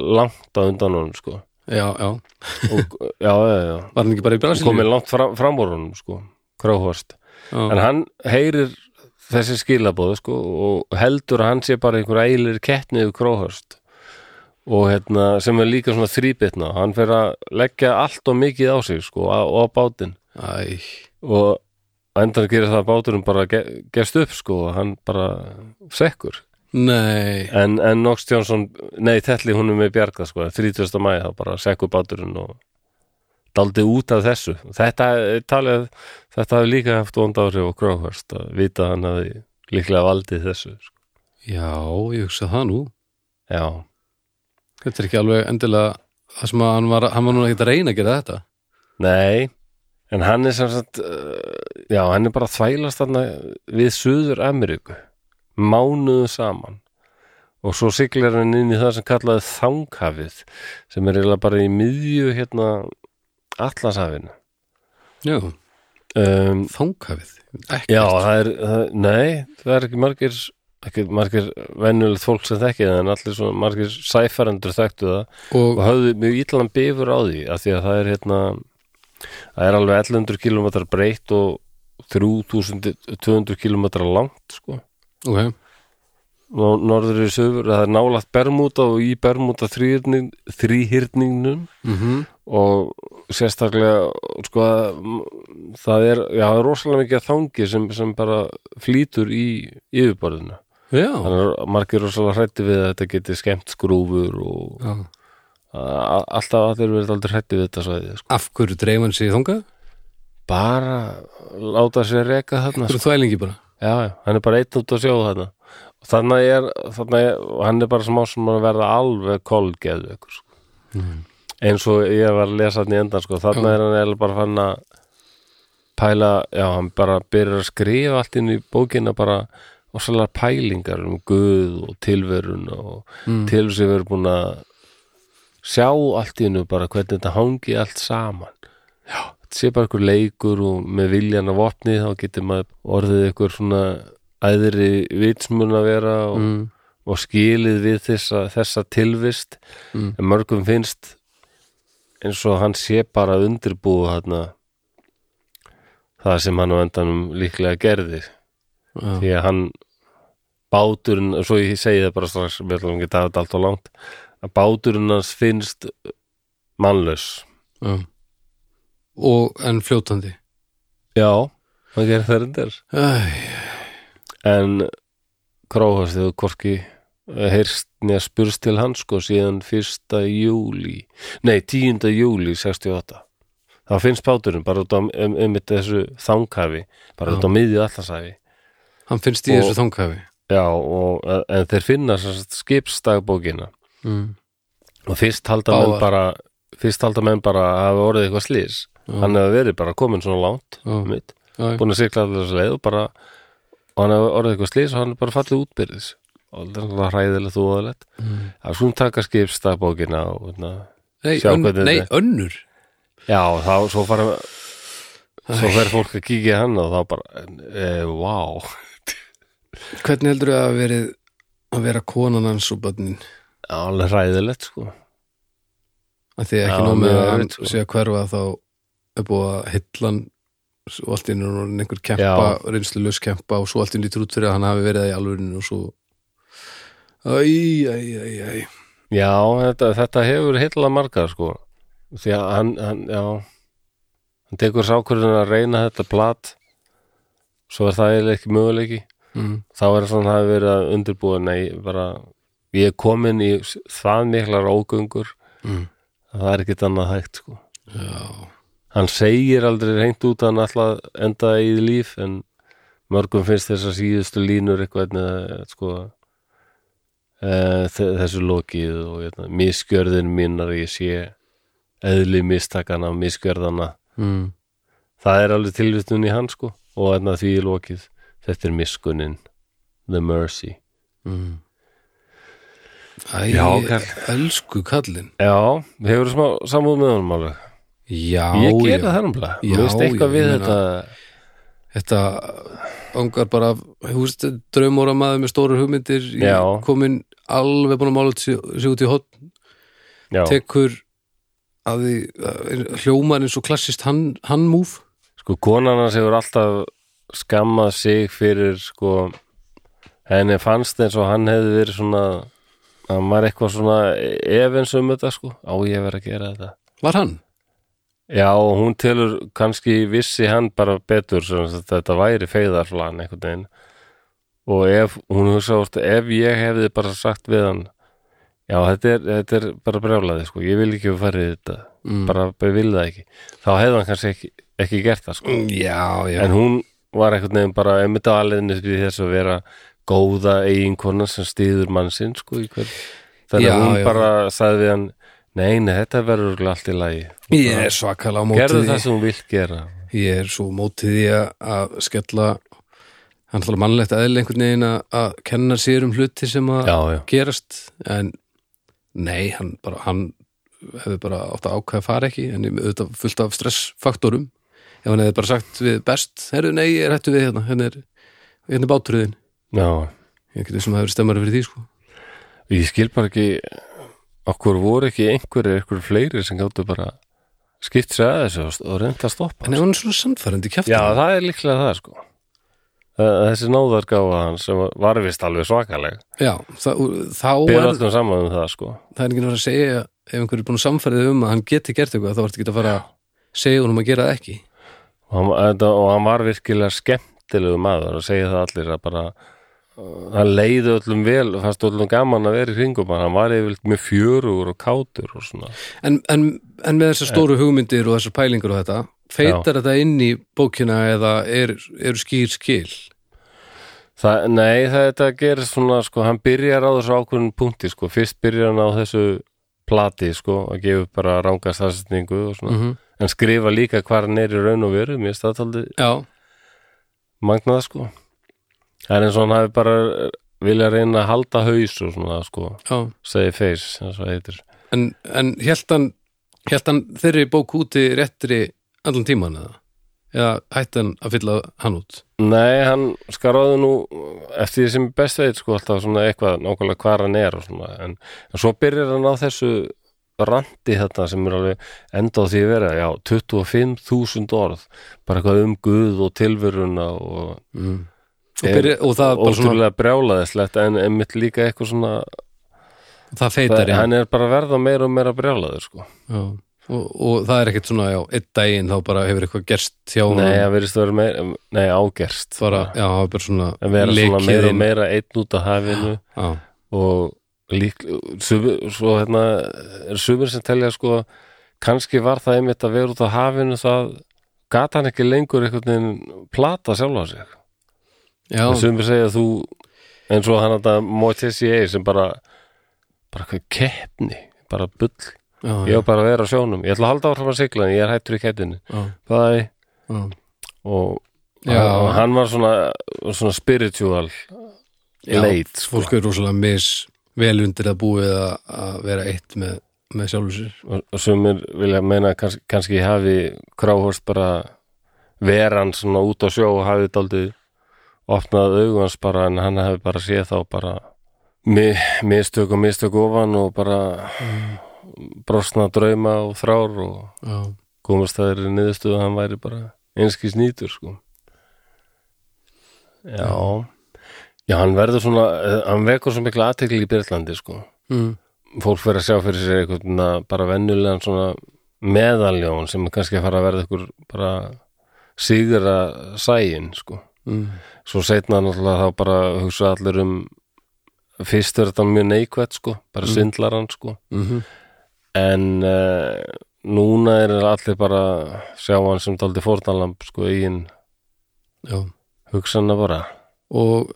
Speaker 1: langt á undan honum sko.
Speaker 2: já, já
Speaker 1: og, já, já, já
Speaker 2: Var hann ekki bara í Brasilíu?
Speaker 1: komið langt fram, fram úr honum sko, Kráhorst
Speaker 2: Já.
Speaker 1: en hann heyrir þessi skilabóð sko, og heldur að hann sé bara einhver eilir kettni yfir króhörst og hérna, sem er líka svona þrýbitna hann fer að leggja allt og mikið á sig sko, á, á bátinn
Speaker 2: Æ,
Speaker 1: og á endan gerir það að báturinn bara ge gefst upp sko, og hann bara sekkur
Speaker 2: nei
Speaker 1: en, en Nox Jónsson, nei Telli hún er með bjarga sko, 30. mæði þá bara sekkur báturinn og daldi út af þessu þetta, er talið, þetta hafi líka haft vond áhrif á Króhörst að vita að hann hafi líklega valdið þessu sko.
Speaker 2: Já, ég hugsa það nú
Speaker 1: já,
Speaker 2: Þetta er ekki alveg endilega það sem að hann var, hann var núna ekki að reyna að gera þetta
Speaker 1: nei en hann er sem sagt uh, já, hann er bara að þvælast þarna við Suður Ameríku mánuðu saman og svo siglar hann inn í það sem kallaði þanghafið sem er eiginlega bara í miðju hérna Atlashafinu
Speaker 2: Já,
Speaker 1: um,
Speaker 2: þanghafið Ekki,
Speaker 1: Já, það er, það, nei, það er ekki margir ekki margir venjulegt fólk sem þekki það en allir svona margir sæfarendur þekktu það og
Speaker 2: og
Speaker 1: höfðu mjög illan bifur á því af því að það er hérna það er alveg 1100 km breytt og 3200 km langt sko
Speaker 2: ok,
Speaker 1: Nó- norður í sögur, það er nálægt Bermúta og í Bermúta þrýhyrning- þríhyrningnum
Speaker 2: mm
Speaker 1: og sérstaklega sko m- það er, já, það er rosalega mikið af þangi sem, sem bara flýtur í yfirborðinu
Speaker 2: já,
Speaker 1: þannig að margir rosalega hrætti við að þetta geti skemmt skrúfur og
Speaker 2: já.
Speaker 1: a- alltaf að þeir verið aldrei hrætti við þetta svæði sko.
Speaker 2: Af hverju dreif hann sig í þangað?
Speaker 1: bara láta sér reka
Speaker 2: Af
Speaker 1: þarna sko.
Speaker 2: hverju þvælingi bara?
Speaker 1: já, já, hann er bara einn út að sjá þarna og þannig er, þannig er og hann er bara smá sem að verða alveg kolgeðu ykkur sko. eins og ég var að lesa hann í endan sko. þannig er hann eða bara fann að pæla, já, hann bara byrjar að skrifa allt inn í bókina bara og svolítið pælingar um Guð og tilverun og mm. tilur sem verður búin að sjá allt í hennu bara hvernig þetta hangi allt saman já, þetta sé bara einhver leikur og með viljan að vopni þá getur maður orðið einhver svona æðri vitsmun að vera
Speaker 2: Mm, mm,
Speaker 1: og, og skilið við þessa, þessa tilvist en mörgum finnst eins og hann sé bara að undirbúa þarna það sem hann á endanum líklega gerði
Speaker 2: já,
Speaker 1: því að hann báturinn, svo ég segi það bara strax við ætlum ekki að taka þetta allt og langt að báturinn hans finnst mannlaus
Speaker 2: já. og en fljótandi
Speaker 1: já, hann gerir það reyndar
Speaker 2: Æ,
Speaker 1: en kráhast hefur hvorki heyrst neða spurst til hans sko síðan 1. júli nei 10. júli 68 þá finnst báturinn bara út á um, um þessu þangafi bara
Speaker 2: Já.
Speaker 1: út á miðju allasæfi
Speaker 2: hann finnst í
Speaker 1: Og-
Speaker 2: þessu þangafi
Speaker 1: já og en þeir finna sem sagt skipstagbókina
Speaker 2: mm.
Speaker 1: og fyrst halda menn
Speaker 2: Báðar.
Speaker 1: bara fyrst halda menn bara að hafa orðið eitthvað slýs hann hefur verið bara komin svona langt
Speaker 2: Já.
Speaker 1: mitt,
Speaker 2: já,
Speaker 1: búin að sigla allir þessu leið og bara og hann hefur orðið eitthvað slýs og hann er bara fallið útbyrðis og það er náttúrulega hræðilegt og óðalegt
Speaker 2: Mm.
Speaker 1: að svona taka skipstabókina og hérna.
Speaker 2: nei,
Speaker 1: sjá
Speaker 2: ön,
Speaker 1: hvernig
Speaker 2: nei,
Speaker 1: þetta
Speaker 2: önnur
Speaker 1: já, þá svo fara svo fer fólk að kíkja hann og þá bara, e, wow
Speaker 2: hvernig heldur það að verið að vera konan hans og bönnin
Speaker 1: alveg hræðilegt sko
Speaker 2: að því ekki
Speaker 1: Já,
Speaker 2: nóg með
Speaker 1: mjög
Speaker 2: að hann
Speaker 1: erfitt, sko.
Speaker 2: sé að hverfa þá er búið að hillan og allt inn er hann orðinn einhver kempa
Speaker 1: Já.
Speaker 2: reynslu laus kempa og svo allt inn í trút fyrir að hann hafi verið það í alvörinu og svo Æ, æ, æ, æ
Speaker 1: já, þetta, þetta hefur heilla margar sko því að hann, hann já hann tekur sákurinn að reyna þetta plat svo er það eiginlega ekki möguleiki
Speaker 2: mm.
Speaker 1: þá er svona að verið að undirbúa nei, bara, ég er komin í það miklar ógöngur
Speaker 2: Mm.
Speaker 1: að það er ekkert annað hægt sko
Speaker 2: Já,
Speaker 1: hann segir aldrei reynt út að hann alltaf enda í líf en mörgum finnst þess að síðustu línur eitthvað neða, sko e, þessu lokið og eitna, miskjörðin mínar ég sé eðli mistakana, miskjörðana
Speaker 2: mm.
Speaker 1: það er alveg tilvistun í hann sko og eitna, því er lokið, þetta er miskunin the mercy
Speaker 2: Mm. Æ,
Speaker 1: Já, Karl.
Speaker 2: elsku kallinn
Speaker 1: já, hefur smá samúð með honum alveg
Speaker 2: Já,
Speaker 1: ég gera
Speaker 2: já
Speaker 1: það náttúrulega,
Speaker 2: Já,
Speaker 1: mér veist eitthvað
Speaker 2: já,
Speaker 1: við
Speaker 2: ég meina-
Speaker 1: þetta
Speaker 2: Þetta angar bara húst, draumóra maður með stórar hugmyndir í-
Speaker 1: Já.
Speaker 2: kominn alveg búin að mála út sig sig út í hot
Speaker 1: já,
Speaker 2: tekur að því að hljómar eins og klassist hann, hann múf
Speaker 1: sko konan hans hefur alltaf skammað sig fyrir sko henni fannst eins og hann hefði verið svona hann var eitthvað svona efins um þetta sko, á ég verið að gera þetta
Speaker 2: var hann
Speaker 1: já og hún telur kannski vissi hann bara betur sem sagt, þetta væri feiðarflan einhvern veginn og ef, hún hugsa úrst ef ég hefði bara sagt við hann já þetta er, þetta er bara brjálaði sko, ég vil ekki fara í þetta
Speaker 2: Mm.
Speaker 1: bara, bara vil það ekki þá hefði hann kannski ekki, ekki gert það sko
Speaker 2: já, Mm, já,
Speaker 1: en hún var einhvern veginn bara einmitt á alveginn upp í þess að vera góða eiginkona sem stýður mann sinn sko, í hvern þannig
Speaker 2: Já,
Speaker 1: að hún
Speaker 2: já.
Speaker 1: bara sagði við hann nei, nei, þetta verður örugglega allt í lagi
Speaker 2: ég er svakalega á mótið
Speaker 1: gerðu
Speaker 2: því
Speaker 1: það sem hún vilt gera
Speaker 2: ég er svo á mótið því að- að skella hann ætlar mannlegt aðeins einhvern veginn að- að kenna sér um hluti sem að
Speaker 1: já, já,
Speaker 2: gerast en nei, hann bara hann hefði bara átt að ákveða að fara ekki en ég- auðvitað fullt af stressfaktorum ef hann hefði bara sagt við best herru, nei, ég er hættu við hérna hérna er, hérna er báturðin
Speaker 1: já,
Speaker 2: ég getið sem að hefur stemmari fyrir því sko
Speaker 1: ég skil bara ekki okkur voru ekki einhverju einhverju fleiri sem gáttu bara skipt sér að þessu og- og reynda að stoppa
Speaker 2: En ef hann er svona sannfærandi kjæft
Speaker 1: já, það er líklega það sko Þa- þessi náðargáfa hans sem var- var vist alveg svakaleg
Speaker 2: já þá, þá er,
Speaker 1: byrðu allum saman um það sko
Speaker 2: það er ekki náttúrulega að segja ef einhver er búin að sannfærið um að hann geti gert eitthvað þá ertu ekki að fara að segja honum að gera það ekki
Speaker 1: og hann, þetta, og hann var virkilega skemmtilegu maður og segja það allir að bara hann leiði öllum vel og fannst öllum gaman að vera í kringum hann hann var yfirleitt mjög fjörugur og kátur og svona
Speaker 2: en, en, en með þessar stóru hugmyndir og þessar pælingur og þetta feitar þetta inn í bókina eða er, eru skýr skil
Speaker 1: Þa, nei, það, þetta gerir svona sko, hann byrjar á þessu ákvörðun punkti sko. fyrst byrjar hann á þessu plati sko, að gefa upp bara ranga staðsetningu og svona,
Speaker 2: -hmm.
Speaker 1: en skrifa líka hvað hann er í raun og veru, mér staðtaldi
Speaker 2: já,
Speaker 1: magnað sko það er eins og hann hafi bara vilja reyna að halda haus og svona sko,
Speaker 2: já
Speaker 1: segi face, eins og það heitir
Speaker 2: en, en held hann held hann þeirri bók úti réttri allan tíman eða eða hætti hann að fylla hann út
Speaker 1: Nei, hann skaraði nú eftir því sem ég best veit sko alltaf svona eitthvað nákvæmlega hvar hann er og svona en, en svo byrjar hann á þessu randi þetta sem er alveg enda á því að vera, já, 25.000 orð, bara eitthvað um Guð og tilveruna og
Speaker 2: og,
Speaker 1: Eh,
Speaker 2: byrja, og það, er bara svona,
Speaker 1: ótrúlega brjálaðislegt en einmitt líka eitthvað svona
Speaker 2: það
Speaker 1: það,
Speaker 2: feitar já.
Speaker 1: hann er bara að verða meira og meira brjálaður sko.
Speaker 2: Já. Og, og það er ekkert svona, já, einn daginn þá bara hefur eitthvað gerst hjá
Speaker 1: nei,
Speaker 2: honum.
Speaker 1: það virðist að vera meira, nei, ágerst
Speaker 2: bara, já, það er bara svona
Speaker 1: en vera svona
Speaker 2: lekið
Speaker 1: meira og
Speaker 2: inn.
Speaker 1: meira einn út af hafinu
Speaker 2: já,
Speaker 1: og lík sumir, svo hérna er sumir sem telja sko kannski var það einmitt að vera út af hafinu það gat hann ekki lengur einhvern veginn plata sjálfa sig
Speaker 2: já,
Speaker 1: en sumir segja að þú eins og hann þetta Moitessier sem bara bara hvað keppni bara bull
Speaker 2: já,
Speaker 1: Ég var bara að vera á sjónum. Ég ætla að halda áfram að sigla en ég er hættur í kettinni.
Speaker 2: já,
Speaker 1: Bæ.
Speaker 2: já.
Speaker 1: Og,
Speaker 2: Já.
Speaker 1: og hann var svona, svona spiritual
Speaker 2: Já,
Speaker 1: leit, sko.
Speaker 2: fólk er rosalega mis vel undir að búið að, að vera eitt með, með sjálfur sér
Speaker 1: Og, og sumir vilja meina að kanns, kannski ég hafi kráhorst bara veran svona út á sjó og hafi daldið opnað augu hans bara en hann hafi bara séð þá bara mi- mistök og mistök ofan og bara brosna drauma og þrár og
Speaker 2: já,
Speaker 1: komast að þeirri niðurstöðu að hann væri bara einskis nýtur sko. já já, hann verður svona eh, hann vekur svo mikla aðtekli í Byrlandi sko.
Speaker 2: mm.
Speaker 1: fólk verður að sjá fyrir sér einhvern að bara vennulegan svona meðaljón sem er kannski að fara að verða ykkur bara síðra sægin sko.
Speaker 2: Mm.
Speaker 1: svo setna náttúrulega þá bara hugsa allir um fyrst er þetta mjög neikvætt sko, bara svindlar hann sko
Speaker 2: Mm
Speaker 1: en uh, núna er allir bara sjá hann sem daldi fórtalamb sko eigin
Speaker 2: já.
Speaker 1: hugsana bara
Speaker 2: og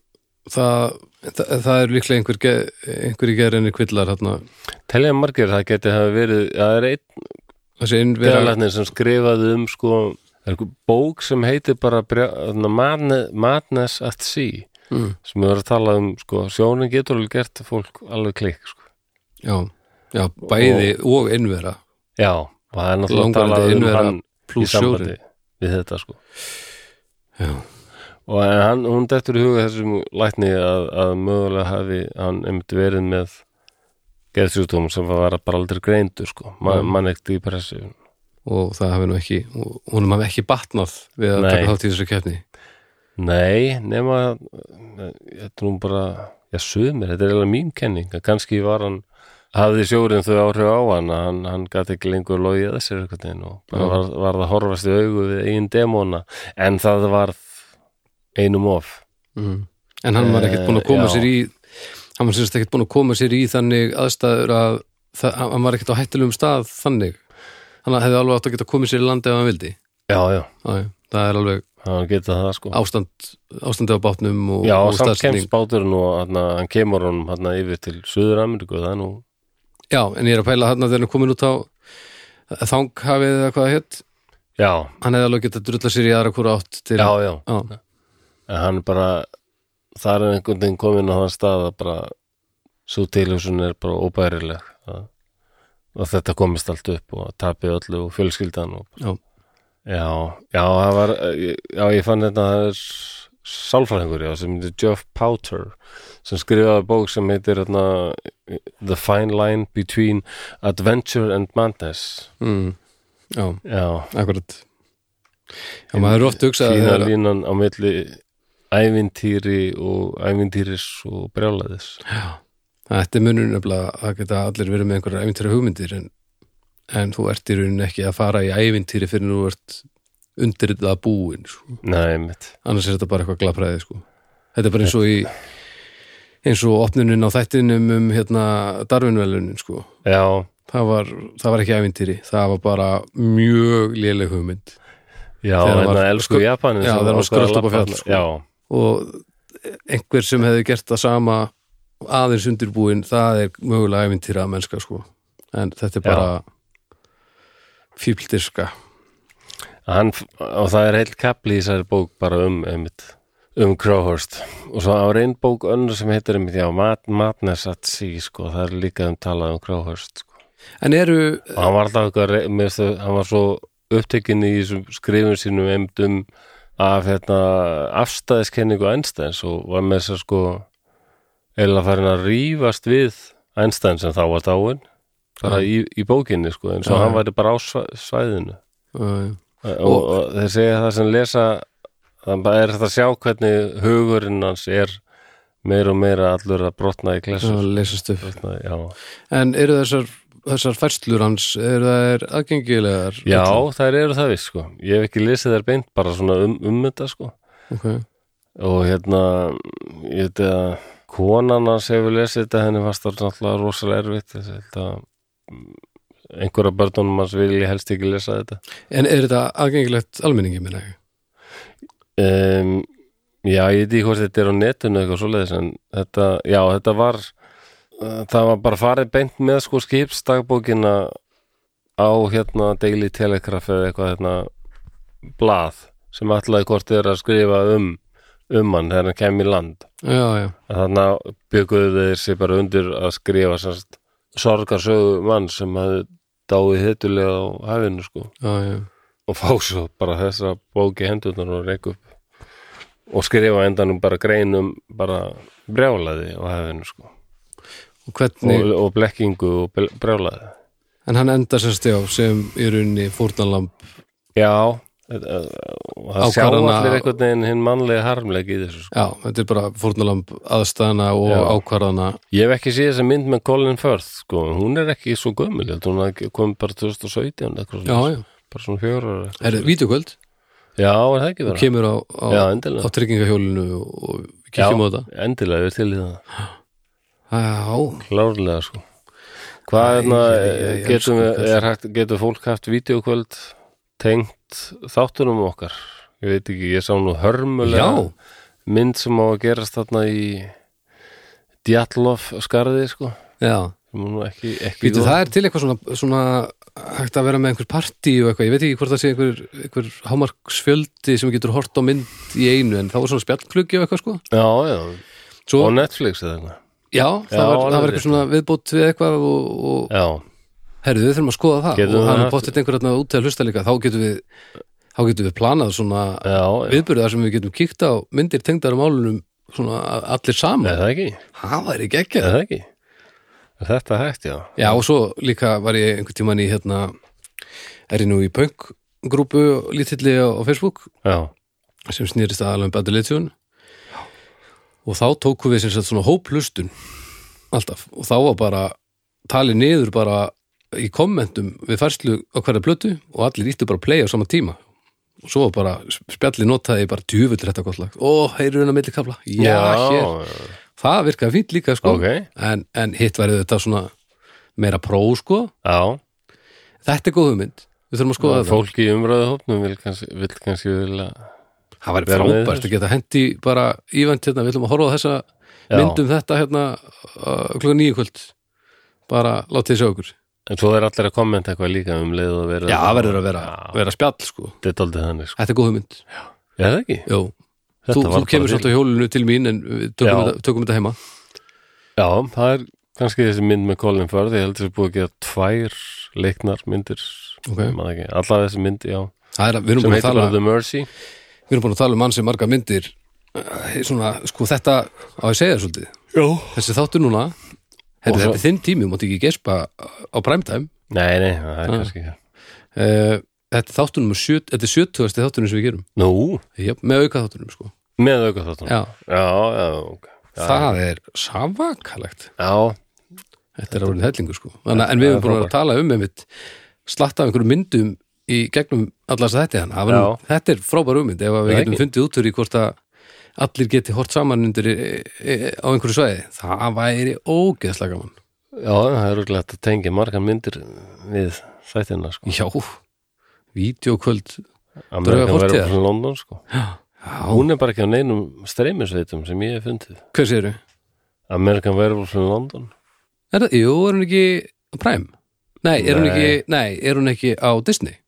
Speaker 2: það, það, það er líklega einhver, ge, einhver í gerinni kvillar þarna,
Speaker 1: telja margir það geti hafa verið það er einn
Speaker 2: þessi innvera
Speaker 1: byrjalæknir sem skrifaði um sko það er einhver bók sem heitir bara brjá- þarna, Madne- Madness at Sea
Speaker 2: mm.
Speaker 1: sem við erum að tala um sko sjónin getur alveg gert fólk alveg klikk sko.
Speaker 2: já, já, bæði og, innvera
Speaker 1: já og það er náttúrulega
Speaker 2: Langvarandi
Speaker 1: talað um
Speaker 2: innvera
Speaker 1: hann í
Speaker 2: plús
Speaker 1: sambandi
Speaker 2: sjórinn.
Speaker 1: við þetta sko
Speaker 2: já,
Speaker 1: og en hann, hún dettur í huga þessum lækni að, að mögulega hafi hann einmitt verið með geðsjúkdóm sem var bara aldrei greindur sko, Man, mann ekkert í pressu
Speaker 2: og það hafi nú ekki og honum hafi ekki batnað við að
Speaker 1: Nei.
Speaker 2: taka þátt í þessu keppni
Speaker 1: nei, nema þetta er nú bara, já sumir þetta er eiginlega mín kenning, að kannski var hann hafði sjórinn þau áhrif á hann að hann, hann gæti ekki lengur logið að sér einhvern veginn og bara
Speaker 2: Já.
Speaker 1: var, var það horfast í augu við eigin demóna en það varð einum of
Speaker 2: mm. en hann var ekkert búin að koma
Speaker 1: Eh, já.
Speaker 2: sér í hann var sérst ekkert búin að koma sér í þannig aðstæður að það, hann var ekkert á hættulegum stað þannig hann hefði alveg átt að geta komið sér í land ef hann vildi
Speaker 1: já, já,
Speaker 2: Æ, það er alveg
Speaker 1: hann geta það sko
Speaker 2: ástand ástandi á bátnum og,
Speaker 1: Já,
Speaker 2: og
Speaker 1: samt
Speaker 2: staðsetning
Speaker 1: kemst báturinn og hann, hann kemur honum hann yfir til Suður Ameríku það er nú,
Speaker 2: já, en ég er að pæla hann þegar hann er komin út á þanghafið eða hvað það hétt
Speaker 1: já,
Speaker 2: hann hefði alveg getað drulla sér í aðra hvora átt til,
Speaker 1: já, já
Speaker 2: Já,
Speaker 1: en hann bara, þar er einhvern veginn komin á þann stað að bara svo tilhjósun er bara óbærileg að, og þetta komist allt upp og tapið öllu og fjölskyldan og,
Speaker 2: já,
Speaker 1: já, já, það var já, ég fann þetta að það er sálfræðingur, já, sem heitir Jeff Powter sem skrifaði bók sem heitir hérna, The Fine Line Between Adventure and Madness
Speaker 2: mm, já
Speaker 1: já
Speaker 2: akkurat já, maður er ofta hugsað
Speaker 1: Fína
Speaker 2: að-
Speaker 1: línan á milli ævintýri og ævintýris og brjálæðis
Speaker 2: Já, þetta er munur nefnilega að geta allir verið með einhverjar ævintýra hugmyndir en, en þú ert í rauninni ekki að fara í ævintýri fyrir nú ert undir það búin sko.
Speaker 1: Nei, mitt
Speaker 2: annars er þetta bara eitthvað glapræði sko. þetta er bara eins og í eins og opnunin á þættinum um hérna darfinvelunin sko.
Speaker 1: Já,
Speaker 2: það, var, það var ekki ævintýri það var bara mjög léleg hugmynd
Speaker 1: já,
Speaker 2: Þegar
Speaker 1: en
Speaker 2: var-
Speaker 1: það elsku
Speaker 2: sko-
Speaker 1: Japanin
Speaker 2: Já,
Speaker 1: sem
Speaker 2: þegar var
Speaker 1: ákvað að
Speaker 2: skrölt upp á
Speaker 1: labba
Speaker 2: fjall,
Speaker 1: þarna.
Speaker 2: sko.
Speaker 1: Já,
Speaker 2: og einhver sem hefði gert það sama aðeins undirbúin, það er mögulega æfintýra mennska sko en þetta er bara fíldirska
Speaker 1: hann, og það er heilt kapli í þessari bók bara um, einmitt, um Crowhurst og svo á einn bók önnur sem heitir einmitt, já, Mad, Madness at Sea sko, það er líka um talað um Crowhurst sko.
Speaker 2: en eru,
Speaker 1: og hann var alltaf eitthvað, rey- mér finnst þau- hann var svo upptekinn í þessum skrifum sínum einmitt um af hérna, afstæðiskenningu Einsteins og var með þess að sko eða farin að rífast við Einstein sem þá var dáin bara í, í bókinni sko, eins og
Speaker 2: Já.
Speaker 1: hann væri bara á sva- svæðinu
Speaker 2: já,
Speaker 1: og, og, þeir segja það sem lesa þannig bara er þetta að sjá hvernig hugurinn hans er meir og meira allur að brotna í
Speaker 2: já,
Speaker 1: klessu
Speaker 2: lesast upp
Speaker 1: brotna, já,
Speaker 2: En eru þessar, þessar færslur hans, eru þær aðgengilegar?
Speaker 1: já þær eru það viss sko ég hef ekki lesið þær beint bara svona um, um þetta sko
Speaker 2: Ok,
Speaker 1: og hérna ég veit að konan hans hefur lesið þetta henni fast það náttúrulega rosalega erfitt þess að þetta mm, einhverja börnunum hans vilji helst ekki lesa þetta
Speaker 2: En er þetta aðgengilegt almenningi minna?
Speaker 1: um, já, ég veit ekki hvort þetta er á netinu eitthvað svoleiðis en þetta, já, þetta var uh, það var bara farið beint með sko skipstagbókina á hérna Daily Telegraph eða eitthvað hérna blað sem ætlaði hvort þeir að skrifa um um hann þegar hann kem í land
Speaker 2: Já, já,
Speaker 1: þannig að bygguðu þeir sér bara undir að skrifa semst, sorgarsögu mann sem hafði dáið hittulega á hafinu sko
Speaker 2: já, já
Speaker 1: og fá svo bara þessa bóki hendurnar og reik upp og skrifa á endanum bara greinum bara brjálaði á hafinu sko
Speaker 2: Og hvernig,
Speaker 1: og, og blekkingu og bl- brjálaði
Speaker 2: en hann endar sérst já sem í rauninni fórnalamb
Speaker 1: já þetta- og það sjá
Speaker 2: Ákvarðana-
Speaker 1: allir einhvern veginn hinn mannlega harmleik í þessu sko.
Speaker 2: Já, þetta er bara fórnalamb aðstæðana og
Speaker 1: Já.
Speaker 2: ákvarðana
Speaker 1: ég hef ekki séð þessa mynd með Colin Firth sko, en hún er ekki svo gömul ég held hún hafi komið bara 2017 eitthvað
Speaker 2: Já,
Speaker 1: svoleiðis.
Speaker 2: já,
Speaker 1: bara svona fjórar
Speaker 2: er þetta vítugöld
Speaker 1: Já, er það ekki vera?
Speaker 2: kemur á, á,
Speaker 1: Já,
Speaker 2: á
Speaker 1: endilega
Speaker 2: tryggingahjólinu og, og kíkjum á þetta
Speaker 1: Endilega, við erum til í það
Speaker 2: Já,
Speaker 1: Klárlega, sko Hvað
Speaker 2: Æ,
Speaker 1: hérna,
Speaker 2: ég- ég- ég elska
Speaker 1: getum við,
Speaker 2: þessu.
Speaker 1: er hægt getur fólk haft vídeokvöld tengt þáttunum okkar Ég veit ekki, ég sá nú hörmulega
Speaker 2: Já.
Speaker 1: mynd sem á að gerast þarna í Djallov skarði, sko
Speaker 2: já
Speaker 1: sem er nú ekki, ekki
Speaker 2: Vítu,
Speaker 1: góð.
Speaker 2: það er til eitthvað svona, svona hægt að vera með einhver partí og eitthvað, ég veit ekki hvort það sé einhver, einhver hámarksfjöldi sem getur hort á mynd í einu, en þá var svona spjallkluggi og eitthvað sko.
Speaker 1: Já, já,
Speaker 2: Svo,
Speaker 1: og Netflix eða eitthvað
Speaker 2: já, það,
Speaker 1: Já,
Speaker 2: var, það
Speaker 1: alveg
Speaker 2: var
Speaker 1: rétt.
Speaker 2: eitthvað svona viðbót við eitthvað og, og
Speaker 1: Já,
Speaker 2: herðu, við þurfum að skoða það
Speaker 1: Getum
Speaker 2: og
Speaker 1: við
Speaker 2: hann
Speaker 1: haft-
Speaker 2: bóttið einhverjarna út til að hlusta líka, þá getum við þá getum við planað svona
Speaker 1: já, já,
Speaker 2: viðburðar sem við getum kíkt á myndir tengdar á málunum svona allir
Speaker 1: er
Speaker 2: saman
Speaker 1: það ekki,
Speaker 2: það væri
Speaker 1: er
Speaker 2: geggjað
Speaker 1: það ekki Er þetta hægt, já
Speaker 2: Já, og svo líka var ég einhvern tímann í hérna, er ég nú í punk grúpu lítilli á, á Facebook
Speaker 1: Já,
Speaker 2: sem snýrist aðalega um betur litjón og þá tókum við sem sagt svona hóplustun alltaf og þá var bara talið niður bara í kommentum við færslu á hverja plötu og allir íttu bara að playa á sama tíma og svo var bara spjalli notaði ég bara djúfull þetta gott lag og heyrðu hennar millikafla já, hér, það virkaði fínt líka sko
Speaker 1: ok
Speaker 2: en, en hitt verður þetta svona meira pró sko
Speaker 1: Já,
Speaker 2: þetta er góð hugmynd við þurfum að skoða þetta
Speaker 1: fólk í umræðu hópnum vil kannski, vil kannski vilja
Speaker 2: það væri
Speaker 1: vera með
Speaker 2: frábært
Speaker 1: þessu.
Speaker 2: að geta hendi bara ívent hérna, við ætlum að horfa á þessa
Speaker 1: Já.
Speaker 2: myndum þetta hérna uh, klukkan nýju kvöld bara látið þessu okkur
Speaker 1: En svo er allir að kommenta eitthvað líka um leið og verið
Speaker 2: já, það verður að vera,
Speaker 1: Já,
Speaker 2: vera spjall sko
Speaker 1: Þetta er daldið þannig sko.
Speaker 2: þetta er góð hugmynd
Speaker 1: Er það ekki?
Speaker 2: Jó,
Speaker 1: Þetta
Speaker 2: þú,
Speaker 1: var
Speaker 2: þú
Speaker 1: bara
Speaker 2: kemur
Speaker 1: til.
Speaker 2: svolítið á hjólinu til mín en við tökum,
Speaker 1: Já.
Speaker 2: þetta, tökum þetta heima
Speaker 1: Já, það er kannski þessi mynd með Colin Firth Ég held þessi búið að gera tvær leiknar myndir
Speaker 2: Ok.
Speaker 1: Ég man það ekki. Allar þessi mynd, já
Speaker 2: Það er, að- við, erum
Speaker 1: Sem
Speaker 2: búin að
Speaker 1: heitir
Speaker 2: tala,
Speaker 1: bara The Mercy
Speaker 2: við erum búin að tala um ansi marga myndir uh, svona, sko þetta á að segja svolítið
Speaker 1: Já
Speaker 2: þessi þáttu núna
Speaker 1: Og
Speaker 2: Herri,
Speaker 1: svo-
Speaker 2: þetta er þinn tími, þú mátt ekki gespa á primetime
Speaker 1: Nei, nei, það er kannski
Speaker 2: uh, þetta er þáttunum sjöt, þetta er 70. þáttunum sem við gerum
Speaker 1: Nú,
Speaker 2: Jep, með auka þáttunum sko
Speaker 1: með auka þáttum
Speaker 2: já,
Speaker 1: já, já, ok Já,
Speaker 2: það er savakalegt
Speaker 1: já,
Speaker 2: þetta er árið hellingu sko Þannig, en við
Speaker 1: það er
Speaker 2: erum búin að
Speaker 1: frábært.
Speaker 2: tala um einmitt slatta af einhverjum myndum í gegnum allars þetta hann, hérna. Það var nú- þetta er frábær ummynd ef að við
Speaker 1: Það
Speaker 2: getum
Speaker 1: ekki.
Speaker 2: fundið út úr í hvort að allir geti hort saman undir e, e, á einhverju svæði, það væri ógeðslega gaman,
Speaker 1: já, það er rúglega að tengja margar myndir við þættina sko.
Speaker 2: já vídeokvöld,
Speaker 1: Amerikan
Speaker 2: Draugar
Speaker 1: verður
Speaker 2: fortíðar.
Speaker 1: frá London sko.
Speaker 2: já,
Speaker 1: Hún er bara ekki á neinum streymisveitum sem ég hef fundið.
Speaker 2: hver séru?
Speaker 1: American Werewolf in London.
Speaker 2: Er það, jú, er hún ekki á Prime? Nei, er hún
Speaker 1: Nei.
Speaker 2: ekki, nei, er hún ekki á Disney?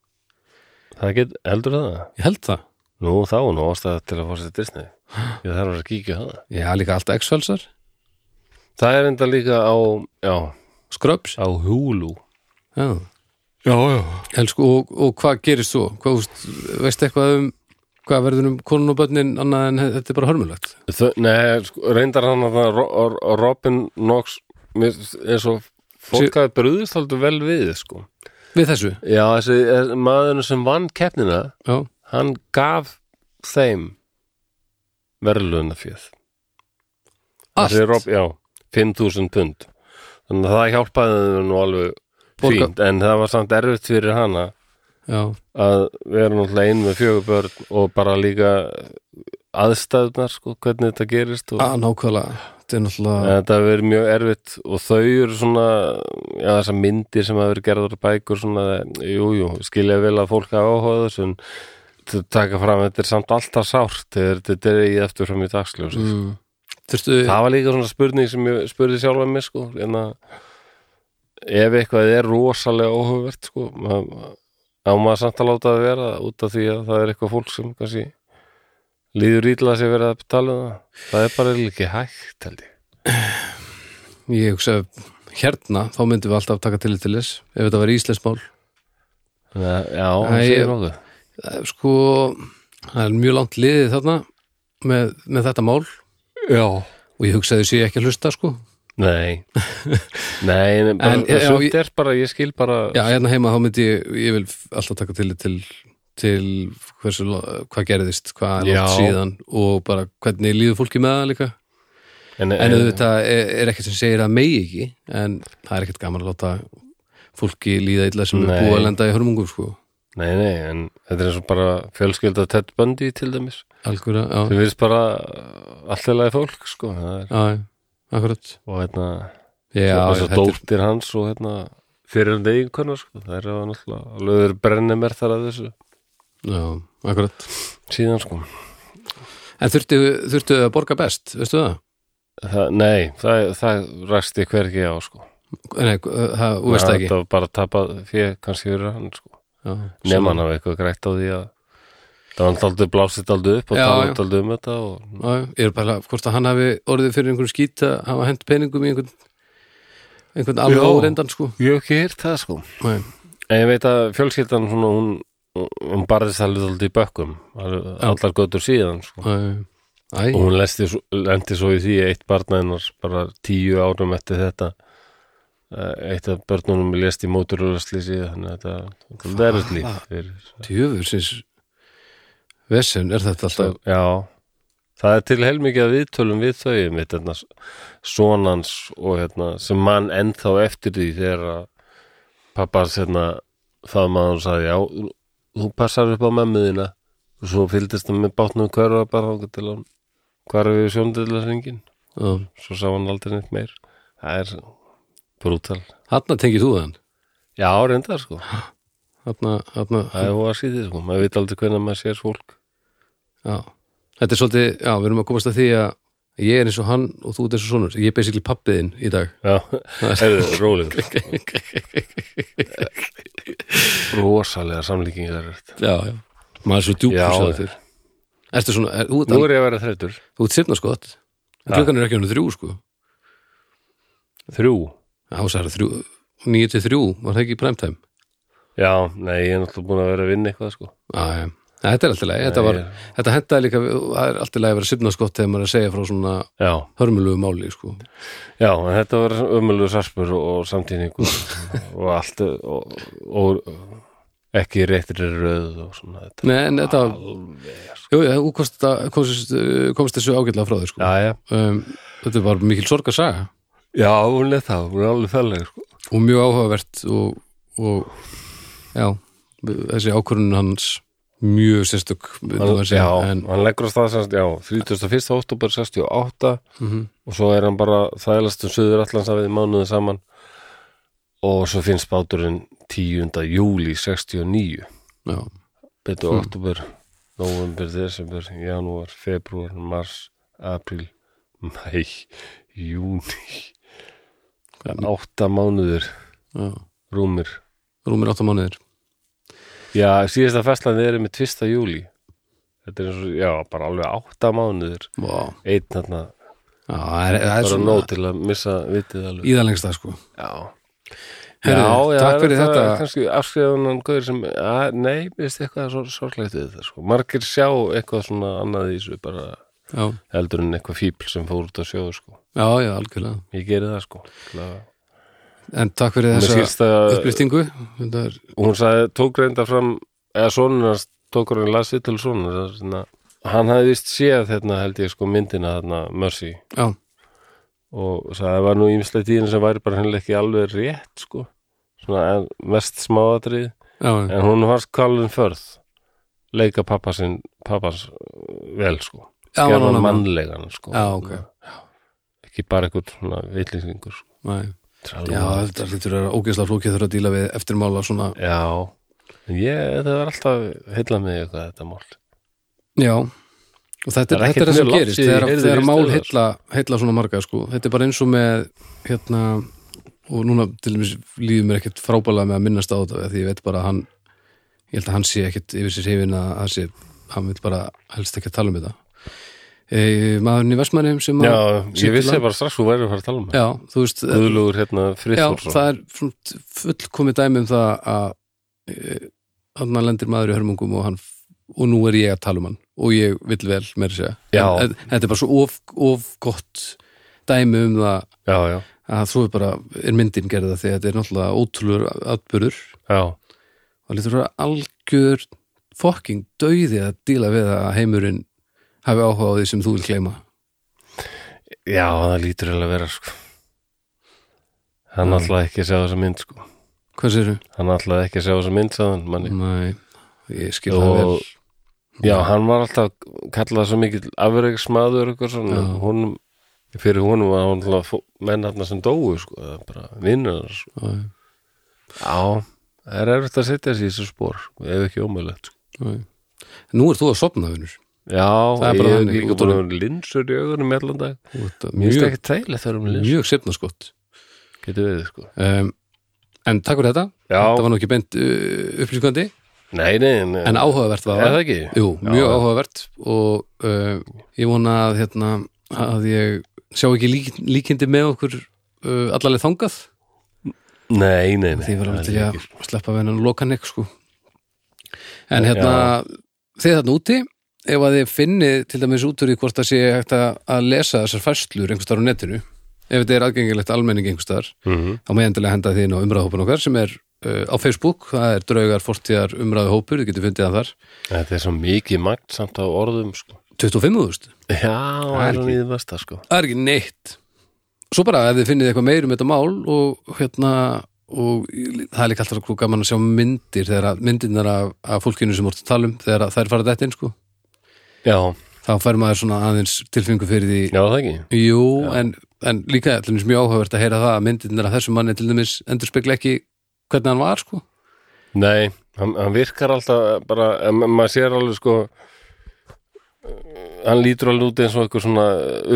Speaker 1: Það get, heldur það?
Speaker 2: Ég held það.
Speaker 1: Nú þá er nú ástæða til að fá sér Disney. Ég þarf að vera að kíkja á það.
Speaker 2: Já, líka allt X-Felsar,
Speaker 1: Það er enda líka á, já,
Speaker 2: Scrubs.
Speaker 1: á Hulu.
Speaker 2: Já.
Speaker 1: Já, já.
Speaker 2: Elsku, og, og hvað gerist þú? Hvað, úst, veist eitthvað um, hvað verður um konun og börnin annað en þetta er bara hörmulegt?
Speaker 1: Þau, nei, sko, reyndar hann að það Ro- Ro- Robin Knox mér er svo fólk hafi brúðist haldur vel við sko.
Speaker 2: við þessu
Speaker 1: já, þessi eh, maðurinn sem vann keppnina
Speaker 2: já,
Speaker 1: hann gaf þeim verðlunafjöð
Speaker 2: allt,
Speaker 1: Þessi Rob, já, 5000 pund þannig að það hjálpaði þeim nú alveg
Speaker 2: Borga-
Speaker 1: fínt, en það var samt erfitt fyrir hana
Speaker 2: já,
Speaker 1: að vera náttúrulega einn með fjögur börn og bara líka aðstæðnar, sko, hvernig þetta gerist og
Speaker 2: að nákvæmlega þetta er
Speaker 1: En
Speaker 2: náttúrulega
Speaker 1: Þetta hefur verið mjög erfitt og þau eru svona, já þessar myndir sem hafa verið gerðar á bækur svona, jú, jú, skilja vel að fólk hafa áhuga á þessu en þau taka fram, þetta er samt alltaf sárt þegar þetta er í eftir fram í dagsljósi.
Speaker 2: mm, þurftu,
Speaker 1: Það var líka svona spurning sem ég spurði sjálfa mig sko, en að ef eitthvað er rosalega óhugavert sko, maður- á maður samt að láta það vera út af því að það er eitthvað fólk sem kannski líður ítla að sé verið að tala um það. Það er bara ekki hægt, held ég.
Speaker 2: ég hugsa hérna, þá myndum við alltaf taka til til þess, ef þetta var íslensk mál
Speaker 1: Já, já
Speaker 2: Æ,
Speaker 1: það segir
Speaker 2: ég-
Speaker 1: nokkuð
Speaker 2: Eh, sko, það er mjög langt liðið þarna með, með þetta mál og
Speaker 1: Já
Speaker 2: ég hugsaði sé ekki að hlusta sko
Speaker 1: Nei, nei, nei bara,
Speaker 2: En,
Speaker 1: en,
Speaker 2: já,
Speaker 1: sumt
Speaker 2: ég-
Speaker 1: er bara, ég skil bara
Speaker 2: já, hérna heima þá myndi ég, ég vil alltaf taka til til, til hversu, lo- hvað gerðist, hvað er langt
Speaker 1: Já.
Speaker 2: síðan og bara hvernig líður fólki með það líka En
Speaker 1: Eh.
Speaker 2: auðvitað er, er ekkert sem segir að megi ekki en það er ekkert gaman að láta fólki líða illa sem
Speaker 1: Nei.
Speaker 2: er búið að lenda í hörmungum sko.
Speaker 1: Nei, nei, en þetta er eins og bara fjölskylda Ted Bundy til dæmis
Speaker 2: Algjöra, já,
Speaker 1: sem virðist bara allirlega fólk sko, það er,
Speaker 2: já, já, akkurat
Speaker 1: og hérna
Speaker 2: Já,
Speaker 1: já,
Speaker 2: já,
Speaker 1: svo
Speaker 2: þetta er,
Speaker 1: dóttir hans og hérna fyrir um eiginkona sko, það er náttúrulega alveg brennir mér þar að þessu
Speaker 2: já, akkurat
Speaker 1: síðan sko
Speaker 2: En þurftu, þurftu að borga best, veistu það?
Speaker 1: það, Nei, það, það ræsti hvergi á sko
Speaker 2: Nei, það, þú veist það ekki
Speaker 1: Það var bara að tapa fyrir kannski fyrir hann sko
Speaker 2: Já,
Speaker 1: nema hann hafa eitthvað grætt á því að það var aldrei blásið aldrei upp og
Speaker 2: Já,
Speaker 1: talaði
Speaker 2: já.
Speaker 1: aldrei um þetta og
Speaker 2: Já, já, ég er bara, hvort að hann hafi orðið fyrir einhverjum skít að hafa hent peningum í einhvern einhvern alveg
Speaker 1: Já.
Speaker 2: óreindan sko
Speaker 1: ég hef ekki hýrt það sko
Speaker 2: Nei,
Speaker 1: en ég veit að fjölskyldan svona hún, hún barðist alveg aldrei í bökkum alveg- allar götur síðan sko
Speaker 2: nei, æ,
Speaker 1: og hún lendi svo, lendi svo í því að eitt barnaðinnar bara tíu árum eftir þetta eh, eitt af börnunum lest í móturúðarslýsi þannig að þetta- þetta er verið líf fyrir
Speaker 2: tjöfur sinns Vesen er þetta alltaf
Speaker 1: Já, það er til heilmikið að viðtölum við þau um hérna, sonans og hérna, sem mann ennþá eftir því þegar að pappars hérna, það maður sagði já, þú passar upp á memmiðina og svo fylgdist það með bátnum hverfa bara ákveð til hann hverfi við sjóndillasringin
Speaker 2: Já.
Speaker 1: svo sá hann aldrei neitt meir það er brútal
Speaker 2: Þarna tengið þú þann
Speaker 1: Já, reyndar sko,
Speaker 2: Þarna, þarna,
Speaker 1: það er hún að sýti sko maður veit aldrei hvernig maður sér fólk
Speaker 2: já Þetta er svolítið, já, við erum að komast að því að ég er eins og hann og þú ert eins og sonur Ég er basically pappiðinn í dag
Speaker 1: Já, heyrðu, rólið Rosalega samlíkingar er þetta
Speaker 2: Já, já, maður er svo djúpt
Speaker 1: Já,
Speaker 2: hugsaður
Speaker 1: já.
Speaker 2: fyrr. Ertu svona, er, þú ert
Speaker 1: Nú er ég að vera þreytur
Speaker 2: Þú ert sifna skott En
Speaker 1: Já.
Speaker 2: Klukkan er ekki hann þrjú sko
Speaker 1: Þrjú?
Speaker 2: Já, það er þrjú, nýju til þrjú Var það ekki í primetime?
Speaker 1: Já, nei, ég er náttúrulega búin að vera að vinna eitthvað sko
Speaker 2: Já, já, Nei, þetta er alltaf leið Þetta, var,
Speaker 1: ég-
Speaker 2: þetta hendaði líka, það er alltaf leið að vera sifna skott Þegar maður er að segja frá svona
Speaker 1: Já,
Speaker 2: hörmulegu máli sko
Speaker 1: já, en þetta var ömulegu sarpur og samtíningu og allt og, og ekki réttri röð og svona þetta
Speaker 2: Nei, en þetta var,
Speaker 1: sko.
Speaker 2: jú, já, þú komst, þetta- komst, komst þessu ágætlega frá þér sko
Speaker 1: Já, já,
Speaker 2: um, þetta var mikil sorgarsaga
Speaker 1: já, hún er það, hún er alveg fælleg sko
Speaker 2: og mjög áhugavert og, og já, þessi ákvörun hans mjög sérstök myndi
Speaker 1: hann,
Speaker 2: maður segja,
Speaker 1: já,
Speaker 2: en,
Speaker 1: hann leggur á stað semst, já, 31. oktober 68 og svo er hann bara þælast um söður allansafið mánuðu saman og svo finnst báturinn 10. júli 69
Speaker 2: já,
Speaker 1: betur oktober, november, desember janúar, februar, mars apríl, mæ júni átta mánuður
Speaker 2: já,
Speaker 1: rúmir
Speaker 2: rúmir átta mánuðir
Speaker 1: já, síðasta festlan er með 1. júli þetta er eins og, já, bara alveg átta mánuður
Speaker 2: Vá.
Speaker 1: einn þarna
Speaker 2: já, það er, það er
Speaker 1: bara
Speaker 2: svona
Speaker 1: nóg til að missa vitið alveg
Speaker 2: íðalengsta sko
Speaker 1: já,
Speaker 2: Heyrðu, takk
Speaker 1: er
Speaker 2: fyrir
Speaker 1: það
Speaker 2: þetta.
Speaker 1: kannski afskrifunan guður sem, að, nei, veist eitthvað svo, sorglegt við þetta, sko, margir sjá eitthvað svona annað í þessu, bara
Speaker 2: já,
Speaker 1: heldur en eitthvað fíbl sem fór út að sjóðu, sko
Speaker 2: já, já, algjörlega
Speaker 1: ég geri það, sko til að-
Speaker 2: en takk fyrir
Speaker 1: Mér
Speaker 2: þessa
Speaker 1: skilst uh, að
Speaker 2: upplýstingu þetta er
Speaker 1: hún sagði, tók reynda fram eða sonur hans tók hann las við til sonur svona, hann hafði vist séð hérna held ég sko myndina þarna Mercy
Speaker 2: já,
Speaker 1: og sagði að það var nú ímslega tíðin sem væri bara hennilega ekki alveg rétt sko svona en mest smáatrið
Speaker 2: já, já,
Speaker 1: en hún varst Colin Firth leika pappa sinn pappans uh, vel sko
Speaker 2: Já,
Speaker 1: gerða
Speaker 2: hann var
Speaker 1: hann
Speaker 2: mann.
Speaker 1: mannlegan sko
Speaker 2: Já, ok.
Speaker 1: ekki bara eitthvað svona vitlisingur sko.
Speaker 2: Nei.
Speaker 1: Trallum.
Speaker 2: já þetta lítur að ógeðslega flókið þurfa að díla við eftirmála svona,
Speaker 1: já. En Ég, það var alltaf heilla mig eitthvað þetta mál
Speaker 2: já og þetta er, þetta
Speaker 1: Það er
Speaker 2: er
Speaker 1: ekkert
Speaker 2: það sem
Speaker 1: mjög langt
Speaker 2: gerist
Speaker 1: síðan ég
Speaker 2: þegar,
Speaker 1: heyrði
Speaker 2: þegar
Speaker 1: fyrst
Speaker 2: mál
Speaker 1: um það,
Speaker 2: heilla, heilla svona marga sko, þetta er bara eins og með hérna, og núna til dæmis líður mér ekkert frábælega með að minnast á þetta af því ég veit bara að hann ég held að hann sé ekkert yfir sér hefin að hann sé, hann vil bara helst ekki að tala um þetta e, maðurinn í Vestmannheim sem að-
Speaker 1: Já,
Speaker 2: situr
Speaker 1: ég vissi
Speaker 2: lang-
Speaker 1: bara strax hún væri að fara að tala um það
Speaker 2: já, þú veist,
Speaker 1: Guðlugur hérna
Speaker 2: Já,
Speaker 1: Friðþórsson
Speaker 2: það er svona fullkomið dæmi um það að hann lendir maður í hörmungum og, hann, og nú er ég að tala um hann og ég vill vel meira að segja
Speaker 1: Já.
Speaker 2: En þetta er bara svo of, of gott dæmi um það
Speaker 1: Já, já,
Speaker 2: að svo er bara er myndin gerða því að þetta er náttúrulega ótrúlur atbyrður
Speaker 1: já,
Speaker 2: og lítur að algjör fokking dauði að díla við að heimurinn hafi áhuga á því sem þú vil gleyma
Speaker 1: já, það lítur eiginlega að vera sko Hann
Speaker 2: Já.
Speaker 1: ætlaði ekki að sjá þessa mynd sko
Speaker 2: Hvað sérðu?
Speaker 1: Hann ætlaði ekki að sjá þessa mynd sagðan manni
Speaker 2: Nei, ég skil það vel
Speaker 1: og já, hann var alltaf kallað svo mikill afreiksmaður eitthvað svona
Speaker 2: Já.
Speaker 1: honum, fyrir honum var hann alltaf fó- menn hann sem dóu sko, eða bara vinnur sko.
Speaker 2: Nei.
Speaker 1: já, það er erfitt að setja sér í þessu spór sko, ef ekki ómöðlegt sko.
Speaker 2: Nei. Nú er þú að sopna, vinnur
Speaker 1: já,
Speaker 2: Það er
Speaker 1: ég
Speaker 2: bara
Speaker 1: er
Speaker 2: þannig,
Speaker 1: líka
Speaker 2: út
Speaker 1: búin
Speaker 2: úr-
Speaker 1: að vera linsur í augunum allan dag, mér finnst
Speaker 2: Mjög,
Speaker 1: ekki tægilega þegar um linsur,
Speaker 2: mjög sefna skott
Speaker 1: getur við sko
Speaker 2: um, En takk fyrir þetta
Speaker 1: Já.
Speaker 2: Þetta var nú ekki beint uh, upplýskandi
Speaker 1: nei, nei, nei,
Speaker 2: En áhugavert var
Speaker 1: er það ekki?
Speaker 2: Jú,
Speaker 1: Já,
Speaker 2: mjög
Speaker 1: já.
Speaker 2: áhugavert Og uh, ég vona að, hérna, að ég sjá ekki lík, líkindi með okkur uh, allaleg þangað
Speaker 1: nei, nei, nei
Speaker 2: Því ég var alveg
Speaker 1: það
Speaker 2: til
Speaker 1: er
Speaker 2: að
Speaker 1: ekki.
Speaker 2: sleppa við hennan lokan ekki sko En hérna,
Speaker 1: Já.
Speaker 2: þið þarna úti ef að þið finnið til dæmis út úr í hvort það sé hægt að að lesa þessar færslur einhvers staðar á netinu ef þetta er aðgengilegt almenning einhvers staðar
Speaker 1: Mhm.
Speaker 2: þá með endilega henda því inn á umræðahópin okkar sem er uh, á Facebook, það er draugar fortíðar umræðahópur, þið getur fundið að þar
Speaker 1: þetta er svo mikið magt samt á orðum sko
Speaker 2: 25.000,
Speaker 1: já,
Speaker 2: er
Speaker 1: er hann
Speaker 2: ekki.
Speaker 1: í það versta sko
Speaker 2: það er ekki neitt svo bara ef þið finnið eitthvað meir um þetta mál og hérna og það er líka alltaf svo gaman að sjá myndir þegar að myndirnar af, af fólkinu sem voru að tala um þegar að þær fara þetta inn sko
Speaker 1: já,
Speaker 2: þá fær maður svona aðeins tilfengu fyrir því
Speaker 1: já, það ekki
Speaker 2: Jú,
Speaker 1: Já.
Speaker 2: en, en líka til dæmis mjög áhugavert að heyra það að myndirnar af þessum manni til dæmis endur spekla ekki hvernig hann var sko
Speaker 1: Nei, hann, hann virkar alltaf bara, en ma- maður sér alveg sko eh, hann lítur alveg út eins og einhver svona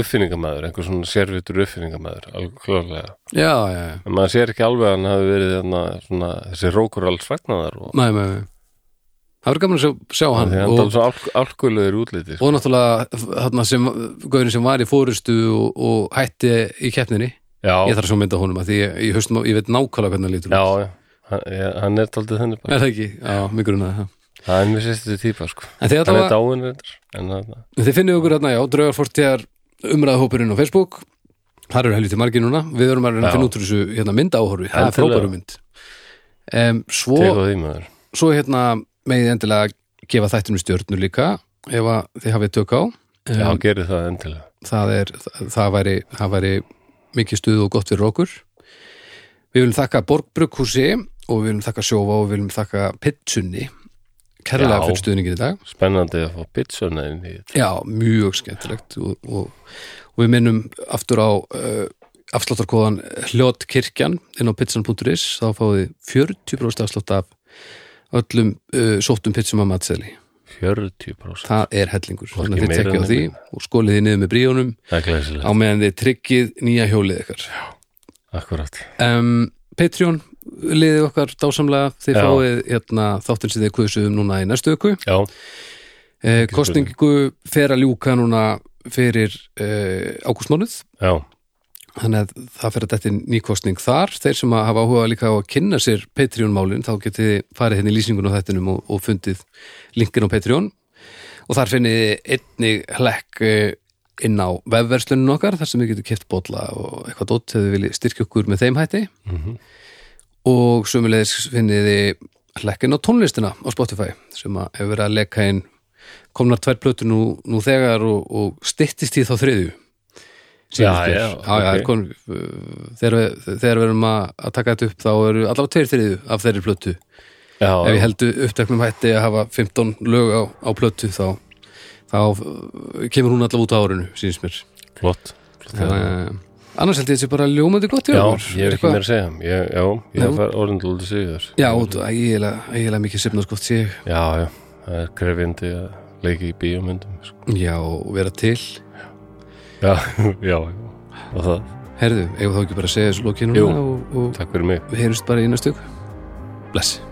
Speaker 1: uppfinningamæður, einhver svona sérvitur uppfinningamæður, alveg klárlega
Speaker 2: Já, já, já,
Speaker 1: en maður sér ekki alveg að hann hafi verið þarna, svona, þessi rókur alls vegnaðar og
Speaker 2: nei, nei, nei. Það verður gaman að sjá, sjá hann
Speaker 1: því hann
Speaker 2: og,
Speaker 1: tala svo alk alkvöluður útliti sko.
Speaker 2: og náttúrulega hann sem, gaurin sem var í fórustu og, og hætti í keppninni ég
Speaker 1: Já,
Speaker 2: þarf að sjá mynda honum að því ég, ég, haustum, á- ég veit nákvæmlega hvernig hann lítur
Speaker 1: já,
Speaker 2: út.
Speaker 1: já. hann, ég, hann er taldið þenni bara,
Speaker 2: Er það ekki? Já, mjög grunnaði það
Speaker 1: það er mér sérstu típa sko,
Speaker 2: En þið,
Speaker 1: hann er
Speaker 2: allavega,
Speaker 1: dáin reyndar en hann,
Speaker 2: þið finnið okkur hérna, já, draugarfortjar umræðahópurinn á Facebook Þar eru helviti margir núna Við verum að reyna að
Speaker 1: Já.
Speaker 2: finna út úr þessu hérna, mynda áhorfi Það er
Speaker 1: Endilega.
Speaker 2: frábæru mynd um, Svo
Speaker 1: tegur því maður
Speaker 2: svo hérna megið endilega gefa þættinu stjörnur líka ef að þið hafið tök á
Speaker 1: Já,
Speaker 2: Em,
Speaker 1: gerir það endilega
Speaker 2: það, er, það, það, væri, það væri mikið stuð og gott fyrir okkur við viljum þakka Borgbrukhúsi og við viljum þakka Sjófa og við viljum þakka Pitsunni kærlega
Speaker 1: Já.
Speaker 2: fyrir stuðningin í dag
Speaker 1: Spennandi að fá pitsuna inn í þetta
Speaker 2: já, mjög skemmtilegt og, og, og við minnum aftur á uh, afsláttarkóðan hljótkirkjan inn á pitsun.is þá fáið þið 40% afslátt af öllum uh, sóttum pitsum að matseli
Speaker 1: 40%
Speaker 2: það er hellingur
Speaker 1: Hvorki
Speaker 2: þannig að þið
Speaker 1: meira
Speaker 2: tekja á
Speaker 1: né
Speaker 2: því
Speaker 1: minna.
Speaker 2: og skólið þið niður með bríunum
Speaker 1: Það er glæsilegt
Speaker 2: á meðan þið tryggið nýja hjólið ykkar
Speaker 1: Akkurat,
Speaker 2: um, Patreon liðið okkar dásamlega þið
Speaker 1: Já.
Speaker 2: fáið hérna, þáttin sem þið kusuðum núna í næstu öku
Speaker 1: já,
Speaker 2: eh, kostningu fer að ljúka núna fyrir eh, ágústmánuð
Speaker 1: já,
Speaker 2: þannig að það fer að þetta nýkostning þar þeir sem að hafa áhuga líka á að kynna sér Patreon-málin, þá getið þið farið hérna í lýsingun á þettinum og, og fundið linkin á Patreon og þar finnið þið einnig hlekk eh, inn á vefverslunum okkar þar sem við getum keft bolla og eitthvað dótt þegar við viljið styrkja okkur með þeim hætti
Speaker 1: Mhm.
Speaker 2: og sömulegis finnið þið hlekkin á tónlistina á Spotify sem að hefur verið að leka inn komnar tvær plötu nú, nú þegar og, og styttist í þá þriðju
Speaker 1: Já,
Speaker 2: Síðustu er.
Speaker 1: já,
Speaker 2: já, já
Speaker 1: ok.
Speaker 2: er kon, uh, þegar, við, þegar við erum að, að taka þetta upp þá eru allavega tveir þriðju af þeirri plötu
Speaker 1: já,
Speaker 2: ef ég heldu uppteknum hætti að hafa 15 lög á, á plötu þá, þá uh, kemur hún allavega út á árinu síns mér
Speaker 1: flott
Speaker 2: uh, annars held ég þessi bara ljómandi gott í
Speaker 1: Já,
Speaker 2: ár.
Speaker 1: ég er ekki
Speaker 2: Eitthvað-
Speaker 1: meira að segja ég, Já,
Speaker 2: Nei,
Speaker 1: ég hef orðin lúti sigur
Speaker 2: já, út, ægilega, ægilega mikið sefnarskott sé ég.
Speaker 1: já, já, það er krefjandi að leiki í bíómyndum sko.
Speaker 2: já, og vera til
Speaker 1: Já, já, já, og það
Speaker 2: herðu, eigum þá ekki bara að segja þessu lokið núna
Speaker 1: Jú.
Speaker 2: og, og
Speaker 1: Takk fyrir mig
Speaker 2: við heyrjumst bara í næstu ykkur bless